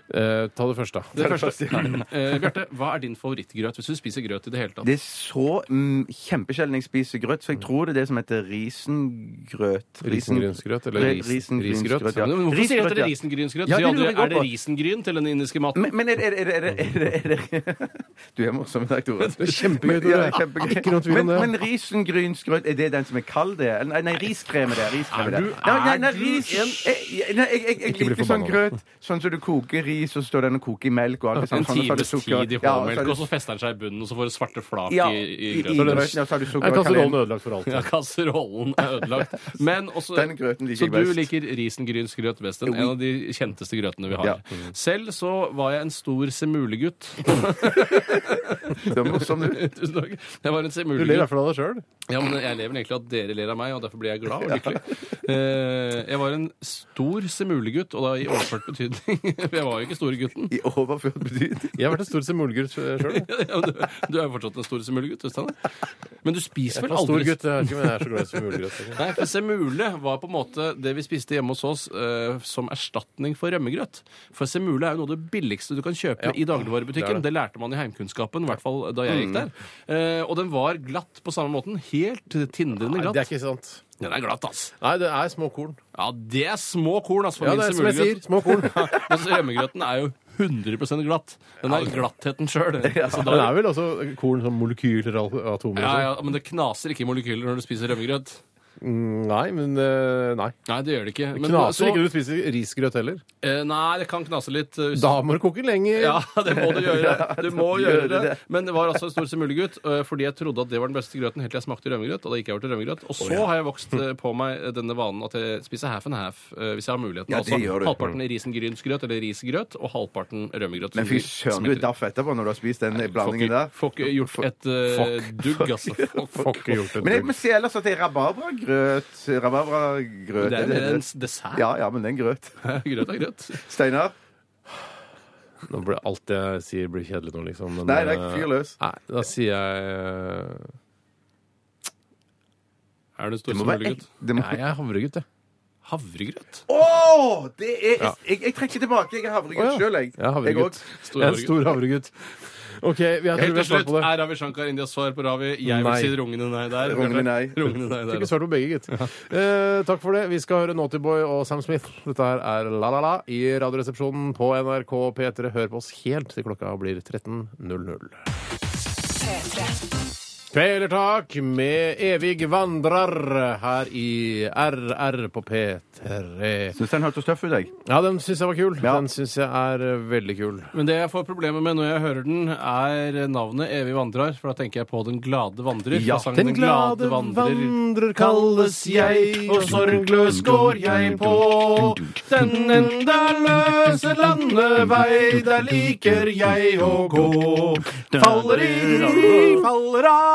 Speaker 2: Eh, ta det først, da.
Speaker 3: Det er det første, ja.
Speaker 4: Eh, Bjarte, hva er din favorittgrøt hvis du spiser grøt i det hele tatt?
Speaker 3: Det er så mm, kjempesjelden jeg spiser grøt, så jeg tror det er det som heter risengrøt. Risen-
Speaker 2: Risengrynsgrøt, eller ris-
Speaker 3: risengrynsgrøt,
Speaker 2: risgrøt,
Speaker 3: ja.
Speaker 4: Men Hvorfor sier dere
Speaker 3: Risgrøt, ja.
Speaker 4: risengrynsgrøt?
Speaker 3: Ja,
Speaker 4: Sier
Speaker 3: det
Speaker 4: aldri,
Speaker 3: lurer jeg
Speaker 4: er det
Speaker 3: på.
Speaker 4: risengryn til den indiske maten?
Speaker 3: Men, men er, er, er, er, er, er, er Du er morsom i dag,
Speaker 2: er
Speaker 3: Tore.
Speaker 2: kjempegøy, Tore.
Speaker 3: Ja, det er kjempegøy.
Speaker 2: Ikke noe tvil om
Speaker 3: men,
Speaker 2: det.
Speaker 3: men risengrynsgrøt, er det den som er kald, det? Eller Nei, nei riskrem er det. Riskrem er det.
Speaker 4: Er du-
Speaker 3: Nei, nei, nei,
Speaker 4: er du
Speaker 3: ris,
Speaker 4: en-
Speaker 3: jeg, jeg- nei, jeg, jeg, jeg
Speaker 2: Ikke bli
Speaker 3: liker sånn
Speaker 2: forbanna.
Speaker 3: grøt sånn som du koker ris, og så står den og koker i melk og alt det
Speaker 4: En
Speaker 3: sånn, så er det
Speaker 4: times
Speaker 3: sukker.
Speaker 4: tid i
Speaker 3: Ja, så er
Speaker 4: håndmelk,
Speaker 3: det-
Speaker 4: og så fester den seg i bunnen, og så får du svarte flak
Speaker 3: ja,
Speaker 4: i, i
Speaker 3: i, i
Speaker 4: grøten.
Speaker 3: grøten. Ja, så har du
Speaker 2: Jeg
Speaker 3: sukker og
Speaker 2: kaster rollen
Speaker 3: kanel.
Speaker 2: ødelagt for alt.
Speaker 4: Ja, kasserollen er ødelagt. Men også,
Speaker 3: Den grøten liker
Speaker 4: så
Speaker 3: jeg
Speaker 4: du
Speaker 3: best.
Speaker 4: liker risengrynsgrøt best. En en av de kjenteste grøtene vi har.
Speaker 3: Ja.
Speaker 4: Selv så var jeg en stor semulegutt.
Speaker 3: Det er morsom, du.
Speaker 4: Tusen takk. Jeg var en
Speaker 2: Du ler i hvert
Speaker 4: semulegutt.
Speaker 2: fall av deg sjøl.
Speaker 4: Ja, men jeg lever egentlig av at dere ler av meg, og derfor blir jeg glad og lykkelig. Eh, Jeg var en stor semulegutt, og da i overført betydning. For jeg var jo ikke store gutten.
Speaker 3: I overført betydning.
Speaker 2: Jeg har vært en stor semulegutt sjøl.
Speaker 4: Ja, du, du er jo fortsatt den store semulegutt, du, Steinar. Men du spiser vel
Speaker 2: Stor
Speaker 4: aldri
Speaker 2: gutt, jeg vet ikke om jeg er så glad i semulegrøt. egentlig.
Speaker 4: Nei, for Semule var på en måte det vi spiste hjemme hos oss eh, som erstatning for rømmegrøt. For semule er jo noe av det billigste du kan kjøpe i dagligvarebutikken.
Speaker 2: det Mm. er det.
Speaker 4: Det, lærte man i heimkunnskapen, i hvert fall da jeg gikk der. Eh, og den var glatt på samme måten. Helt tindrende
Speaker 2: Nei,
Speaker 4: glatt.
Speaker 2: det er ikke sant.
Speaker 4: Den er glatt, ass.
Speaker 2: Nei, det er små korn.
Speaker 4: Ja, det er små korn, ass, for
Speaker 2: Ja, det er som
Speaker 4: min
Speaker 2: jeg sier.
Speaker 4: semulegrøt.
Speaker 2: Små korn.
Speaker 4: Mens rømmegrøten er jo 100 glatt. Den er glattheten sjøl.
Speaker 2: Men det er vel også korn som molekyler og atomer? og
Speaker 4: Ja, ja,
Speaker 2: sånn.
Speaker 4: men det knaser ikke i molekyler når du spiser rømmegrøt.
Speaker 2: Nei, men eh, Nei.
Speaker 4: Nei, det gjør det ikke. Men
Speaker 2: Knaser
Speaker 4: så-
Speaker 2: ikke når du spiser risgrøt heller.
Speaker 4: Eh, Nei, det kan knase litt. eh, hvis-
Speaker 2: Da må du koke lenger.
Speaker 4: Ja, det må du gjøre. Du må
Speaker 3: gjøre
Speaker 4: gjøre det. Men det var altså en stor semulegutt, eh, fordi jeg trodde at det var den beste grøten helt til jeg smakte rømmegrøt. Og da gikk jeg over til rømmegrøt. Og så har jeg vokst eh, på meg eh, denne vanen at jeg spiser half and half eh, hvis jeg har muligheten.
Speaker 3: Ja, det
Speaker 4: altså
Speaker 3: gjør du.
Speaker 4: halvparten risengrynsgrøt eller risgrøt, og halvparten rømmegrøt.
Speaker 3: Men fy søren, du er daff etterpå når du har spist den blandingen der.
Speaker 4: Får ikke gjort et eh, dugg, altså.
Speaker 2: Får ikke gjort
Speaker 3: Men
Speaker 2: det.
Speaker 3: jeg må si ellers at det er rabarbragrøt. Rabarbragrøt
Speaker 4: Det er mer en
Speaker 3: det-
Speaker 4: s- dessert.
Speaker 3: Ja, ja, men det er en grøt.
Speaker 4: Grøt er grøt.
Speaker 3: Steinar?
Speaker 2: Nå blir alt jeg sier, blir kjedelig nå, liksom. Men,
Speaker 3: Nei, nei,
Speaker 2: eh,
Speaker 3: fyr løs.
Speaker 2: Nei, da sier jeg eh,
Speaker 4: Er du en
Speaker 3: Det
Speaker 4: stor
Speaker 3: må være ek...
Speaker 4: semulegutt?
Speaker 3: det må-
Speaker 2: Nei, jeg er havregutt, jeg.
Speaker 4: Havregrøt?
Speaker 3: Å! det er jeg, jeg trekker tilbake. Jeg er havregutt
Speaker 2: Å, ja.
Speaker 3: sjøl, jeg.
Speaker 2: Jeg er
Speaker 3: Jeg
Speaker 2: havregutt.
Speaker 3: også.
Speaker 4: Stor
Speaker 2: Jeg er en
Speaker 4: havregutt.
Speaker 2: stor havregutt. OK, jeg tror
Speaker 4: Helt
Speaker 2: vi
Speaker 4: til
Speaker 2: har svart
Speaker 4: slutt
Speaker 2: på det.
Speaker 4: er Ravi Shankar Indias svar på Ravi. Jeg vil
Speaker 2: Nei.
Speaker 4: si rungende nei der.
Speaker 3: Rungende nei.
Speaker 4: Rungende nei
Speaker 2: Fikk
Speaker 4: der.
Speaker 2: ikke svart på begge, gitt. Eh, takk for det. Vi skal høre Naughty Boy og Sam Smith. Dette her er La La La i Radioresepsjonen på NRK P3. Hør på oss helt til klokka blir 13.00.
Speaker 5: P3.
Speaker 2: Kvelertak med Evig vandrer her i RR på P3.
Speaker 3: Syns den hørtes tøff ut, jeg.
Speaker 2: Ja, den syns jeg var kul.
Speaker 3: Ja.
Speaker 2: Den syns jeg er eh, veldig kul.
Speaker 4: Men det jeg får problemer med når jeg hører den, er navnet Evig vandrer. For da tenker jeg på Den glade vandrer.
Speaker 3: Ja,
Speaker 4: fra
Speaker 2: Den
Speaker 4: sangen
Speaker 2: glade vandrer kalles jeg, og sorgløs går jeg på. Den endeløse landevei, der liker jeg å gå. Faller i, faller av,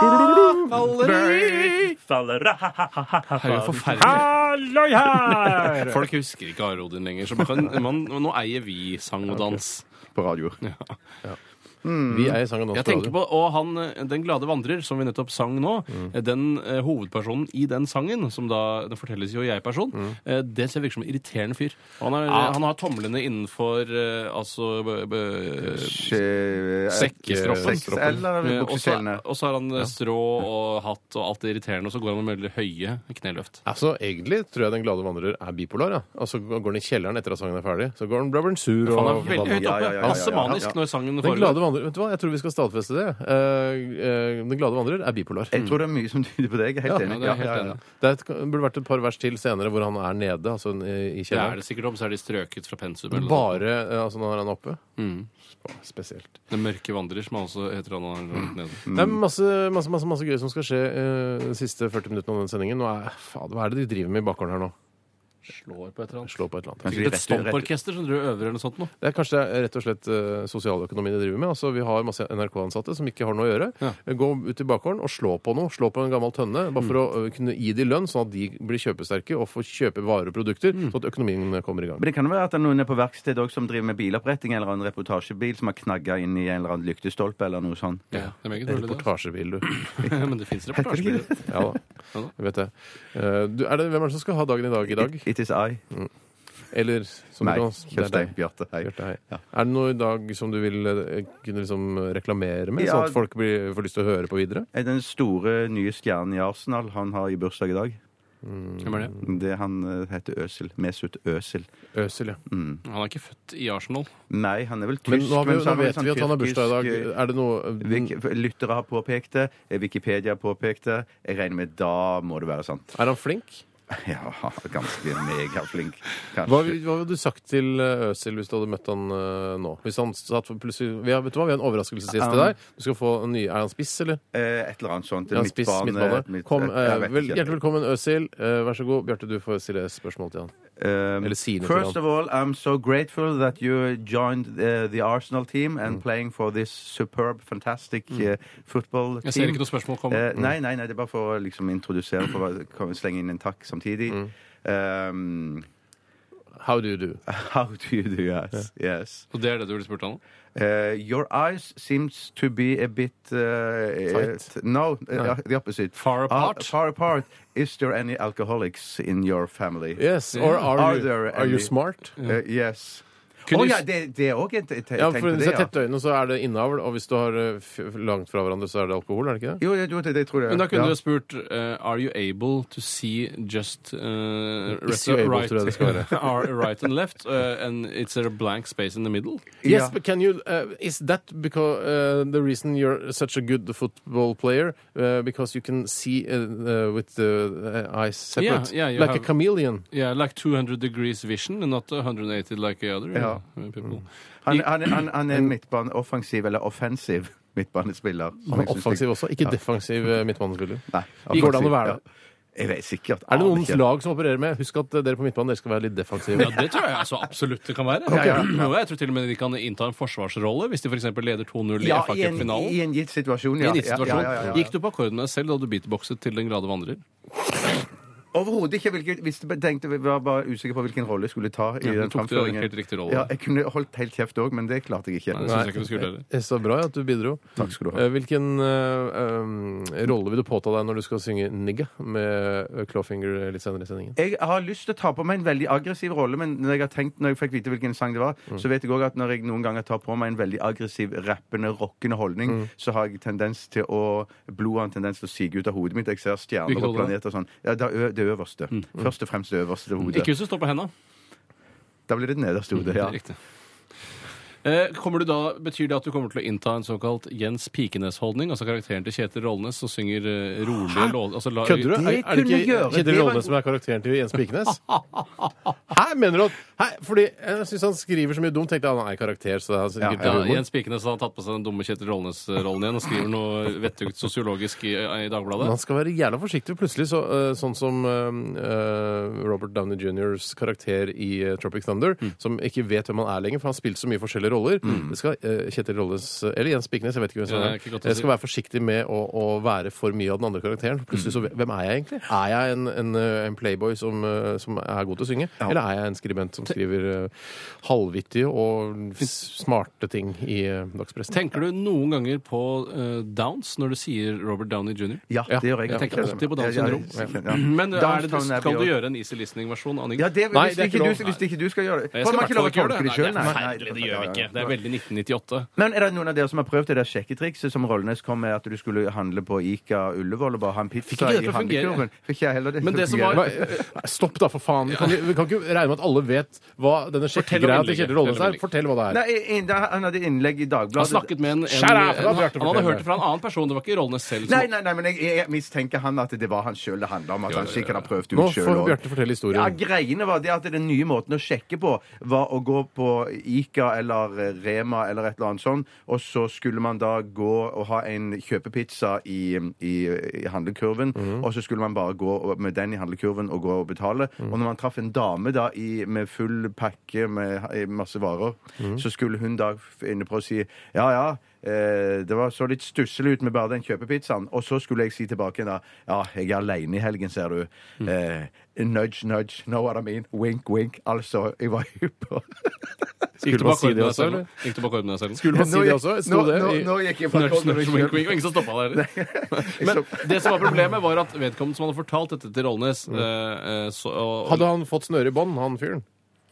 Speaker 2: faller i.
Speaker 4: Det er jo forferdelig.
Speaker 2: Halloi her!
Speaker 4: Folk husker ikke Arodin lenger. Så man kan, man, nå eier vi sang og dans.
Speaker 3: På radioer.
Speaker 4: Eh,
Speaker 2: Vi er i sangen nå.
Speaker 4: Mm. Jeg tenker på, og han, eh, Den glade vandrer, som vi nettopp sang nå,
Speaker 2: Mm.
Speaker 4: eh, den eh, hovedpersonen i den sangen, som da den fortelles jo jeg-person,
Speaker 2: Mm.
Speaker 4: eh, det ser virker som en irriterende fyr. Han, er, han har tomlene innenfor eh, altså b- b-
Speaker 3: Skje-
Speaker 4: Sekkestroppen.
Speaker 3: Sekk- Eh, Eller
Speaker 4: eh, og så
Speaker 3: bukseselene.
Speaker 4: og så har han eh, strå og hatt og alt det irriterende, og så går han med veldig høye kneløft.
Speaker 2: Altså, Egentlig tror jeg Den glade vandrer er bipolar. Ja. Altså, Går han i kjelleren etter at sangen er ferdig, så går han blubber'n sur.
Speaker 4: For
Speaker 2: Og,
Speaker 4: han er veldig høyt
Speaker 3: Ja, ja, ja,
Speaker 4: oppe.
Speaker 3: ja, ja,
Speaker 4: Han er så
Speaker 3: ja, ja.
Speaker 4: manisk når sangen
Speaker 2: den glade
Speaker 4: foregår.
Speaker 2: vandrer, vet du hva? Jeg tror vi skal stadfeste det. Eh, eh, den glade vandrer er bipolar.
Speaker 3: Jeg tror det er mye som tyder på det. Jeg er helt
Speaker 4: Ja,
Speaker 3: enig.
Speaker 4: det er jeg helt enig.
Speaker 2: Det er et, burde vært et par vers til senere hvor han er nede, altså i i
Speaker 4: Det er
Speaker 2: kjelleren.
Speaker 4: det sikkert om, så er de strøket fra pensum. Eller noe.
Speaker 2: Bare eh, altså, når han er oppe.
Speaker 4: Mm.
Speaker 2: Sp- Spesielt.
Speaker 4: Den mørke vandrer, som han også heter han har lagt ned.
Speaker 3: Mm.
Speaker 2: Det er masse, masse, masse, masse gøy som skal skje eh, de siste 40 minuttene av den sendingen. Nå er, faen, hva er det de driver med i bakgården her nå?
Speaker 4: Slår på et eller annet.
Speaker 2: Slå på et eller annet.
Speaker 3: Men-
Speaker 4: Sikkert et stomporkester som driver og øver eller noe sånt nå.
Speaker 2: Det er kanskje rett og slett eh, sosialøkonomien de driver med. Altså, vi har masse NRK-ansatte som ikke har noe å gjøre. Eh,
Speaker 4: Ja.
Speaker 2: Gå ut i bakgården og slå på noe. Slå på en gammel tønne. Bare for å eh, kunne gi de lønn, sånn at de blir kjøpesterke og får kjøpe varer og produkter. Sånn at økonomien kommer i gang.
Speaker 3: Men det kan jo være at det er noen er på verksted også som driver med biloppretting eller en reportasjebil som har knagga inn i en eller annen lyktestolpe eller noe sånt.
Speaker 4: Ja, det er meget mulig, det.
Speaker 2: Reportasjebil, du.
Speaker 4: altså. Men det fins reportasjebilder.
Speaker 2: Ja da.
Speaker 4: Ja da.
Speaker 2: Jeg vet det. Eh, du, er det. Hvem er det som skal ha dagen i dag i dag?
Speaker 3: It is I.
Speaker 2: Eller som
Speaker 3: Nei,
Speaker 2: du kan- det er
Speaker 3: Kjøstheim.
Speaker 2: deg.
Speaker 3: Bjarte. Hei.
Speaker 2: Bjarte, hei.
Speaker 3: Ja.
Speaker 2: Er det noe i dag som du vil eh, kunne liksom reklamere med,
Speaker 3: Ja.
Speaker 2: sånn at folk blir, får lyst til å høre på videre?
Speaker 3: Er Den store nye stjernen i Arsenal, han har i bursdag i dag.
Speaker 4: Hvem er det?
Speaker 2: Mm.
Speaker 3: Det Han eh, heter Øsel. Mesut Øsel.
Speaker 2: Øsel, ja.
Speaker 4: Han er ikke født i Arsenal.
Speaker 3: Nei, han er vel tysk.
Speaker 2: Men nå, har vi,
Speaker 3: så
Speaker 2: nå
Speaker 3: er
Speaker 2: vet
Speaker 3: sånn
Speaker 2: vi at han har bursdag i dag. Mm.
Speaker 3: tyrkisk, eh,
Speaker 2: Er det noe
Speaker 3: Vik lyttere har påpekt det, eh, Wikipedia har påpekt det. Jeg regner med da må det være sant.
Speaker 2: Er han flink?
Speaker 3: Ja, ganske megaflink,
Speaker 2: Hva,
Speaker 3: kanskje.
Speaker 2: hva hadde du sagt til eh, Øsil hvis du hadde møtt han eh, nå? Hvis han satt for plutselig vi har, Vet du hva, vi har en overraskelsesgjest til deg. Du skal få en ny Er han spiss, eller?
Speaker 3: Eh, Et eller annet sånt.
Speaker 2: Er han spiss, midtbane?
Speaker 3: midt-
Speaker 2: Kom,
Speaker 3: jeg
Speaker 2: eh,
Speaker 3: vet
Speaker 2: vel,
Speaker 3: ikke.
Speaker 2: hjertelig velkommen, Øsil. Eh, vær så god. Bjarte, du får stille spørsmål til han.
Speaker 3: Um,
Speaker 2: Eller sine
Speaker 3: First
Speaker 2: program.
Speaker 3: of all, I'm so grateful that you joined uh, the Arsenal team and
Speaker 4: Mm.
Speaker 3: playing for this superb, fantastic uh, football team.
Speaker 4: Jeg ser ikke noe Mm. spørsmål komme.
Speaker 3: Eh, nei, nei, nei, det er bare for å
Speaker 4: Mm.
Speaker 3: liksom, introdusere, for å kan vi slenge inn en takk samtidig. Um,
Speaker 2: How do you do?
Speaker 3: How do you do yes? Yes.
Speaker 4: Og det er det du ville spurt han om?
Speaker 3: Eh, your eyes seems to be a bit eh,
Speaker 2: Tight?
Speaker 3: eh, No, eh, the opposite.
Speaker 4: Far apart?
Speaker 3: Ah, far apart. Is there any alcoholics in your family?
Speaker 2: Yes, or are,
Speaker 3: Are
Speaker 2: you,
Speaker 3: there
Speaker 2: are you
Speaker 3: any-
Speaker 2: smart?
Speaker 3: Eh, yes. Å
Speaker 4: Kunne du s-
Speaker 3: ja, det, det er òg en te- te-
Speaker 2: Ja,
Speaker 3: tenk
Speaker 2: for
Speaker 3: på
Speaker 2: Hvis
Speaker 3: det,
Speaker 2: det er
Speaker 3: ja.
Speaker 2: tette øyne, så er det innavl. Og hvis du har eh, f- langt fra hverandre, så er det alkohol? er det ikke det?
Speaker 3: Jo, jo, jo, det, det tror jeg.
Speaker 4: Men da
Speaker 3: ja.
Speaker 4: kunne du jo spurt eh, Are you able to see just eh,
Speaker 2: Is you able,
Speaker 4: right,
Speaker 2: tror jeg det skal være.
Speaker 4: are right and left, eh, and it's a blank space in the middle?
Speaker 2: Yes,
Speaker 3: Ja.
Speaker 2: but can you? Uh, is that because uh, the reason you're such a good football player? Uh, because you can see uh, uh, with the uh, eyes separate,
Speaker 4: Yeah, yeah, you
Speaker 2: like a
Speaker 4: have-
Speaker 2: chameleon.
Speaker 4: Yeah, like 200 degrees vision, and not 180 like the other
Speaker 3: Ja.
Speaker 4: uh, people.
Speaker 3: han, han, han, han er en midtbane offensiv eller offensiv midtbanespiller. som
Speaker 2: Han
Speaker 3: jeg
Speaker 2: er
Speaker 3: synes
Speaker 2: offensiv
Speaker 3: jeg-
Speaker 2: også, ikke defensiv uh, midtbanespiller.
Speaker 3: Nei,
Speaker 2: Går det an å
Speaker 3: offensiv,
Speaker 2: være
Speaker 3: ja.
Speaker 2: det?
Speaker 3: Jeg vet sikkert.
Speaker 2: Er det
Speaker 3: aner
Speaker 2: noen
Speaker 3: ikke.
Speaker 2: lag som opererer med Husk at uh, dere på midtbanen dere skal være litt defensive.
Speaker 4: Ja, det tror jeg altså, absolutt det kan være. Og jeg tror til og med de kan innta en forsvarsrolle hvis de f.eks. leder 2-0 i
Speaker 3: Ja, i en,
Speaker 4: FA-cupfinalen.
Speaker 3: i en gitt situasjon,
Speaker 4: I
Speaker 3: ja.
Speaker 4: en gitt-situasjon.
Speaker 3: Ja, ja, ja, ja, ja.
Speaker 4: Gikk du på akkordene selv da du beatboxet til den glade vandrer?
Speaker 3: Overhodet ikke. Hvilket, hvis du tenkte, jeg var bare usikker på hvilken rolle jeg skulle ta. i
Speaker 4: du
Speaker 3: den
Speaker 4: tok det
Speaker 3: framføringen.
Speaker 4: helt riktig rolle.
Speaker 3: Ja, jeg kunne holdt helt kjeft òg, men det klarte jeg ikke.
Speaker 4: Nei, det synes jeg ikke du skulle gjøre.
Speaker 2: Det er Eh, Så bra at du bidro.
Speaker 3: Takk skal du ha.
Speaker 2: Eh, Hvilken eh, um, rolle vil du påta deg når du skal synge 'Nigga' med eh, Clawfinger litt senere i sendingen?
Speaker 3: Jeg har lyst til å ta på meg en veldig aggressiv rolle, men når jeg har tenkt, når jeg fikk vite hvilken sang det var,
Speaker 4: Mm.
Speaker 3: så vet jeg òg at når jeg noen ganger tar på meg en veldig aggressiv, rappende, rockende holdning,
Speaker 4: Mm.
Speaker 3: så har jeg tendens til å Blodet har en tendens til å sige ut av hodet mitt. Jeg ser stjerner
Speaker 4: Hvilket
Speaker 3: og
Speaker 4: hode da? Mm.
Speaker 3: planeter og sånn. Ja, det, ø- det øverste. Først og fremst det øverste hodet.
Speaker 4: Ikke hvis du står på henda.
Speaker 3: Da blir det det nederste hodet. Ja.
Speaker 4: Riktig. Eh, Kommer du da, Betyr det at du kommer til å innta en såkalt Jens Pikenes-holdning? Altså karakteren til Kjetil Rollnes som synger eh, rolige låter altså, la-
Speaker 2: Kødder du?
Speaker 3: Det
Speaker 2: Er, er det
Speaker 3: kunne
Speaker 2: ikke
Speaker 3: gjøre-
Speaker 2: Kjetil
Speaker 3: det var-
Speaker 2: Rollnes som er karakteren til Jens Pikenes? Hæ, mener du at Hæ, fordi jeg syns han skriver så mye dumt. Tenkte jeg, han er karakter, så det er sikkert
Speaker 4: Ja,
Speaker 2: humor.
Speaker 4: Jens Pikenes har tatt på seg den dumme Kjetil Rollnes-rollen igjen og skriver noe vettugt sosiologisk i, i
Speaker 2: Men
Speaker 4: Dagbladet.
Speaker 2: han skal være jævla forsiktig. Plutselig så, eh, sånn som eh, eh, Robert Downey jr.'s karakter i eh, Tropic Thunder,
Speaker 4: Mm.
Speaker 2: som ikke vet hvem han er lenger, for han har spilt så mye forskjellige roller. Det skal eh, Kjetil Rolles Eller Jens Spiknes, jeg vet ikke hvem som
Speaker 4: Ja,
Speaker 2: er.
Speaker 4: det er ikke godt å
Speaker 2: Jeg
Speaker 4: si.
Speaker 2: skal være forsiktig med å, å være for mye av den andre karakteren. For plutselig
Speaker 4: Mm.
Speaker 2: så Hvem er jeg egentlig? Er jeg en, en, eh, en playboy som, eh, som er god til å synge? Eller er jeg en skribent som skriver uh, halvvittige og s- smarte ting i eh, dagspressen?
Speaker 4: Tenker du noen ganger på eh, Downs når du sier Robert Downey jr.?
Speaker 3: Ja, det gjør jeg.
Speaker 4: Jeg tenker alltid på Downs
Speaker 3: Ja, ja,
Speaker 4: syndrom.
Speaker 3: ja.
Speaker 4: Men eh, er det,
Speaker 3: Downtown Abbey
Speaker 4: skal du
Speaker 3: også.
Speaker 4: gjøre en Easy Listening-versjon av Nigga?
Speaker 3: Ja, det,
Speaker 2: Nei,
Speaker 3: hvis,
Speaker 2: det er ikke
Speaker 3: ikke du,
Speaker 2: lov.
Speaker 3: hvis ikke du skal gjøre det
Speaker 4: Jeg
Speaker 3: For man
Speaker 4: skal i
Speaker 3: ikke
Speaker 4: hvert
Speaker 3: lov å tolke
Speaker 4: fall ikke gjøre det.
Speaker 3: det sjøl,
Speaker 4: Nei, det er forferdelig, det gjør vi ikke. Det er veldig 1998.
Speaker 3: Men er det noen av dere som har prøvd det der sjekketrikset som Rollnes kom med, at du skulle handle på Ica Ullevål og bare ha en
Speaker 4: Fikk
Speaker 3: pizza
Speaker 4: ikke
Speaker 3: i
Speaker 4: det til å fungere.
Speaker 3: handlekurven? Fikk ikke jeg heller det
Speaker 4: Men
Speaker 3: til å
Speaker 4: det som
Speaker 3: fungere.
Speaker 4: var-
Speaker 2: Hva- Stopp, da, for faen. Vi kan, vi kan ikke regne med at alle vet hva denne
Speaker 4: Fortell om
Speaker 2: sjekkegreia til
Speaker 4: innlegget.
Speaker 2: Kjetil Rolles
Speaker 4: Fortell om
Speaker 2: er. Fortell hva det er.
Speaker 3: Nei, inn- da- han hadde innlegg i
Speaker 4: Han
Speaker 3: Dagbladet.
Speaker 4: snakket med en, en,
Speaker 2: Shut up, da,
Speaker 4: en
Speaker 2: Bjarte,
Speaker 4: Han hadde
Speaker 2: fortell
Speaker 4: hørt
Speaker 2: meg.
Speaker 4: det fra en annen person. Det var ikke Rollnes selv.
Speaker 3: Nei,
Speaker 4: som-
Speaker 3: nei, nei, men jeg, jeg mistenker han at det var han sjøl det handla om. At han sikkert har prøvd
Speaker 2: Nå
Speaker 3: ut sjøl
Speaker 2: får Bjarte fortelle historien.
Speaker 3: Ja, greiene var det at den nye måten å sjekke på var å gå på Ica eller eh, Rema eller et eller annet sånt, og så skulle man da gå og ha en kjøpepizza i, i, i handlekurven, og så skulle man bare gå og- med den i handlekurven og gå og betale. Og når man traff en dame da i, med full pakke med i masse varer, så skulle hun da f- inne på å si ja, ja. Eh, det var så litt stusselig ut med bare den kjøpepizzaen. Og så skulle jeg si tilbake da Ja, jeg er aleine i helgen, ser du.
Speaker 2: Mm.
Speaker 3: Eh, nudge, nudge. Know what I mean? Wink, wink. Altså, jeg var hypp på
Speaker 4: Gikk du
Speaker 2: man
Speaker 4: på
Speaker 2: si det
Speaker 4: akkorden deg
Speaker 2: også,
Speaker 4: selv?
Speaker 2: eller?
Speaker 4: Gikk du på akkorden deg selv?
Speaker 2: Skulle man si
Speaker 3: Nå
Speaker 2: det
Speaker 3: gikk-
Speaker 2: også? Sto
Speaker 3: Nå,
Speaker 2: det
Speaker 3: nå,
Speaker 2: i-
Speaker 3: nå gikk jeg
Speaker 4: Snurr,
Speaker 3: fra
Speaker 4: snurr, wink, wink, wink. Ingen som stoppa der. Men det som var problemet, var at vedkommende som hadde fortalt dette til Rollnes eh, eh, så, og,
Speaker 2: Mm. Hadde han fått snøre i bånd, han fyren?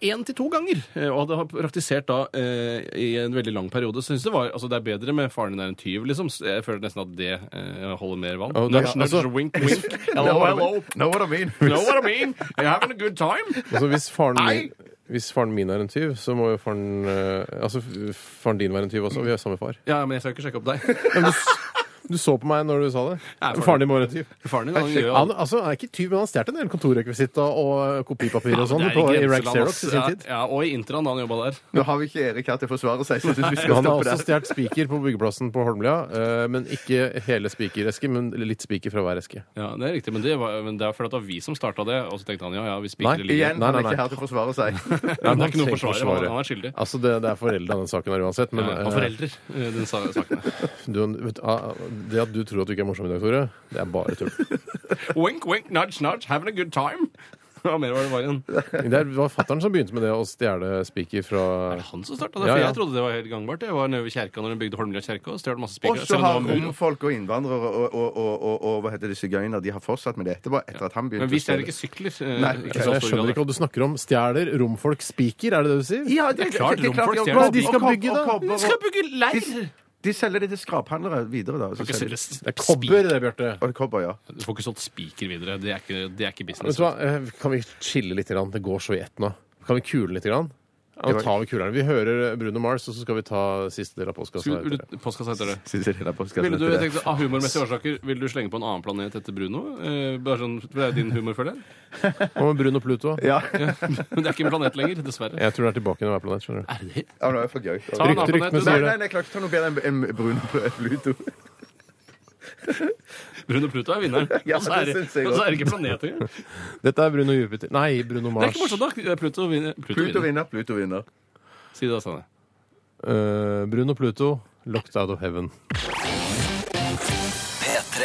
Speaker 4: én til to ganger. eh, Og hadde praktisert da eh, i en veldig lang periode. Så synes det var, altså det er bedre med faren din er en tyv, liksom. Så Jeg føler nesten at det eh, holder mer vann.
Speaker 2: Ja, det er-
Speaker 4: Nudge, nudge,
Speaker 2: altså-
Speaker 4: wink, wink. Hello,
Speaker 3: Know what I
Speaker 4: hello.
Speaker 3: mean? Know what I mean?
Speaker 4: Know what I mean? You having a good time?
Speaker 2: Altså, hvis faren min
Speaker 4: Nei!
Speaker 2: hvis faren min er en tyv, så må jo faren eh, Altså, f- faren din være en tyv også. Vi er samme far.
Speaker 4: Ja, men jeg skal ikke sjekke opp deg.
Speaker 2: Men du, s- du så på meg når du sa det.
Speaker 4: Nei, faren-
Speaker 2: Faren din må være en tyv.
Speaker 4: Faren din han gjør
Speaker 2: Han altså, han er ikke tyv, men han stjal en del kontorrekvisitter og kopipapir og sånn
Speaker 4: Det er altså.
Speaker 2: på
Speaker 4: i
Speaker 2: Iraq Xerox
Speaker 4: grenseland,
Speaker 2: i
Speaker 4: ass.
Speaker 2: sin tid.
Speaker 4: Ja, ja, og i Intran da han jobba der.
Speaker 3: Nå har vi ikke Erik her til å forsvare seg, så jeg synes vi skal
Speaker 2: Han har
Speaker 3: stoppe
Speaker 2: også
Speaker 3: der.
Speaker 2: stjålet spiker på byggeplassen på Holmlia. eh, Men ikke hele spikeresken, men litt spiker fra hver eske.
Speaker 4: Ja, Det er riktig, men det, var, men det er fordi at det var vi som starta det. Og så tenkte han ja, ja, vi spiker
Speaker 2: Nei,
Speaker 4: det ligger.
Speaker 3: Igjen,
Speaker 2: Nei,
Speaker 3: han
Speaker 2: nei,
Speaker 3: er
Speaker 2: nei.
Speaker 3: ikke her til å forsvare seg.
Speaker 4: Ja, det er ikke noe
Speaker 2: Han trenger
Speaker 4: forsvarer.
Speaker 2: forsvarer.
Speaker 4: Han, han er skyldig.
Speaker 2: Altså, det, det er foreldre av den saken her uansett. Men
Speaker 4: Ja, og
Speaker 2: eh,
Speaker 4: foreldre, eh, den sa- saken. her.
Speaker 2: du, vet, du, ah, det at du tror at du ikke er morsom i dag, Tore, det er bare tull.
Speaker 4: Wink, wink, nudge, nudge, having a good time. Hva mer var det var igjen? Er
Speaker 2: Det var fattern som begynte med det å stjele spiker fra
Speaker 4: det han som starta det?
Speaker 2: Ja,
Speaker 4: For
Speaker 2: ja.
Speaker 4: jeg trodde det var helt gangbart. Jeg var nede ved kjerka når de bygde Holmlia kjerke og stjal masse
Speaker 3: Og
Speaker 4: spikere.
Speaker 3: så
Speaker 4: selv om det
Speaker 3: har
Speaker 4: var mulig.
Speaker 3: romfolk og innvandrere og, og, og, og, og, hva heter det, sigøyner de har fortsatt med det etterpå. etter at han begynte
Speaker 4: Men vi
Speaker 3: å stjele.
Speaker 4: stjeler ikke sykler. eh,
Speaker 3: Nei,
Speaker 2: Jeg
Speaker 3: jeg
Speaker 4: ikke så stor grad.
Speaker 2: skjønner ikke hva du snakker om. Stjeler romfolk spiker, er det det du sier?
Speaker 3: Ja, det,
Speaker 4: Det er klart,
Speaker 3: det er klart,
Speaker 4: romfolk
Speaker 3: ja,
Speaker 4: stjeler
Speaker 3: og-
Speaker 2: de skal
Speaker 3: og- og-
Speaker 2: bygge, da.
Speaker 3: og kobber,
Speaker 4: De skal bygge leir!
Speaker 3: De- De selger det til skraphandlere videre, da. Så
Speaker 4: Du får ikke
Speaker 3: selger-
Speaker 4: selge
Speaker 2: Det er
Speaker 4: sp-
Speaker 2: kobber, det, Bjarte.
Speaker 3: Og kobber, ja.
Speaker 4: Du får ikke solgt spiker videre. Det er ikke, det er ikke
Speaker 2: Vet
Speaker 4: business. altså.
Speaker 2: du hva, eh, Kan vi chille litt? Grann? Det går så i ett nå. Kan vi kule litt? Grann? Ja, nå tar vi kulerne. Vi hører Bruno Mars, og så skal vi ta siste del av postkassa.
Speaker 4: Skulle- vil
Speaker 2: etter det.
Speaker 4: du- Postkassa heter det.
Speaker 3: Synes jeg det er på skal
Speaker 4: Ville du
Speaker 3: jeg si det.
Speaker 4: tenkte, av humormessige årsaker Vil du slenge på en annen planet etter Bruno? Eh, bare sånn, for det er jo din humor, føler jeg.
Speaker 2: Hva med Bruno Pluto?
Speaker 3: Ja.
Speaker 4: Men det er ikke en planet lenger, dessverre.
Speaker 2: Jeg tror det er tilbake når hver planet. skjønner du
Speaker 4: Er det det?
Speaker 3: ja, nå er det for gøy.
Speaker 4: Ta en annen
Speaker 2: Rykte- ryktene
Speaker 4: planet. du.
Speaker 3: Nei,
Speaker 2: sier det.
Speaker 3: nei, nei, jeg klarer ikke å ta noe bedre enn en brun Pluto.
Speaker 4: Bruno Pluto er vinneren.
Speaker 3: Ja,
Speaker 4: Og så er
Speaker 3: det
Speaker 4: det,
Speaker 3: synes jeg
Speaker 4: og så
Speaker 3: også.
Speaker 4: er det ikke planeter engang.
Speaker 2: Dette er Bruno Jupiter Nei, Bruno
Speaker 4: Det er
Speaker 2: Mars.
Speaker 4: ikke morsomt, da. Pluto vinner. Pluto
Speaker 3: Pluto
Speaker 4: vinner.
Speaker 3: vinner, Pluto vinner.
Speaker 4: Si det, da, Sanne.
Speaker 2: Eh, Bruno Pluto, locked out of heaven.
Speaker 1: P3.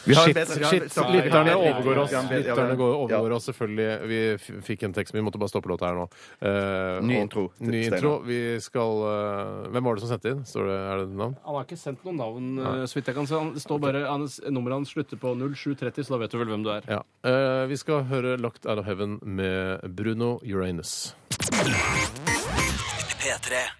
Speaker 3: Vi har en
Speaker 2: Shit,
Speaker 3: bedre- vi har en-
Speaker 2: shit.
Speaker 3: stopp.
Speaker 2: Lytterne
Speaker 4: Ja, ja, ja.
Speaker 2: overgår oss.
Speaker 3: Ja, ja, ja.
Speaker 2: Lytterne går- overgår
Speaker 3: Ja.
Speaker 2: oss selvfølgelig. Vi f- fikk en tekst, men vi måtte bare stoppe låta her nå. Eh,
Speaker 3: Ny
Speaker 2: og-
Speaker 3: intro til
Speaker 2: Ny
Speaker 3: Steinar.
Speaker 2: intro. Vi skal eh, Hvem var det som sendte inn? Står det, er det et navn?
Speaker 4: Han har ikke sendt noe navn, eh, så vidt jeg kan se. Han det står bare, hans- Nummeret hans slutter på 0730, så da vet du vel hvem du er.
Speaker 2: Ja. Eh, vi skal høre 'Locked Out of Heaven' med Bruno Uranus.
Speaker 1: P3.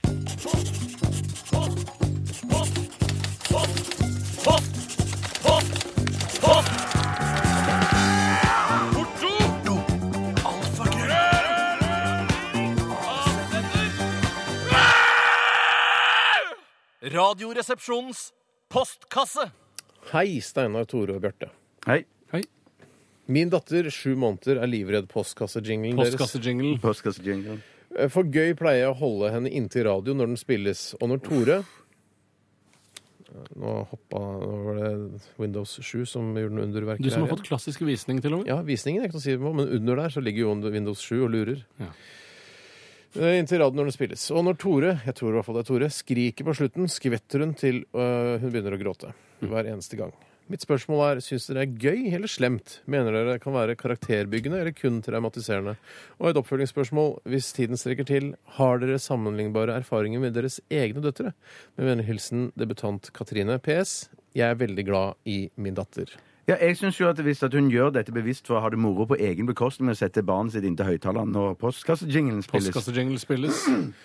Speaker 7: Radioresepsjonens postkasse.
Speaker 2: Hei, Steinar, Tore og Bjarte.
Speaker 3: Hei.
Speaker 4: Hei.
Speaker 2: Min datter, sju måneder, er livredd postkassejinglen deres. Eh,
Speaker 4: Postkassejingle.
Speaker 3: Postkassejingle.
Speaker 2: For gøy pleier jeg å holde henne inntil radio når den spilles. Og når Tore Eh, Nå hoppa Nå var det Windows 7 som gjorde den underverket.
Speaker 4: Du som
Speaker 2: her
Speaker 4: har fått klassisk visning, til og
Speaker 2: igjen.
Speaker 4: med.
Speaker 2: ja, visningen er ikke noe å si på, men under der så ligger jo Windows 7 og lurer.
Speaker 4: Ja.
Speaker 2: Eh, Inntil radioen når den spilles. Og når Tore jeg tror i hvert fall det er Tore, skriker på slutten, skvetter hun til øh, hun begynner å gråte.
Speaker 4: Mm.
Speaker 2: Hver eneste gang. Mitt spørsmål er syns dere det er gøy eller slemt? Mener dere det kan være karakterbyggende eller kun traumatiserende? Og et oppfølgingsspørsmål, hvis tiden strekker til, har dere sammenlignbare erfaringer med deres egne døtre? Med vennlig hilsen debutant Katrine. PS. Jeg er veldig glad i min datter.
Speaker 3: Ja, jeg synes jo at Hvis at hun gjør dette bevisst for å ha det moro på egen bekostning med å sette barnet sitt inntil høyttaleren når postkassejinglen spilles,
Speaker 4: Postkassejingle spilles.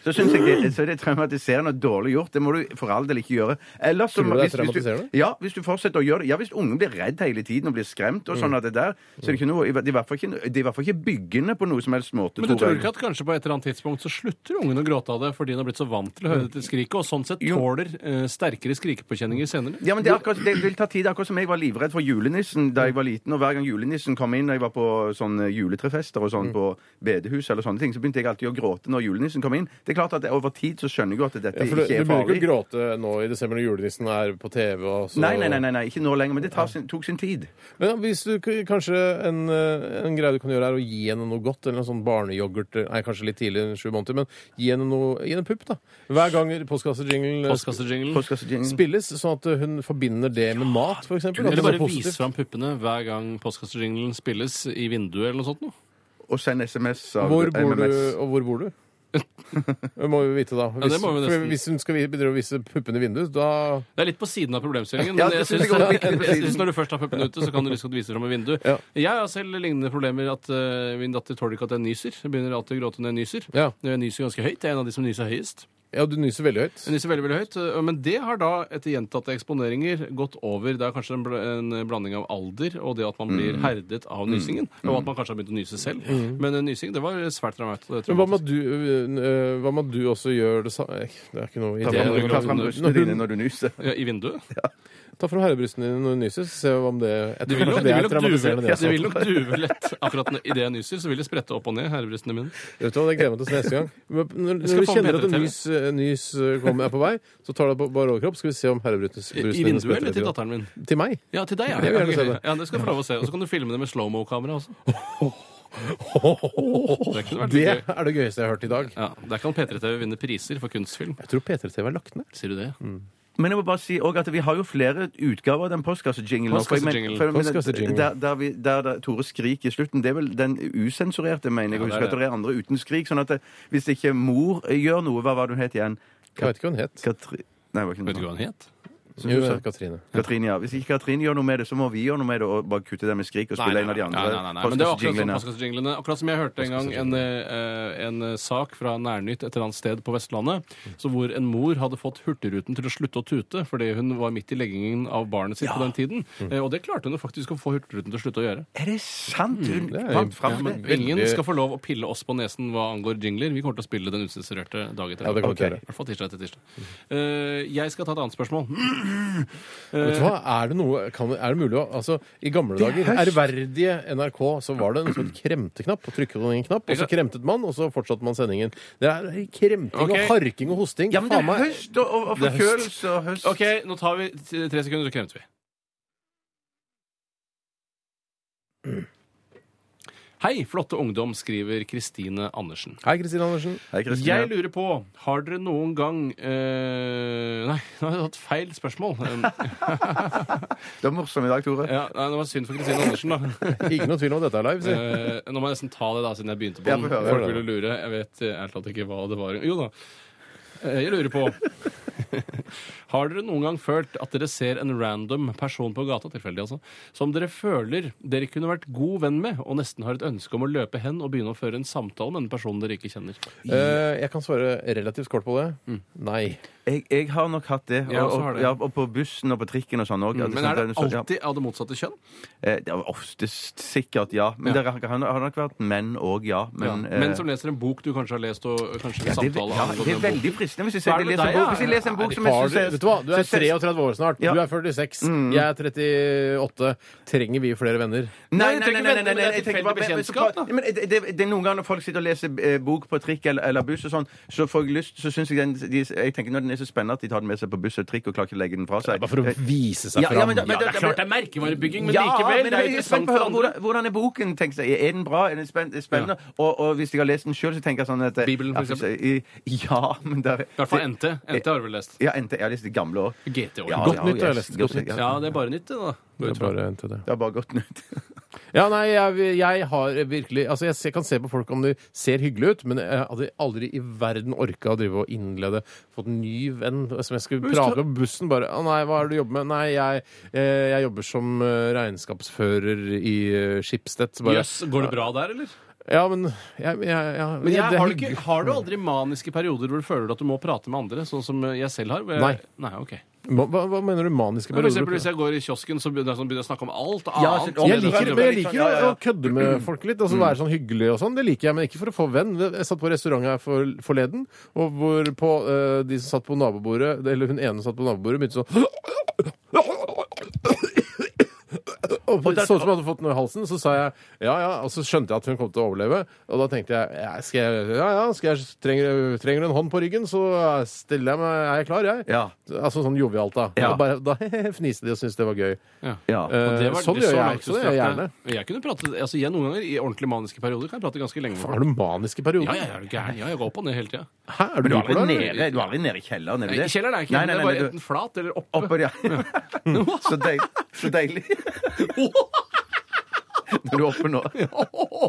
Speaker 3: så synes jeg det, så er det traumatiserende og dårlig gjort. Det må du for all del ikke gjøre. Ellers, så-
Speaker 2: Tror du det er
Speaker 3: du,
Speaker 2: traumatiserende?
Speaker 3: ja, hvis du fortsetter å gjøre det Ja, hvis ungen blir redd hele tiden og blir skremt og
Speaker 2: Mm.
Speaker 3: sånn at det der, så er det ikke noe Det er i hvert fall ikke, det er i hvert fall ikke byggende på noe som helst måte.
Speaker 4: Men du
Speaker 3: tror
Speaker 4: tror
Speaker 3: jeg.
Speaker 4: ikke at kanskje på et eller annet tidspunkt så slutter ungen å gråte av det fordi den har blitt så vant til å høre dette skriket, og sånn sett
Speaker 3: Jo.
Speaker 4: tåler eh, sterkere skrikepåkjenninger senere?
Speaker 3: Ja, men det, er akkurat, det vil ta tid. Det er Akkurat som jeg var livredd for julenissen da jeg var liten. Og hver gang julenissen kom inn, og jeg var på sånne juletrefester og
Speaker 2: Mm.
Speaker 3: sånn på bedehus, eller sånne ting, så begynte jeg alltid å gråte når julenissen kom inn. Det er klart at det, Over tid så skjønner jeg jo at dette
Speaker 2: Ja, for du,
Speaker 3: ikke
Speaker 2: du
Speaker 3: er
Speaker 2: begynner
Speaker 3: farlig.
Speaker 2: ikke å gråte nå i desember når julenissen er på TV. Og så...
Speaker 3: Nei, nei, nei, nei, nei, ikke nå lenger. Men det tar sin, tok sin tid.
Speaker 2: Men hvis du k- kanskje en, eh, en greie du kan gjøre, er å gi henne noe godt. Eller en sånn barneyoghurt eh, Nei, kanskje litt tidlig, sju måneder, men gi henne noe Gi henne en pupp, da. Hver gang postkassejinglen eh, sp-
Speaker 4: Postkassejingle.
Speaker 3: Postkassejingle.
Speaker 2: spilles, sånn at eh, hun forbinder det med mat, f.eks.
Speaker 4: Eller bare vise fram puppene hver gang postkassejinglen spilles i vinduet eller noe sånt. Noe.
Speaker 3: Og send SMS av
Speaker 2: Hvor bor du,
Speaker 3: MMS.
Speaker 2: og hvor bor du? Det må vi vite, da. Hvis,
Speaker 4: det må vi
Speaker 2: for
Speaker 4: nesten.
Speaker 2: hvis hun skal vi- begynne å vise puppene i vinduet, da
Speaker 4: Det er litt på siden av problemstillingen.
Speaker 3: Ja,
Speaker 4: men jeg
Speaker 3: det synes jeg
Speaker 4: synes,
Speaker 3: også er litt på
Speaker 4: jeg
Speaker 3: siden.
Speaker 4: synes Når du først har puppene ute, så kan du liksom vise dem fram i vinduet.
Speaker 2: Ja.
Speaker 4: Jeg har selv lignende problemer. at eh, Min datter tåler ikke at jeg nyser. Jeg begynner alltid å gråte når jeg nyser.
Speaker 2: Ja.
Speaker 4: Jeg nyser ganske høyt. Jeg er en av de som nyser høyest.
Speaker 2: Ja, du nyser veldig høyt.
Speaker 4: Den lyser veldig, veldig høyt, øh, men det har da etter gjentatte eksponeringer gått over. Det er kanskje en, bl en blanding av alder og det at man blir
Speaker 2: Mm.
Speaker 4: herdet av nysingen. Og at man kanskje har begynt å nyse selv. Men øh, nysing, det var svært traumat-
Speaker 2: Men hva med
Speaker 4: traumatisk.
Speaker 2: at du, øh, øh, hva med at du også gjør det samme Det er ikke noe idé.
Speaker 3: Ta fram,
Speaker 4: det-
Speaker 3: ta fram
Speaker 4: når-
Speaker 3: brystene dine når du nyser.
Speaker 4: Ja, I vinduet?
Speaker 2: Ta fram herrebrystene dine når du nyser, så ser vi om det Jeg tror
Speaker 4: De vil nok,
Speaker 2: kanskje
Speaker 4: de
Speaker 2: det er
Speaker 4: vil nok, duve,
Speaker 2: traumatiserende, det altså.
Speaker 4: de
Speaker 2: også.
Speaker 4: vil nok duve lett. Akkurat idet jeg nyser, så vil det sprette opp og ned, herrebrystene mine.
Speaker 2: Vet du hva, det gleder jeg meg til å se neste gang. Men Når,
Speaker 4: skal
Speaker 2: når du
Speaker 4: få med
Speaker 2: kjenner at en
Speaker 4: bedre
Speaker 2: nys, øh, nys øh, kommer, er på vei, så tar du deg på bar overkropp, skal vi se om
Speaker 4: I,
Speaker 2: herrebrystene
Speaker 4: i vinduet eller til datteren min?
Speaker 2: Til meg?
Speaker 4: Ja, til deg, ja.
Speaker 2: Jeg vil gjerne se det.
Speaker 4: Ja, det skal du få lov å se. Og så kan du filme det med slowmo-kamera også. Det kunne vært
Speaker 2: Det
Speaker 4: litt gøy.
Speaker 2: er det gøyeste jeg har hørt i dag.
Speaker 4: Ja, Der kan P3 TV vinne priser for kunstfilm.
Speaker 2: Jeg tror P3 TV er lagt ned.
Speaker 4: Sier du det?
Speaker 3: Men jeg må bare si også at vi har jo flere utgaver av den postkassejinglen. nå, for jeg men-
Speaker 4: Postkassejingle.
Speaker 3: for jeg mener-
Speaker 2: Postkassejingle.
Speaker 3: Der, der, vi, der, der Tore Skrik i slutten, det er vel den usensurerte, mener jeg. Ja,
Speaker 4: Ja, det er
Speaker 3: husker at det er andre uten Skrik. Sånn at det, hvis ikke mor gjør noe, hva var det hun het igjen?
Speaker 2: Jeg vet ikke hva hun het.
Speaker 3: Katri... Nei, det var ikke
Speaker 4: Vet du
Speaker 3: noe.
Speaker 4: hva han het?
Speaker 2: Jo, det er Katrine.
Speaker 3: Katrine, ja. Hvis ikke Katrine gjør noe med det, så må vi gjøre noe med det og bare kutte det med Skrik og spille en av de andre
Speaker 4: Nei, nei, nei, nei. Men det var akkurat som
Speaker 3: postkassejinglene.
Speaker 4: postkassejinglene. Akkurat som jeg hørte en gang en, eh, en eh, sak fra Nærnytt et eller annet sted på Vestlandet, så hvor en mor hadde fått Hurtigruten til å slutte å tute fordi hun var midt i leggingen av barnet sitt på den tiden.
Speaker 2: Mm.
Speaker 4: Eh, Og det klarte hun jo faktisk å få Hurtigruten til å slutte å gjøre.
Speaker 3: Er det sant?
Speaker 4: Mm,
Speaker 3: Hun
Speaker 2: det er-
Speaker 3: vant fram
Speaker 4: Men
Speaker 3: med det?
Speaker 4: ingen skal få lov å pille oss på nesen hva angår jingler. Vi kommer til å spille den usensurerte dag etter
Speaker 2: Ja, det
Speaker 4: dag.
Speaker 2: kommer vi til å gjøre.
Speaker 4: I hvert fall tirsdag etter tirsdag. Eh, jeg skal ta et annet spørsmål.
Speaker 2: Vet du hva? Er det, noe, kan, er det mulig å altså, I gamle dager, ærverdige NRK, så var det en sånn kremteknapp. Og trykket man i en knapp, og så kremtet man, og så fortsatte man sendingen. Det er kremting
Speaker 4: Ok.
Speaker 2: og harking og hosting.
Speaker 3: Ja, men det
Speaker 2: Faen
Speaker 3: er
Speaker 2: meg.
Speaker 3: høst og, og, og
Speaker 2: Det er høst.
Speaker 3: forkjølelse og høst.
Speaker 4: OK, nå tar vi t- tre sekunder, så kremter vi. Hei, flotte ungdom, skriver Kristine Andersen.
Speaker 2: Hei, Kristin Andersen.
Speaker 3: Hei, Kristin.
Speaker 4: Jeg lurer på, har dere noen gang eh, Nei, nå har jeg tatt feil spørsmål. Um,
Speaker 3: Det var morsomt i dag, Tore.
Speaker 4: ja, nei, det var synd for Kristine Andersen, da.
Speaker 2: Ikke noe tvil om at dette er live. Si.
Speaker 4: Eh, nå må jeg nesten ta det, da, siden jeg begynte på
Speaker 3: Ja,
Speaker 4: den.
Speaker 3: få høre.
Speaker 4: Folk ville lure. Jeg vet eh, ærlig talt ikke hva det var. Jo da. Eh, Jeg lurer på Har dere noen gang følt at dere ser en random person på gata, tilfeldig altså, som dere føler dere kunne vært god venn med, og nesten har et ønske om å løpe hen og begynne å føre en samtale med en person dere ikke kjenner?
Speaker 2: Eh, jeg kan svare relativt kort på det. Nei.
Speaker 3: Jeg, jeg har nok hatt det. Og,
Speaker 4: Jeg også har
Speaker 3: og,
Speaker 4: det.
Speaker 3: ja, og på bussen og på trikken og sånn òg.
Speaker 4: Men er det alltid av det motsatte kjønn?
Speaker 3: Eh, Det er oftest sikkert ja. Men
Speaker 4: Ja.
Speaker 3: det har- har har nok vært menn òg, ja. Men,
Speaker 4: ja.
Speaker 3: eh,
Speaker 4: Menn som leser en bok du kanskje har lest, og eh, kanskje
Speaker 3: ja,
Speaker 4: en
Speaker 3: det,
Speaker 4: samtale
Speaker 3: ja,
Speaker 4: angående
Speaker 3: det er
Speaker 4: den boken.
Speaker 3: veldig fristende hvis jeg, ser,
Speaker 4: Hva er det med
Speaker 3: leser, en
Speaker 4: deg,
Speaker 3: bok,
Speaker 4: ja?
Speaker 3: hvis jeg leser en bok som jeg
Speaker 2: Har
Speaker 3: syns
Speaker 2: du, vet du hva? Du er 33 år snart.
Speaker 3: Ja.
Speaker 2: Du er 46. Jeg er 38. Trenger vi flere venner?
Speaker 3: Nei,
Speaker 4: Nei,
Speaker 3: nei, nei, nei, nei, nei, nei,
Speaker 4: det er
Speaker 3: jeg tenker bare- men-
Speaker 4: tilfeldig
Speaker 3: men-
Speaker 4: bekjentskap, da.
Speaker 3: men det, det, det er Noen ganger når folk sitter og leser eh, bok på trikk eller, eller buss, og sånn, så får jeg lyst så synes jeg, den, de, jeg tenker når den er så spennende at de tar den med seg på buss og trikk og klarer ikke å legge den fra seg. Eh,
Speaker 2: Bare for å vise seg
Speaker 3: Ja, ja,
Speaker 2: fram.
Speaker 3: men da- men
Speaker 4: Ja, det er klart det er merkevarebygging, men likevel.
Speaker 3: men
Speaker 4: det er
Speaker 3: jeg er spent
Speaker 4: interessant
Speaker 3: på å
Speaker 4: for
Speaker 3: høre
Speaker 4: andre.
Speaker 3: hvordan, hvordan er boken. tenker jeg. Er den bra? Er den spenn- spennende? Og, og hvis jeg har lest den sjøl, så tenker jeg sånn at
Speaker 4: Bibelen, for
Speaker 3: ja, jeg- Ja, men der,
Speaker 4: I hvert fall NT. NT har du vel lest.
Speaker 3: Ja, NT. Jeg har lest det gamle òg.
Speaker 4: GT òg.
Speaker 2: Godt nytt har jeg lest. Godt nytt.
Speaker 4: Ja, det er bare nytt, det, da. Går
Speaker 2: Det
Speaker 4: ut
Speaker 2: er
Speaker 4: fra.
Speaker 2: bare en til det.
Speaker 3: Det er bare godt nytt.
Speaker 2: Ja, nei, jeg, jeg har virkelig Altså, jeg se- kan se på folk om de ser hyggelige ut, men jeg hadde aldri i verden orka å drive og innlede Fått en ny venn som jeg skulle prate med på bussen. Bare å 'Nei, hva er det du jobber med?' 'Nei, jeg, eh, jeg jobber som eh, regnskapsfører i eh, Schibsted'. Så Bare,
Speaker 4: Jøss, går det bra der, eller?
Speaker 2: Ja, men jeg, jeg, ja,
Speaker 4: Men
Speaker 2: ja, det er
Speaker 4: har, du
Speaker 2: hyggelig.
Speaker 4: ikke, har du aldri maniske perioder hvor du føler at du må prate med andre, sånn som jeg selv har? Hvor jeg-
Speaker 2: Nei.
Speaker 4: Nei, ok.
Speaker 2: Hva, hva- hva mener du maniske
Speaker 4: For
Speaker 2: perioder?
Speaker 4: eksempel hvis jeg går i kiosken, så begynner jeg sånn- begynner jeg å snakke om alt
Speaker 3: Ja,
Speaker 4: annet.
Speaker 3: så- og-
Speaker 2: jeg liker, men jeg
Speaker 3: litt sånn,
Speaker 2: liker å,
Speaker 3: ja, ja, Mm. ja.
Speaker 2: å kødde med folk litt. Altså Være sånn hyggelig og sånn. Det liker jeg, men ikke for å få venn. Jeg satt på restaurant her for, forleden, og hvor på, eh, de som satt på nabobordet, eller hun ene som satt på nabobordet, begynte sånn og det så ut som jeg hadde fått noe i halsen, så sa jeg ja ja, og så skjønte jeg at hun kom til å overleve. Og da tenkte jeg ja, skal jeg, ja, ja skal jeg, trenger, trenger du en hånd på ryggen, så stiller jeg meg, er jeg klar, jeg.
Speaker 3: Ja.
Speaker 2: Altså sånn jovialt, da.
Speaker 3: Ja.
Speaker 2: Og bare, da fniste de og syntes det var gøy.
Speaker 4: Ja.
Speaker 3: Ja.
Speaker 2: Eh,
Speaker 4: Og det var-
Speaker 2: sånn
Speaker 4: det
Speaker 2: gjør
Speaker 4: så
Speaker 2: jeg også, det gjør jeg
Speaker 4: langtidsstrakte. Jeg kunne prate, altså jeg noen ganger I ordentlig maniske perioder kan jeg prate ganske lenge. med folk.
Speaker 2: Har du maniske perioder?
Speaker 4: Ja, ja, jeg er du gæren? Ja, jeg går opp og ned hele tida.
Speaker 2: Hæ, er
Speaker 3: Men
Speaker 2: du
Speaker 3: du er
Speaker 2: bipolar?
Speaker 3: aldri
Speaker 2: eller?
Speaker 3: nede, du er aldri nede i kjelleren? Er du det?
Speaker 4: Kjelleren er ikke
Speaker 3: Nei,
Speaker 4: det
Speaker 3: nei,
Speaker 4: er
Speaker 3: nei,
Speaker 4: bare
Speaker 3: du-
Speaker 4: enten flat eller oppe.
Speaker 3: Oppå, ja. Så, deil, så deilig. Når du er oppe nå.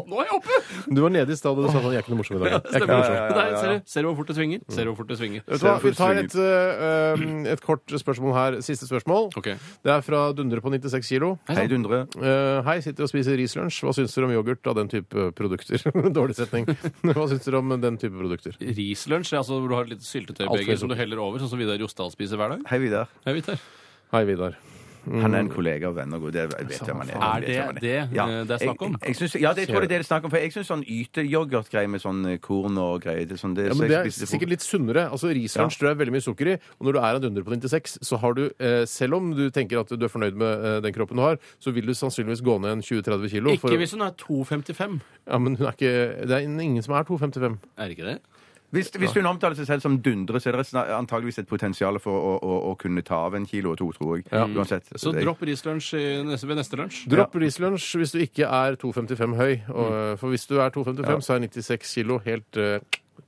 Speaker 4: Nå er jeg oppe!
Speaker 2: Du var nede i stad og du sa sånn 'jeg er ikke noe morsom i dag'. Jeg er ikke
Speaker 4: Stemmer.
Speaker 2: noe
Speaker 3: ja,
Speaker 2: morsom.
Speaker 3: ja, ja, ja.
Speaker 4: Nei, ser, du, ser du hvor fort det svinger? Ser du hvor fort det svinger?
Speaker 2: Vet du hva, Vi tar et, eh, eh, et kort spørsmål her. Siste spørsmål.
Speaker 4: Ok.
Speaker 2: Det er fra Dundre på 96 kilo.
Speaker 3: Hei, Dundre.
Speaker 2: Eh, hei, sitter og spiser rislunsj. Hva syns dere om yoghurt av den type produkter? Dårlig setning. Hva syns dere om den type produkter?
Speaker 4: Rislunsj, det er altså hvor du har et lite
Speaker 2: Alt for
Speaker 4: syltetøybeger som du heller over, sånn som Vidar Jostal spiser hver dag?
Speaker 3: Hei, Vidar.
Speaker 4: Jeg vet det.
Speaker 2: Hei, Vidar.
Speaker 3: Han
Speaker 2: Mm.
Speaker 3: er en kollega og venn og god. Det vet jeg om han er.
Speaker 4: Er
Speaker 3: vet jeg om
Speaker 4: det
Speaker 3: han er.
Speaker 4: det, eh, det er snakk om?
Speaker 3: Jeg, jeg synes, ja, det jeg tror jeg det er det er snakk om. For jeg syns sånn yteyoghurtgreie med sånn eh, korn og greier det, er sånn, det,
Speaker 2: Ja,
Speaker 3: så
Speaker 2: men
Speaker 3: jeg
Speaker 2: Det er
Speaker 3: spiste frokost.
Speaker 2: sikkert litt sunnere. Altså Rislunsj tror jeg er veldig mye sukker i. Og når du er en Dundre på 96, så har du, eh, selv om du tenker at du er fornøyd med eh, den kroppen du har, så vil du sannsynligvis gå ned en 20-30 kilo. for
Speaker 4: Ikke
Speaker 2: å-
Speaker 4: hvis hun er 2,55.
Speaker 2: Ja, men hun er ikke, det er ingen som er 2,55.
Speaker 4: Er ikke det?
Speaker 3: Hvis, hvis hun omtaler seg selv som dundre, så er det sna- antageligvis et potensial for å, å, å kunne ta av en kilo og to, tror jeg. Uansett.
Speaker 2: Mm.
Speaker 4: Så
Speaker 3: Det-
Speaker 4: dropp rislunsj i neste- ved neste lunsj.
Speaker 2: Dropp rislunsj hvis du ikke er 2,55 høy. Og, For hvis du er 2,55, så er 96 kilo helt eh,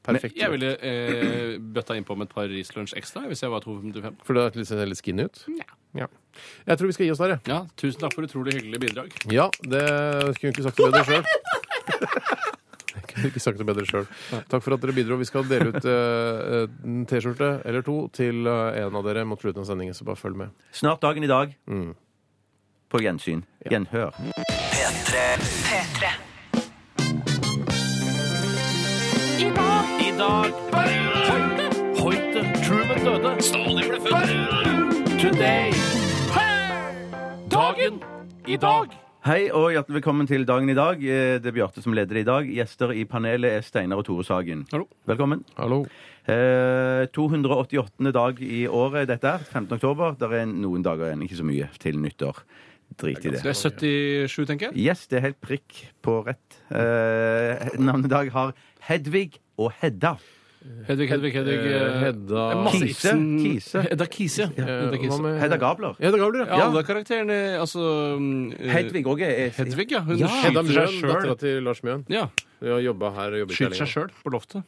Speaker 2: Perfekt.
Speaker 4: Jeg ville eh, bøtta innpå med et par Rislunch ekstra hvis jeg var 2,55.
Speaker 2: For det ser litt skinny ut? Ja. Jeg tror vi skal gi oss der, jeg.
Speaker 4: Ja, tusen takk for utrolig hyggelig bidrag.
Speaker 2: Ja, det skulle jeg ikke sagt det bedre sjøl. Jeg kunne ikke sagt det bedre selv. Takk for at dere bidro. Vi skal dele ut eh, en T-skjorte eller to til eh, en av dere mot slutten av sendingen, så bare følg med.
Speaker 3: Snart dagen i dag.
Speaker 2: Mm.
Speaker 3: På gjensyn. Gjenhør.
Speaker 1: P3.
Speaker 5: P3.
Speaker 7: I dag Hoite Truman døde. Stalin ble født. Today. Dagen i dag.
Speaker 3: Hei og hjertelig velkommen til dagen i dag. Eh, Det er Bjarte som leder det i dag. Gjester i panelet er Steinar og Tore Sagen.
Speaker 4: Hallo.
Speaker 3: Velkommen.
Speaker 2: Hallo.
Speaker 3: Eh, 288. dag i året er dette. 15. oktober. Det er noen dager igjen, ikke så mye, til nyttår. Drit i det.
Speaker 4: Det er 77, tenker jeg.
Speaker 3: Yes, det er helt prikk på rett. Eh, navnedag har Hedvig og Hedda.
Speaker 4: Hedvig, Hedvig, Hedvig. eh,
Speaker 2: Hedda-
Speaker 4: eh, masse
Speaker 3: Kise,
Speaker 4: Ibsen-
Speaker 3: Kise.
Speaker 4: Hedda Kise. ja. Hedda
Speaker 2: Eh, hva
Speaker 4: Kise.
Speaker 2: med-
Speaker 3: Hedda Gabler.
Speaker 2: Hedda Gabler,
Speaker 4: Ja, alle karakterene, altså mm, eh,
Speaker 3: Hedvig òg er
Speaker 4: Hedvig, ja. Hun
Speaker 2: Hedda
Speaker 4: skyter seg
Speaker 2: Mjøen, dattera
Speaker 4: sjøl.
Speaker 2: til Lars Mjøen.
Speaker 4: Ja,
Speaker 2: Hun har jobba her. og jobber ikke her
Speaker 4: skyter seg sjøl på loftet.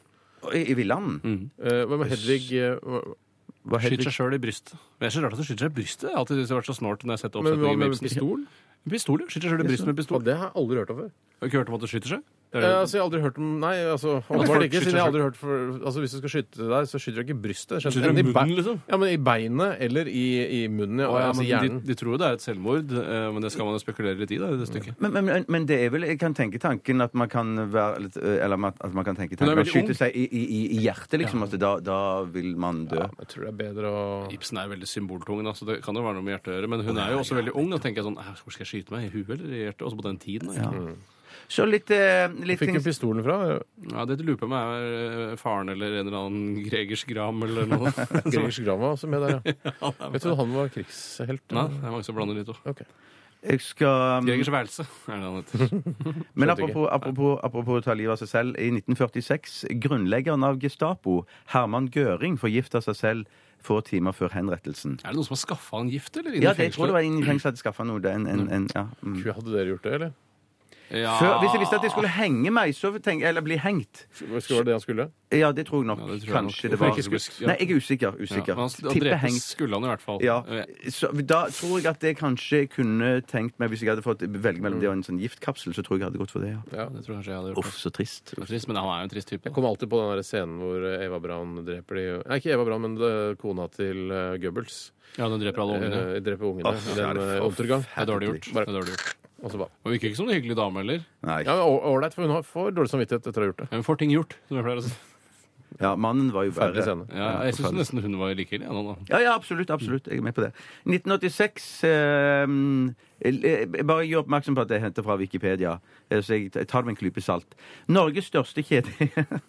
Speaker 3: I, i Villanden.
Speaker 4: Mm.
Speaker 2: lenger. Eh, Hva med Hedvig eh, hva-
Speaker 3: Hva er
Speaker 4: Skyter
Speaker 3: Hedvig?
Speaker 4: seg sjøl i brystet. Det er så rart at hun skyter seg i brystet. Jeg har alltid syntes det har vært så snålt når jeg har sett
Speaker 2: Men hva
Speaker 4: oppsetningen med
Speaker 2: med
Speaker 4: Ibsen.
Speaker 2: pistol?
Speaker 4: Pistol, ja. Skyter seg sjøl i brystet med
Speaker 2: Ja,
Speaker 4: pistol.
Speaker 2: det har jeg aldri hørt om før.
Speaker 4: Har du ikke hørt om at det skyter seg? Det
Speaker 2: Eh,
Speaker 4: er,
Speaker 2: altså, jeg har aldri hørt om Nei, altså
Speaker 4: folk
Speaker 2: åpenbart ikke. Siden
Speaker 4: skyter
Speaker 2: jeg har
Speaker 4: seg.
Speaker 2: aldri hørt for, altså, Hvis du skal skyte deg, så skyter du ikke i brystet.
Speaker 4: Skyter du i
Speaker 2: Enten i bei-
Speaker 4: munnen, liksom?
Speaker 2: Ja, men I beinet eller i, i munnen. Ja,
Speaker 4: Å, ja,
Speaker 2: altså
Speaker 4: men
Speaker 2: hjernen.
Speaker 4: de, de tror jo det er et selvmord, eh, men det skal man jo spekulere litt i. Da, i det stykket.
Speaker 3: Men, men, men- men det er vel Jeg kan tenke tanken at man kan være litt eh, Eller at at man kan tenke
Speaker 4: Hun
Speaker 3: tanken
Speaker 4: er
Speaker 3: å
Speaker 4: veldig ung.
Speaker 3: skyte seg i, i, i- i hjertet, liksom. At da, da vil man dø.
Speaker 2: Jeg tror det er bedre å
Speaker 4: Ibsen er veldig symboltung, da, så det kan jo være noe med hjertet å gjøre. Men hun er jo også veldig ung. Da tenker jeg sånn «Æ, Hvor skal jeg skyte meg? I huet eller i hjertet? Også på den tiden. da. Ja.
Speaker 3: Så litt, eh, litt
Speaker 2: Fikk
Speaker 3: ting
Speaker 2: du pistolen fra?
Speaker 4: det lurer på meg er eh, faren eller en eller annen Gregers Gram eller noe. Nei,
Speaker 2: Gregers Gran var også med der, ja. Jeg trodde han var krigshelt.
Speaker 4: det er mange som blander litt òg.
Speaker 2: Ok.
Speaker 3: Jeg skal
Speaker 4: Gregers Værelse er det han heter.
Speaker 3: Men apropos, apropos, apropos å ta livet av seg selv. I 1946, grunnleggeren av Gestapo, Herman Gøring, forgifta seg selv få timer før henrettelsen.
Speaker 4: Er det noen som har skaffa han gift, eller?
Speaker 3: Ja, det jeg tror det var ingen fengsel hadde skaffa noe. det er En, en, en, ja. mm.
Speaker 2: Hadde dere gjort det, eller?
Speaker 4: Ja,
Speaker 3: Før, hvis jeg visste at jeg skulle henge meg, så tenk, eller bli hengt
Speaker 2: Skulle var det det han skulle?
Speaker 3: Ja, det tror jeg nok.
Speaker 4: Ja, det tror jeg
Speaker 3: Kanskje
Speaker 4: nok.
Speaker 3: det var
Speaker 4: For ikke skutt, ja.
Speaker 3: Nei, jeg er usikker. usikker.
Speaker 4: men han, han
Speaker 3: Tipper
Speaker 4: drepes
Speaker 3: hengt.
Speaker 4: skulle han i hvert fall.
Speaker 3: Ja.
Speaker 4: Eh,
Speaker 3: Så, da tror jeg at det kanskje jeg kunne tenkt meg, hvis jeg hadde fått velge mellom det og en sånn giftkapsel, så tror jeg jeg hadde gått for det. ja.
Speaker 4: Mm. Det tror jeg kanskje jeg hadde gjort.
Speaker 3: Uff, så trist.
Speaker 4: Det er Trist, men han er jo en trist type.
Speaker 2: Jeg kom alltid på den der scenen hvor eh, Eva Braun dreper de Nei, ikke Eva Braun, men det- kona til eh, Goebbels.
Speaker 4: Ja, den dreper alle ungene.
Speaker 2: Eh, dreper ungene
Speaker 3: Åh,
Speaker 2: i den
Speaker 3: er det
Speaker 2: eh,
Speaker 3: for-
Speaker 2: Untergang.
Speaker 4: Det er dårlig gjort. Det er dårlig gjort.
Speaker 2: Og så bare
Speaker 4: Hun virker ikke som en hyggelig dame heller.
Speaker 3: Nei.
Speaker 2: Ja, men å- Ålreit, for hun har- får dårlig samvittighet etter å ha gjort det.
Speaker 4: Hun får ting gjort, som jeg pleier å si.
Speaker 3: Ja, mannen var jo
Speaker 2: Ferdig
Speaker 3: verre.
Speaker 2: scene.
Speaker 4: Ja, jeg syns nesten hun var like ille. Ja, nå, da.
Speaker 3: Ja, ja, absolutt. absolutt. Jeg er med på det. 1986 eh, eh, Bare gjør oppmerksom på at jeg henter fra Wikipedia, eh, så jeg jeg tar det med en klype salt. Norges største kjede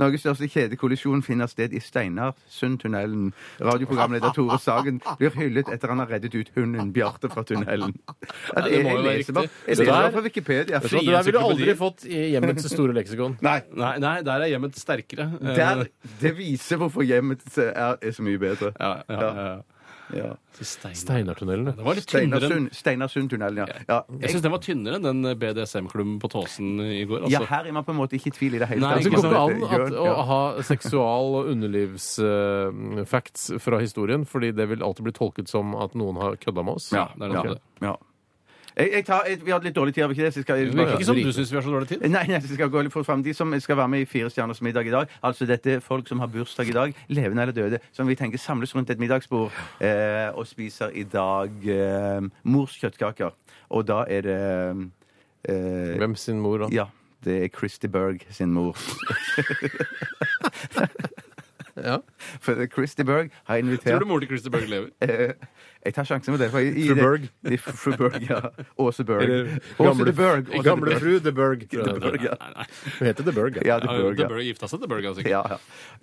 Speaker 3: Norges største kjedekollisjon finner sted i Steinarsundtunnelen. Radioprogramleder Tore Sagen blir hyllet etter han har reddet ut hunden Bjarte fra tunnelen. Ja,
Speaker 4: det må
Speaker 3: jeg
Speaker 4: jo være
Speaker 3: leser bare-
Speaker 4: riktig.
Speaker 3: jeg
Speaker 2: Det
Speaker 3: leser
Speaker 2: der-
Speaker 3: bare fra Wikipedia.
Speaker 2: Vet du hva, Det der ville du aldri fått i hjemmets store leksikon.
Speaker 3: Nei.
Speaker 4: Nei, nei, der er hjemmet sterkere. Eh,
Speaker 3: Der, det viser hvorfor hjemmet er, er så mye bedre.
Speaker 4: Ja, ja, ja, ja.
Speaker 3: Ja.
Speaker 4: Så Stein.
Speaker 2: Steinartunnelen, ja.
Speaker 4: Den var litt tynnere enn
Speaker 3: Steinarsund- Steinarsundtunnelen, ja. ja.
Speaker 4: Jeg syns den var tynnere enn den BDSM-klubben på Tåsen i går.
Speaker 3: Ja,
Speaker 4: Altså.
Speaker 3: her er man på en måte ikke i tvil i det hele
Speaker 4: Nei,
Speaker 3: tatt.
Speaker 2: Altså, går
Speaker 4: ikke sant?
Speaker 2: det an
Speaker 3: Gjør-
Speaker 2: at, å
Speaker 3: ja.
Speaker 2: ha seksual- og underlivsfacts fra historien, fordi det vil alltid bli tolket som at noen har kødda med oss?
Speaker 3: Ja,
Speaker 4: det er noe
Speaker 3: ja,
Speaker 4: med det.
Speaker 3: ja. Jeg, jeg tar, jeg, vi hadde litt dårlig tid, har vi ikke det? Så jeg skal,
Speaker 4: Det virker ikke som
Speaker 2: Ja,
Speaker 4: du syns vi har så dårlig tid.
Speaker 3: Nei, nei, så skal jeg gå litt fort frem. De som skal være med i Fire stjerners middag i dag, altså dette er folk som har bursdag i dag, levende eller døde, som vi tenker samles rundt et middagsbord eh, og spiser i dag eh, mors kjøttkaker. Og da er det eh,
Speaker 2: Hvem sin mor, da?
Speaker 3: Ja. Det er Christy Berg sin mor.
Speaker 2: Ja.
Speaker 3: For Christy Berg har invitert
Speaker 4: Tror du mor til Christer Berg lever?
Speaker 3: Eh, Jeg tar sjansen med det. for i- i
Speaker 2: Fru
Speaker 3: det-
Speaker 2: Berg.
Speaker 3: i Fru Berg, ja. Åse Berg.
Speaker 2: Eller
Speaker 3: Åse
Speaker 2: gamle-
Speaker 3: de Berg. Åse de
Speaker 2: Gamle
Speaker 3: Berg.
Speaker 2: fru The Berg. tror jeg det
Speaker 3: Berg,
Speaker 2: heter.
Speaker 3: ja.
Speaker 4: Nei, nei.
Speaker 2: Hun heter The Berg, ja.
Speaker 3: Ja, de
Speaker 4: Ja,
Speaker 3: Berg,
Speaker 4: det
Speaker 3: ja.
Speaker 4: bør jo gifta seg til Berg, altså. ikke?
Speaker 3: Ja, ja.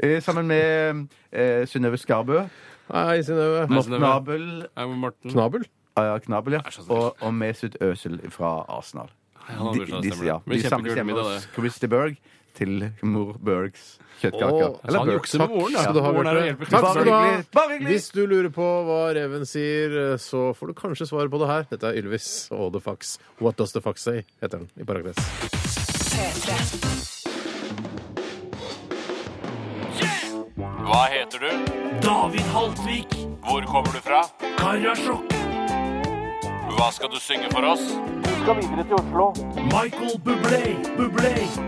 Speaker 3: Eh, Sammen med eh, Synnøve Skarbø,
Speaker 2: Hei, Synnøve.
Speaker 4: Nei,
Speaker 2: Morten
Speaker 4: Synnøve.
Speaker 3: Nabel
Speaker 4: Nei, men Morten.
Speaker 2: Knabel?
Speaker 3: ja, eh, Knabel, ja.
Speaker 4: er så snill.
Speaker 3: Og, og Mesut Özil fra Arsenal.
Speaker 4: Ja, han har
Speaker 3: De,
Speaker 4: bursdag,
Speaker 3: de,
Speaker 4: stemmer det.
Speaker 3: ja,
Speaker 4: Men
Speaker 3: de samles
Speaker 4: kjempekult
Speaker 3: hjemme
Speaker 4: middag,
Speaker 3: hos
Speaker 4: det.
Speaker 3: Christy Berg til mor Bergs kjøttkaker.
Speaker 2: Åh,
Speaker 4: Så han
Speaker 3: Berg.
Speaker 4: jukser med moren,
Speaker 2: Skal du ha,
Speaker 4: Moren er å
Speaker 2: Bjarte?
Speaker 4: hjelpe
Speaker 2: Takk
Speaker 4: Christer
Speaker 2: skal
Speaker 4: Berg.
Speaker 2: du ha.
Speaker 3: Berg. Bare hyggelig.
Speaker 2: Hvis du lurer på hva reven sier, eh, så får du kanskje svar på det her. Dette er Ylvis og The Fox. What Does The Fox Say? heter den i parentes.
Speaker 5: P3.
Speaker 8: heter du?
Speaker 7: David Haltvik,
Speaker 8: Hvor kommer du fra?
Speaker 7: Karasjok,
Speaker 8: Hva skal du synge for oss?
Speaker 7: Michael Bublé, Bublé.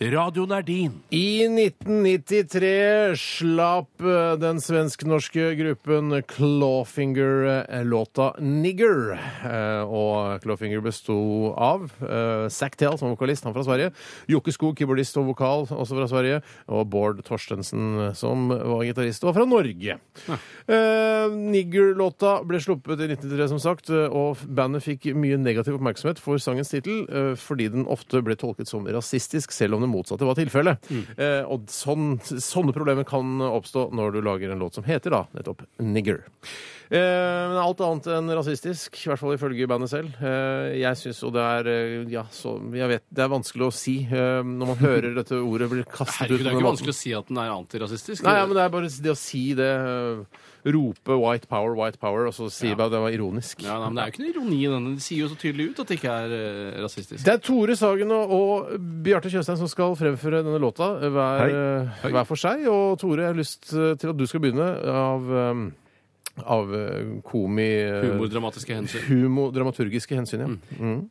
Speaker 7: Radioen er din.
Speaker 2: I 1993 slapp eh, den svensk-norske gruppen Clawfinger eh, låta 'Nigger'. Eh, Og Clawfinger besto av eh, Zack Tell som vokalist, han fra Sverige. Jokke Skog, keyboardist og vokal, også fra Sverige. Og Bård Torstensen, eh, som var gitarist, og fra Norge. Eh, Nigger-låta ble sluppet i 1993, som sagt, eh, og bandet fikk mye negativ oppmerksomhet for sangens tittel eh, fordi den ofte ble tolket som rasistisk, selv om det motsatte var tilfellet.
Speaker 4: Mm.
Speaker 2: Eh, Og sånn, sånne problemer kan oppstå når du lager en låt som heter da nettopp Nigger. Eh, Men alt annet enn rasistisk, i hvert fall ifølge bandet selv. Eh, Jeg syns jo det er eh, Ja, så jeg vet Det er vanskelig å si eh, når man hører dette ordet blir kastet
Speaker 4: Herregud,
Speaker 2: ut. på
Speaker 4: det er
Speaker 2: den
Speaker 4: ikke
Speaker 2: måten.
Speaker 4: vanskelig å si at den er antirasistisk.
Speaker 2: Nei, ja, men det er bare det å si det øh, Rope 'white power, white power', og så si bare at det var ironisk.
Speaker 4: Ja, nei, men det er jo ikke noe ironi i den. Det sier jo så tydelig ut at det ikke er eh, rasistisk.
Speaker 2: Det er Tore Sagen og, og Bjarte Tjøstheim som skal fremføre denne låta hver,
Speaker 3: Hei.
Speaker 2: øh, hver for seg. Og Tore, jeg har lyst øh, til at du skal begynne av, øhm, av øh, komi... øh,
Speaker 4: Humordramatiske hensyn.
Speaker 2: Humodramaturgiske hensyn,
Speaker 4: Mm.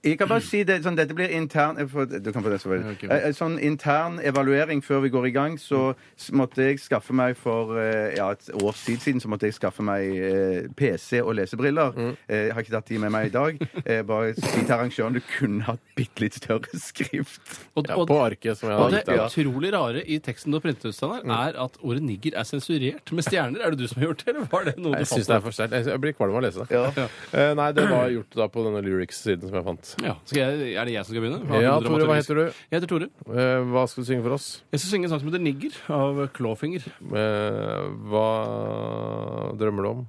Speaker 2: ja.
Speaker 3: Jeg kan bare si det, sånn, Dette blir intern eh, for, Du kan få det så vel.
Speaker 4: Ok.
Speaker 3: Eh, eh, Sånn intern evaluering før vi går i gang, så s- måtte jeg skaffe meg for eh, ja, et års tid siden så måtte jeg skaffe meg eh, PC og lesebriller. Eh, Jeg har ikke tatt de med meg i dag. Eh, Bare si til arrangøren du kunne hatt bitte litt større skrift.
Speaker 4: Og,
Speaker 2: ja.
Speaker 4: og,
Speaker 2: På arket, som jeg
Speaker 4: og
Speaker 2: har
Speaker 4: det
Speaker 2: gitt deg. da.
Speaker 4: utrolig rare i teksten du har printet ut, Steinar,
Speaker 2: Mm.
Speaker 4: er at ordet nigger er sensurert med stjerner. Er det du som har gjort det, eller var det noe
Speaker 2: Jeg
Speaker 4: du
Speaker 2: syns
Speaker 4: fant
Speaker 2: det er
Speaker 4: på?
Speaker 2: for sterkt. Jeg- Jeg blir kvalm av å lese det.
Speaker 3: Ja.
Speaker 2: Eh, nei, det var gjort da på denne lyrics-siden som jeg fant.
Speaker 4: Ja, skal jeg, Er det jeg som skal begynne?
Speaker 2: Ja, Tore, hva heter du?
Speaker 4: Jeg heter Tore.
Speaker 2: Eh, hva skal du synge for oss?
Speaker 4: Jeg skal synge en sang som heter 'Nigger' av Clawfinger.
Speaker 2: Eh, hva drømmer du om?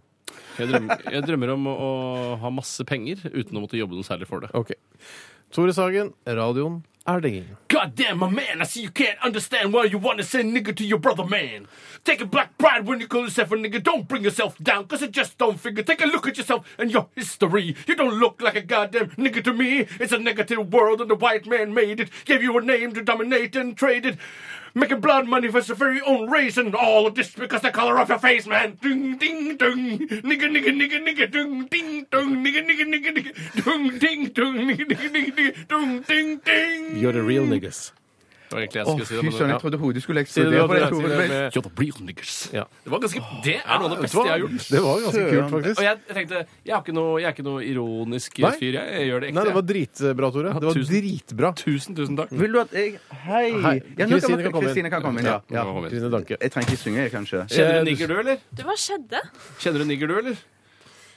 Speaker 4: Jeg drømmer, jeg drømmer om å, å ha masse penger uten å måtte jobbe noe særlig for det.
Speaker 2: Ok. Tore Sagen, radioen er din.
Speaker 7: God damn, my man, I see you can't understand why you want to say nigga to your brother, man. Take a black pride when you call yourself a nigga. Don't bring yourself down, cause it just don't figure. Take a look at yourself and your history. You don't look like a goddamn nigga to me. It's a negative world, and the white man made it. Gave you a name to dominate and trade it. Making blood money for your very own race, and all of this because the color of your face, man. Ding, ding, ding. Nigga, nigga, nigga, nigga. Ding, ding, ding. Nigga, nigga, nigga, nigga. Ding, ding, ding. Nigga, nigga, nigga, nigga. Ding, ding, ding.
Speaker 2: You're the real niggas.
Speaker 4: Det var egentlig jeg
Speaker 3: Å,
Speaker 4: skulle si
Speaker 3: fy
Speaker 4: det,
Speaker 3: søren,
Speaker 4: men
Speaker 3: jeg trodde hodet skulle
Speaker 2: det,
Speaker 3: eksplodere. på
Speaker 2: Tore,
Speaker 3: det,
Speaker 2: si
Speaker 3: Tore.
Speaker 2: det
Speaker 3: Men-
Speaker 2: med-
Speaker 4: You're the real niggers.
Speaker 2: Ja.
Speaker 4: Det var ganske, det er noe av det beste jeg har gjort.
Speaker 2: Det var ganske kult, faktisk.
Speaker 4: Og jeg, jeg tenkte, jeg er ikke noe, jeg er ikke noe ironisk
Speaker 2: Nei.
Speaker 4: fyr, jeg. jeg gjør det ekte.
Speaker 2: Nei, det var dritbra, Tore. Det var
Speaker 4: tusen-
Speaker 2: dritbra.
Speaker 4: Tusen, tusen takk.
Speaker 3: Vil du at jeg Hei!
Speaker 2: Hei,
Speaker 3: Ja, nå
Speaker 2: Kristine kan komme inn.
Speaker 3: Kristine kan komme inn. Ja.
Speaker 4: Ja.
Speaker 3: Ja.
Speaker 2: Kristine Danke.
Speaker 3: Jeg trenger ikke synge, jeg, kanskje.
Speaker 4: Kjenner du nigger, du, eller?
Speaker 9: Du, hva skjedde?
Speaker 4: Kjenner du nigger, du, eller?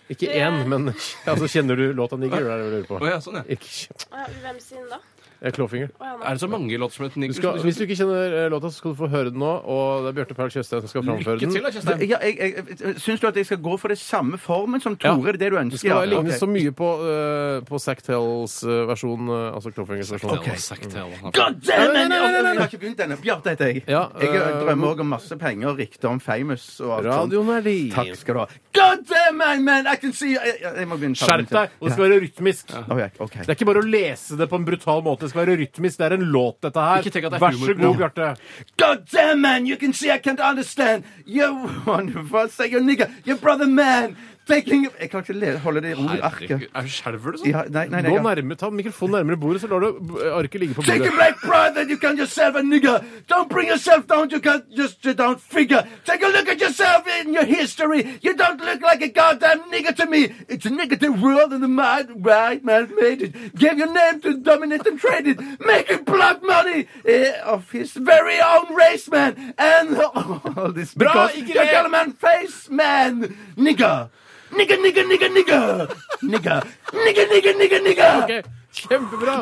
Speaker 2: Ikke én, men altså, Kjenner du låta 'Nigger'? Det er det jeg lurer
Speaker 4: Å
Speaker 2: på.
Speaker 4: ja, sånn, ja.
Speaker 2: Ikke
Speaker 9: Å ja, Hvem sin da?
Speaker 2: eh, Clawfinger.
Speaker 9: Å, ja, nei.
Speaker 4: Er det så mange låter som heter
Speaker 2: Du
Speaker 4: nigger?
Speaker 2: skal,
Speaker 4: som
Speaker 2: hvis du ikke kjenner eh, låta, så skal du få høre den nå. Og det er Bjarte Perl Tjøstheim som skal framføre
Speaker 4: Lykke
Speaker 2: den.
Speaker 4: til, da, Kjøstheim.
Speaker 3: Ja, jeg, jeg, syns du at jeg skal gå for det samme formen som Tore?
Speaker 2: Ja.
Speaker 3: Er det det du
Speaker 2: Det
Speaker 3: ønsker?
Speaker 2: skal
Speaker 3: Ja,
Speaker 2: ligne
Speaker 3: ok.
Speaker 2: så mye på, uh, på Zack Tells eh, versjon, eh, altså Clawfingers versjon.
Speaker 4: Ja, sagt det, ja.
Speaker 3: God damn,
Speaker 2: Nei, nei, nei, nei, nei.
Speaker 3: Jeg har ikke begynt ennå. Bjarte heter jeg.
Speaker 2: Ja,
Speaker 3: jeg
Speaker 2: eh,
Speaker 3: drømmer også om masse penger, rikdom, famous og alt sånt.
Speaker 2: Radioen er din.
Speaker 3: Takk skal du ha. God damn, my man, I can see Jeg, jeg, jeg må begynne. ta den
Speaker 2: Skjerp
Speaker 3: til.
Speaker 2: deg! Og det skal være rytmisk.
Speaker 3: Å, ja, ok.
Speaker 2: Det er ikke bare å lese det på en brutal måte. Det skal være rytmisk. Det er en låt, dette her.
Speaker 4: Ikke tenk at det er
Speaker 2: Vær
Speaker 4: humor.
Speaker 2: så god, Bjarte.
Speaker 3: God damn, man, you can see I can't understand. You one of us, say your nigga, your brother man. Taking Jeg klarer ikke å le- holde det i ro i arket.
Speaker 4: Herregud, er- skjelver du sånn?
Speaker 3: Ja, nei, nei, nei,
Speaker 2: Gå
Speaker 3: ja.
Speaker 2: nærme, ta mikrofonen nærmere bordet, så lar du eh, arket ligge på
Speaker 3: Take
Speaker 2: bordet.
Speaker 3: a black pride that you can yourself a nigger. Don't bring yourself down. You can't just you don't figure. Take a look at yourself in your history. You don't look like a goddamn nigger to me. It's a negative world and the mind right man made it. Gave your name to dominate and trade it. Making blood money eh, of his very own race man. And all this because
Speaker 2: ikke
Speaker 3: you
Speaker 2: det.
Speaker 3: call a man face man nigger. Nigger, nigger, nigger, nigger. Nigger. Nigger, nigger, nigger, nigger.
Speaker 2: Ok, Kjempebra!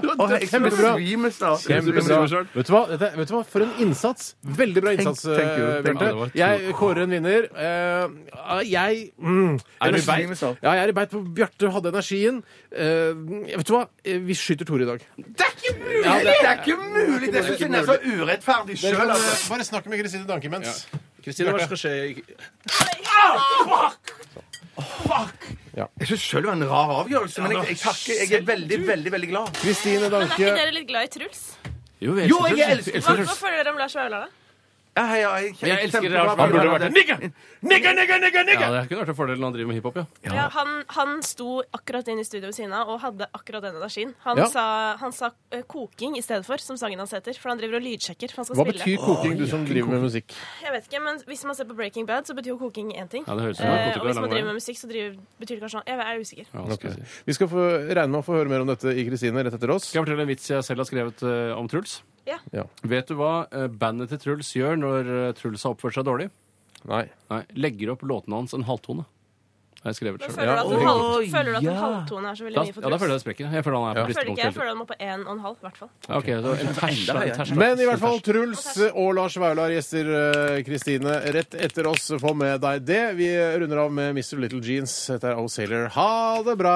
Speaker 2: Kjempebra.
Speaker 3: Kjempebra.
Speaker 2: Kjempebra. Vet du, hva? Dette, vet du hva? For en innsats! Veldig bra innsats,
Speaker 3: Thank- thank you.
Speaker 2: eh,
Speaker 3: Thank
Speaker 4: you.
Speaker 2: Bjarte. Jeg kårer en vinner. Eh, jeg mm, Er
Speaker 3: du
Speaker 2: i beit?
Speaker 3: svimmel, sa?
Speaker 2: Ja, jeg er i beit, for Bjarte hadde energien. Eh, vet du hva? Eh, Vi skyter Tore i dag.
Speaker 3: Det er ikke mulig! det, er ikke mulig! Det syns jeg er så urettferdig sjøl. Altså.
Speaker 2: eh, Bare snakk med Kristine Danke imens.
Speaker 4: Kristine, hva skal skje? i-
Speaker 3: Jeg syns sjøl det var en rar avgjørelse, men jeg, jeg takker. Jeg er veldig, veldig veldig glad.
Speaker 2: Kristine
Speaker 9: Men er ikke
Speaker 2: Danke.
Speaker 9: dere litt glad i Truls?
Speaker 4: Jo,
Speaker 3: Jo, jeg
Speaker 4: Truls.
Speaker 3: elsker
Speaker 9: Hva, hva føler dere om Lars Vaular, da?
Speaker 3: Ja, hei, ja, jeg,
Speaker 4: Jeg elsker
Speaker 3: kjempebra
Speaker 4: Lars Vaular.
Speaker 3: program.
Speaker 4: burde
Speaker 7: vært en nigger! Nigger, nigger, nigger,
Speaker 4: Ja,
Speaker 7: nigger!
Speaker 4: Det kunne vært en fordel når han driver med hiphop, ja.
Speaker 9: Ja, han, han sto akkurat inn i studio ved siden av og hadde akkurat den energien. Han
Speaker 2: Ja.
Speaker 9: sa, han sa eh, koking i stedet for, som sangen hans heter. For han driver og lydsjekker. For han skal
Speaker 2: Hva
Speaker 9: spille.
Speaker 2: betyr koking, du som driver med musikk?
Speaker 9: Jeg vet ikke, men Hvis man ser på Breaking Bad, så betyr jo koking én ting.
Speaker 4: Ja, det høres ut som
Speaker 9: eh,
Speaker 4: narkotika
Speaker 9: og hvis
Speaker 4: lang
Speaker 9: man driver
Speaker 4: vei.
Speaker 9: med musikk, så driver, betyr det kanskje noe. Jeg er usikker.
Speaker 4: ja hva skal, jeg si.
Speaker 2: Vi skal få regne med å få høre mer om dette i Kristine rett etter oss.
Speaker 4: skal jeg fortelle en vits jeg selv har skrevet eh, om Truls?
Speaker 9: Ja.
Speaker 2: Ja.
Speaker 4: Vet du hva eh, bandet til Truls gjør når eh, Truls har oppført seg dårlig?
Speaker 2: Nei.
Speaker 4: Nei, Legger opp låtene hans en halvtone. Har jeg skrevet
Speaker 9: Men
Speaker 4: selv.
Speaker 9: føler du at
Speaker 2: Oi.
Speaker 9: en, halv, føler du at en halvtone er så veldig
Speaker 4: Da,
Speaker 9: mye for
Speaker 4: ja, da
Speaker 9: Truls?
Speaker 4: føler jeg det sprekker. Jeg føler han er
Speaker 2: Ja.
Speaker 4: på
Speaker 9: føler ikke jeg. Jeg
Speaker 4: bristepunktet.
Speaker 9: føler han må på en og en halv, i hvert fall.
Speaker 4: Ja, ok, så en ters, da, en ters, da.
Speaker 2: Men i hvert fall Truls og Lars Vaular gjester eh, Kristine rett etter oss. Få med deg det. Vi runder av med Mr. Little Jeans. Dette er O-Sailor. Ha det bra!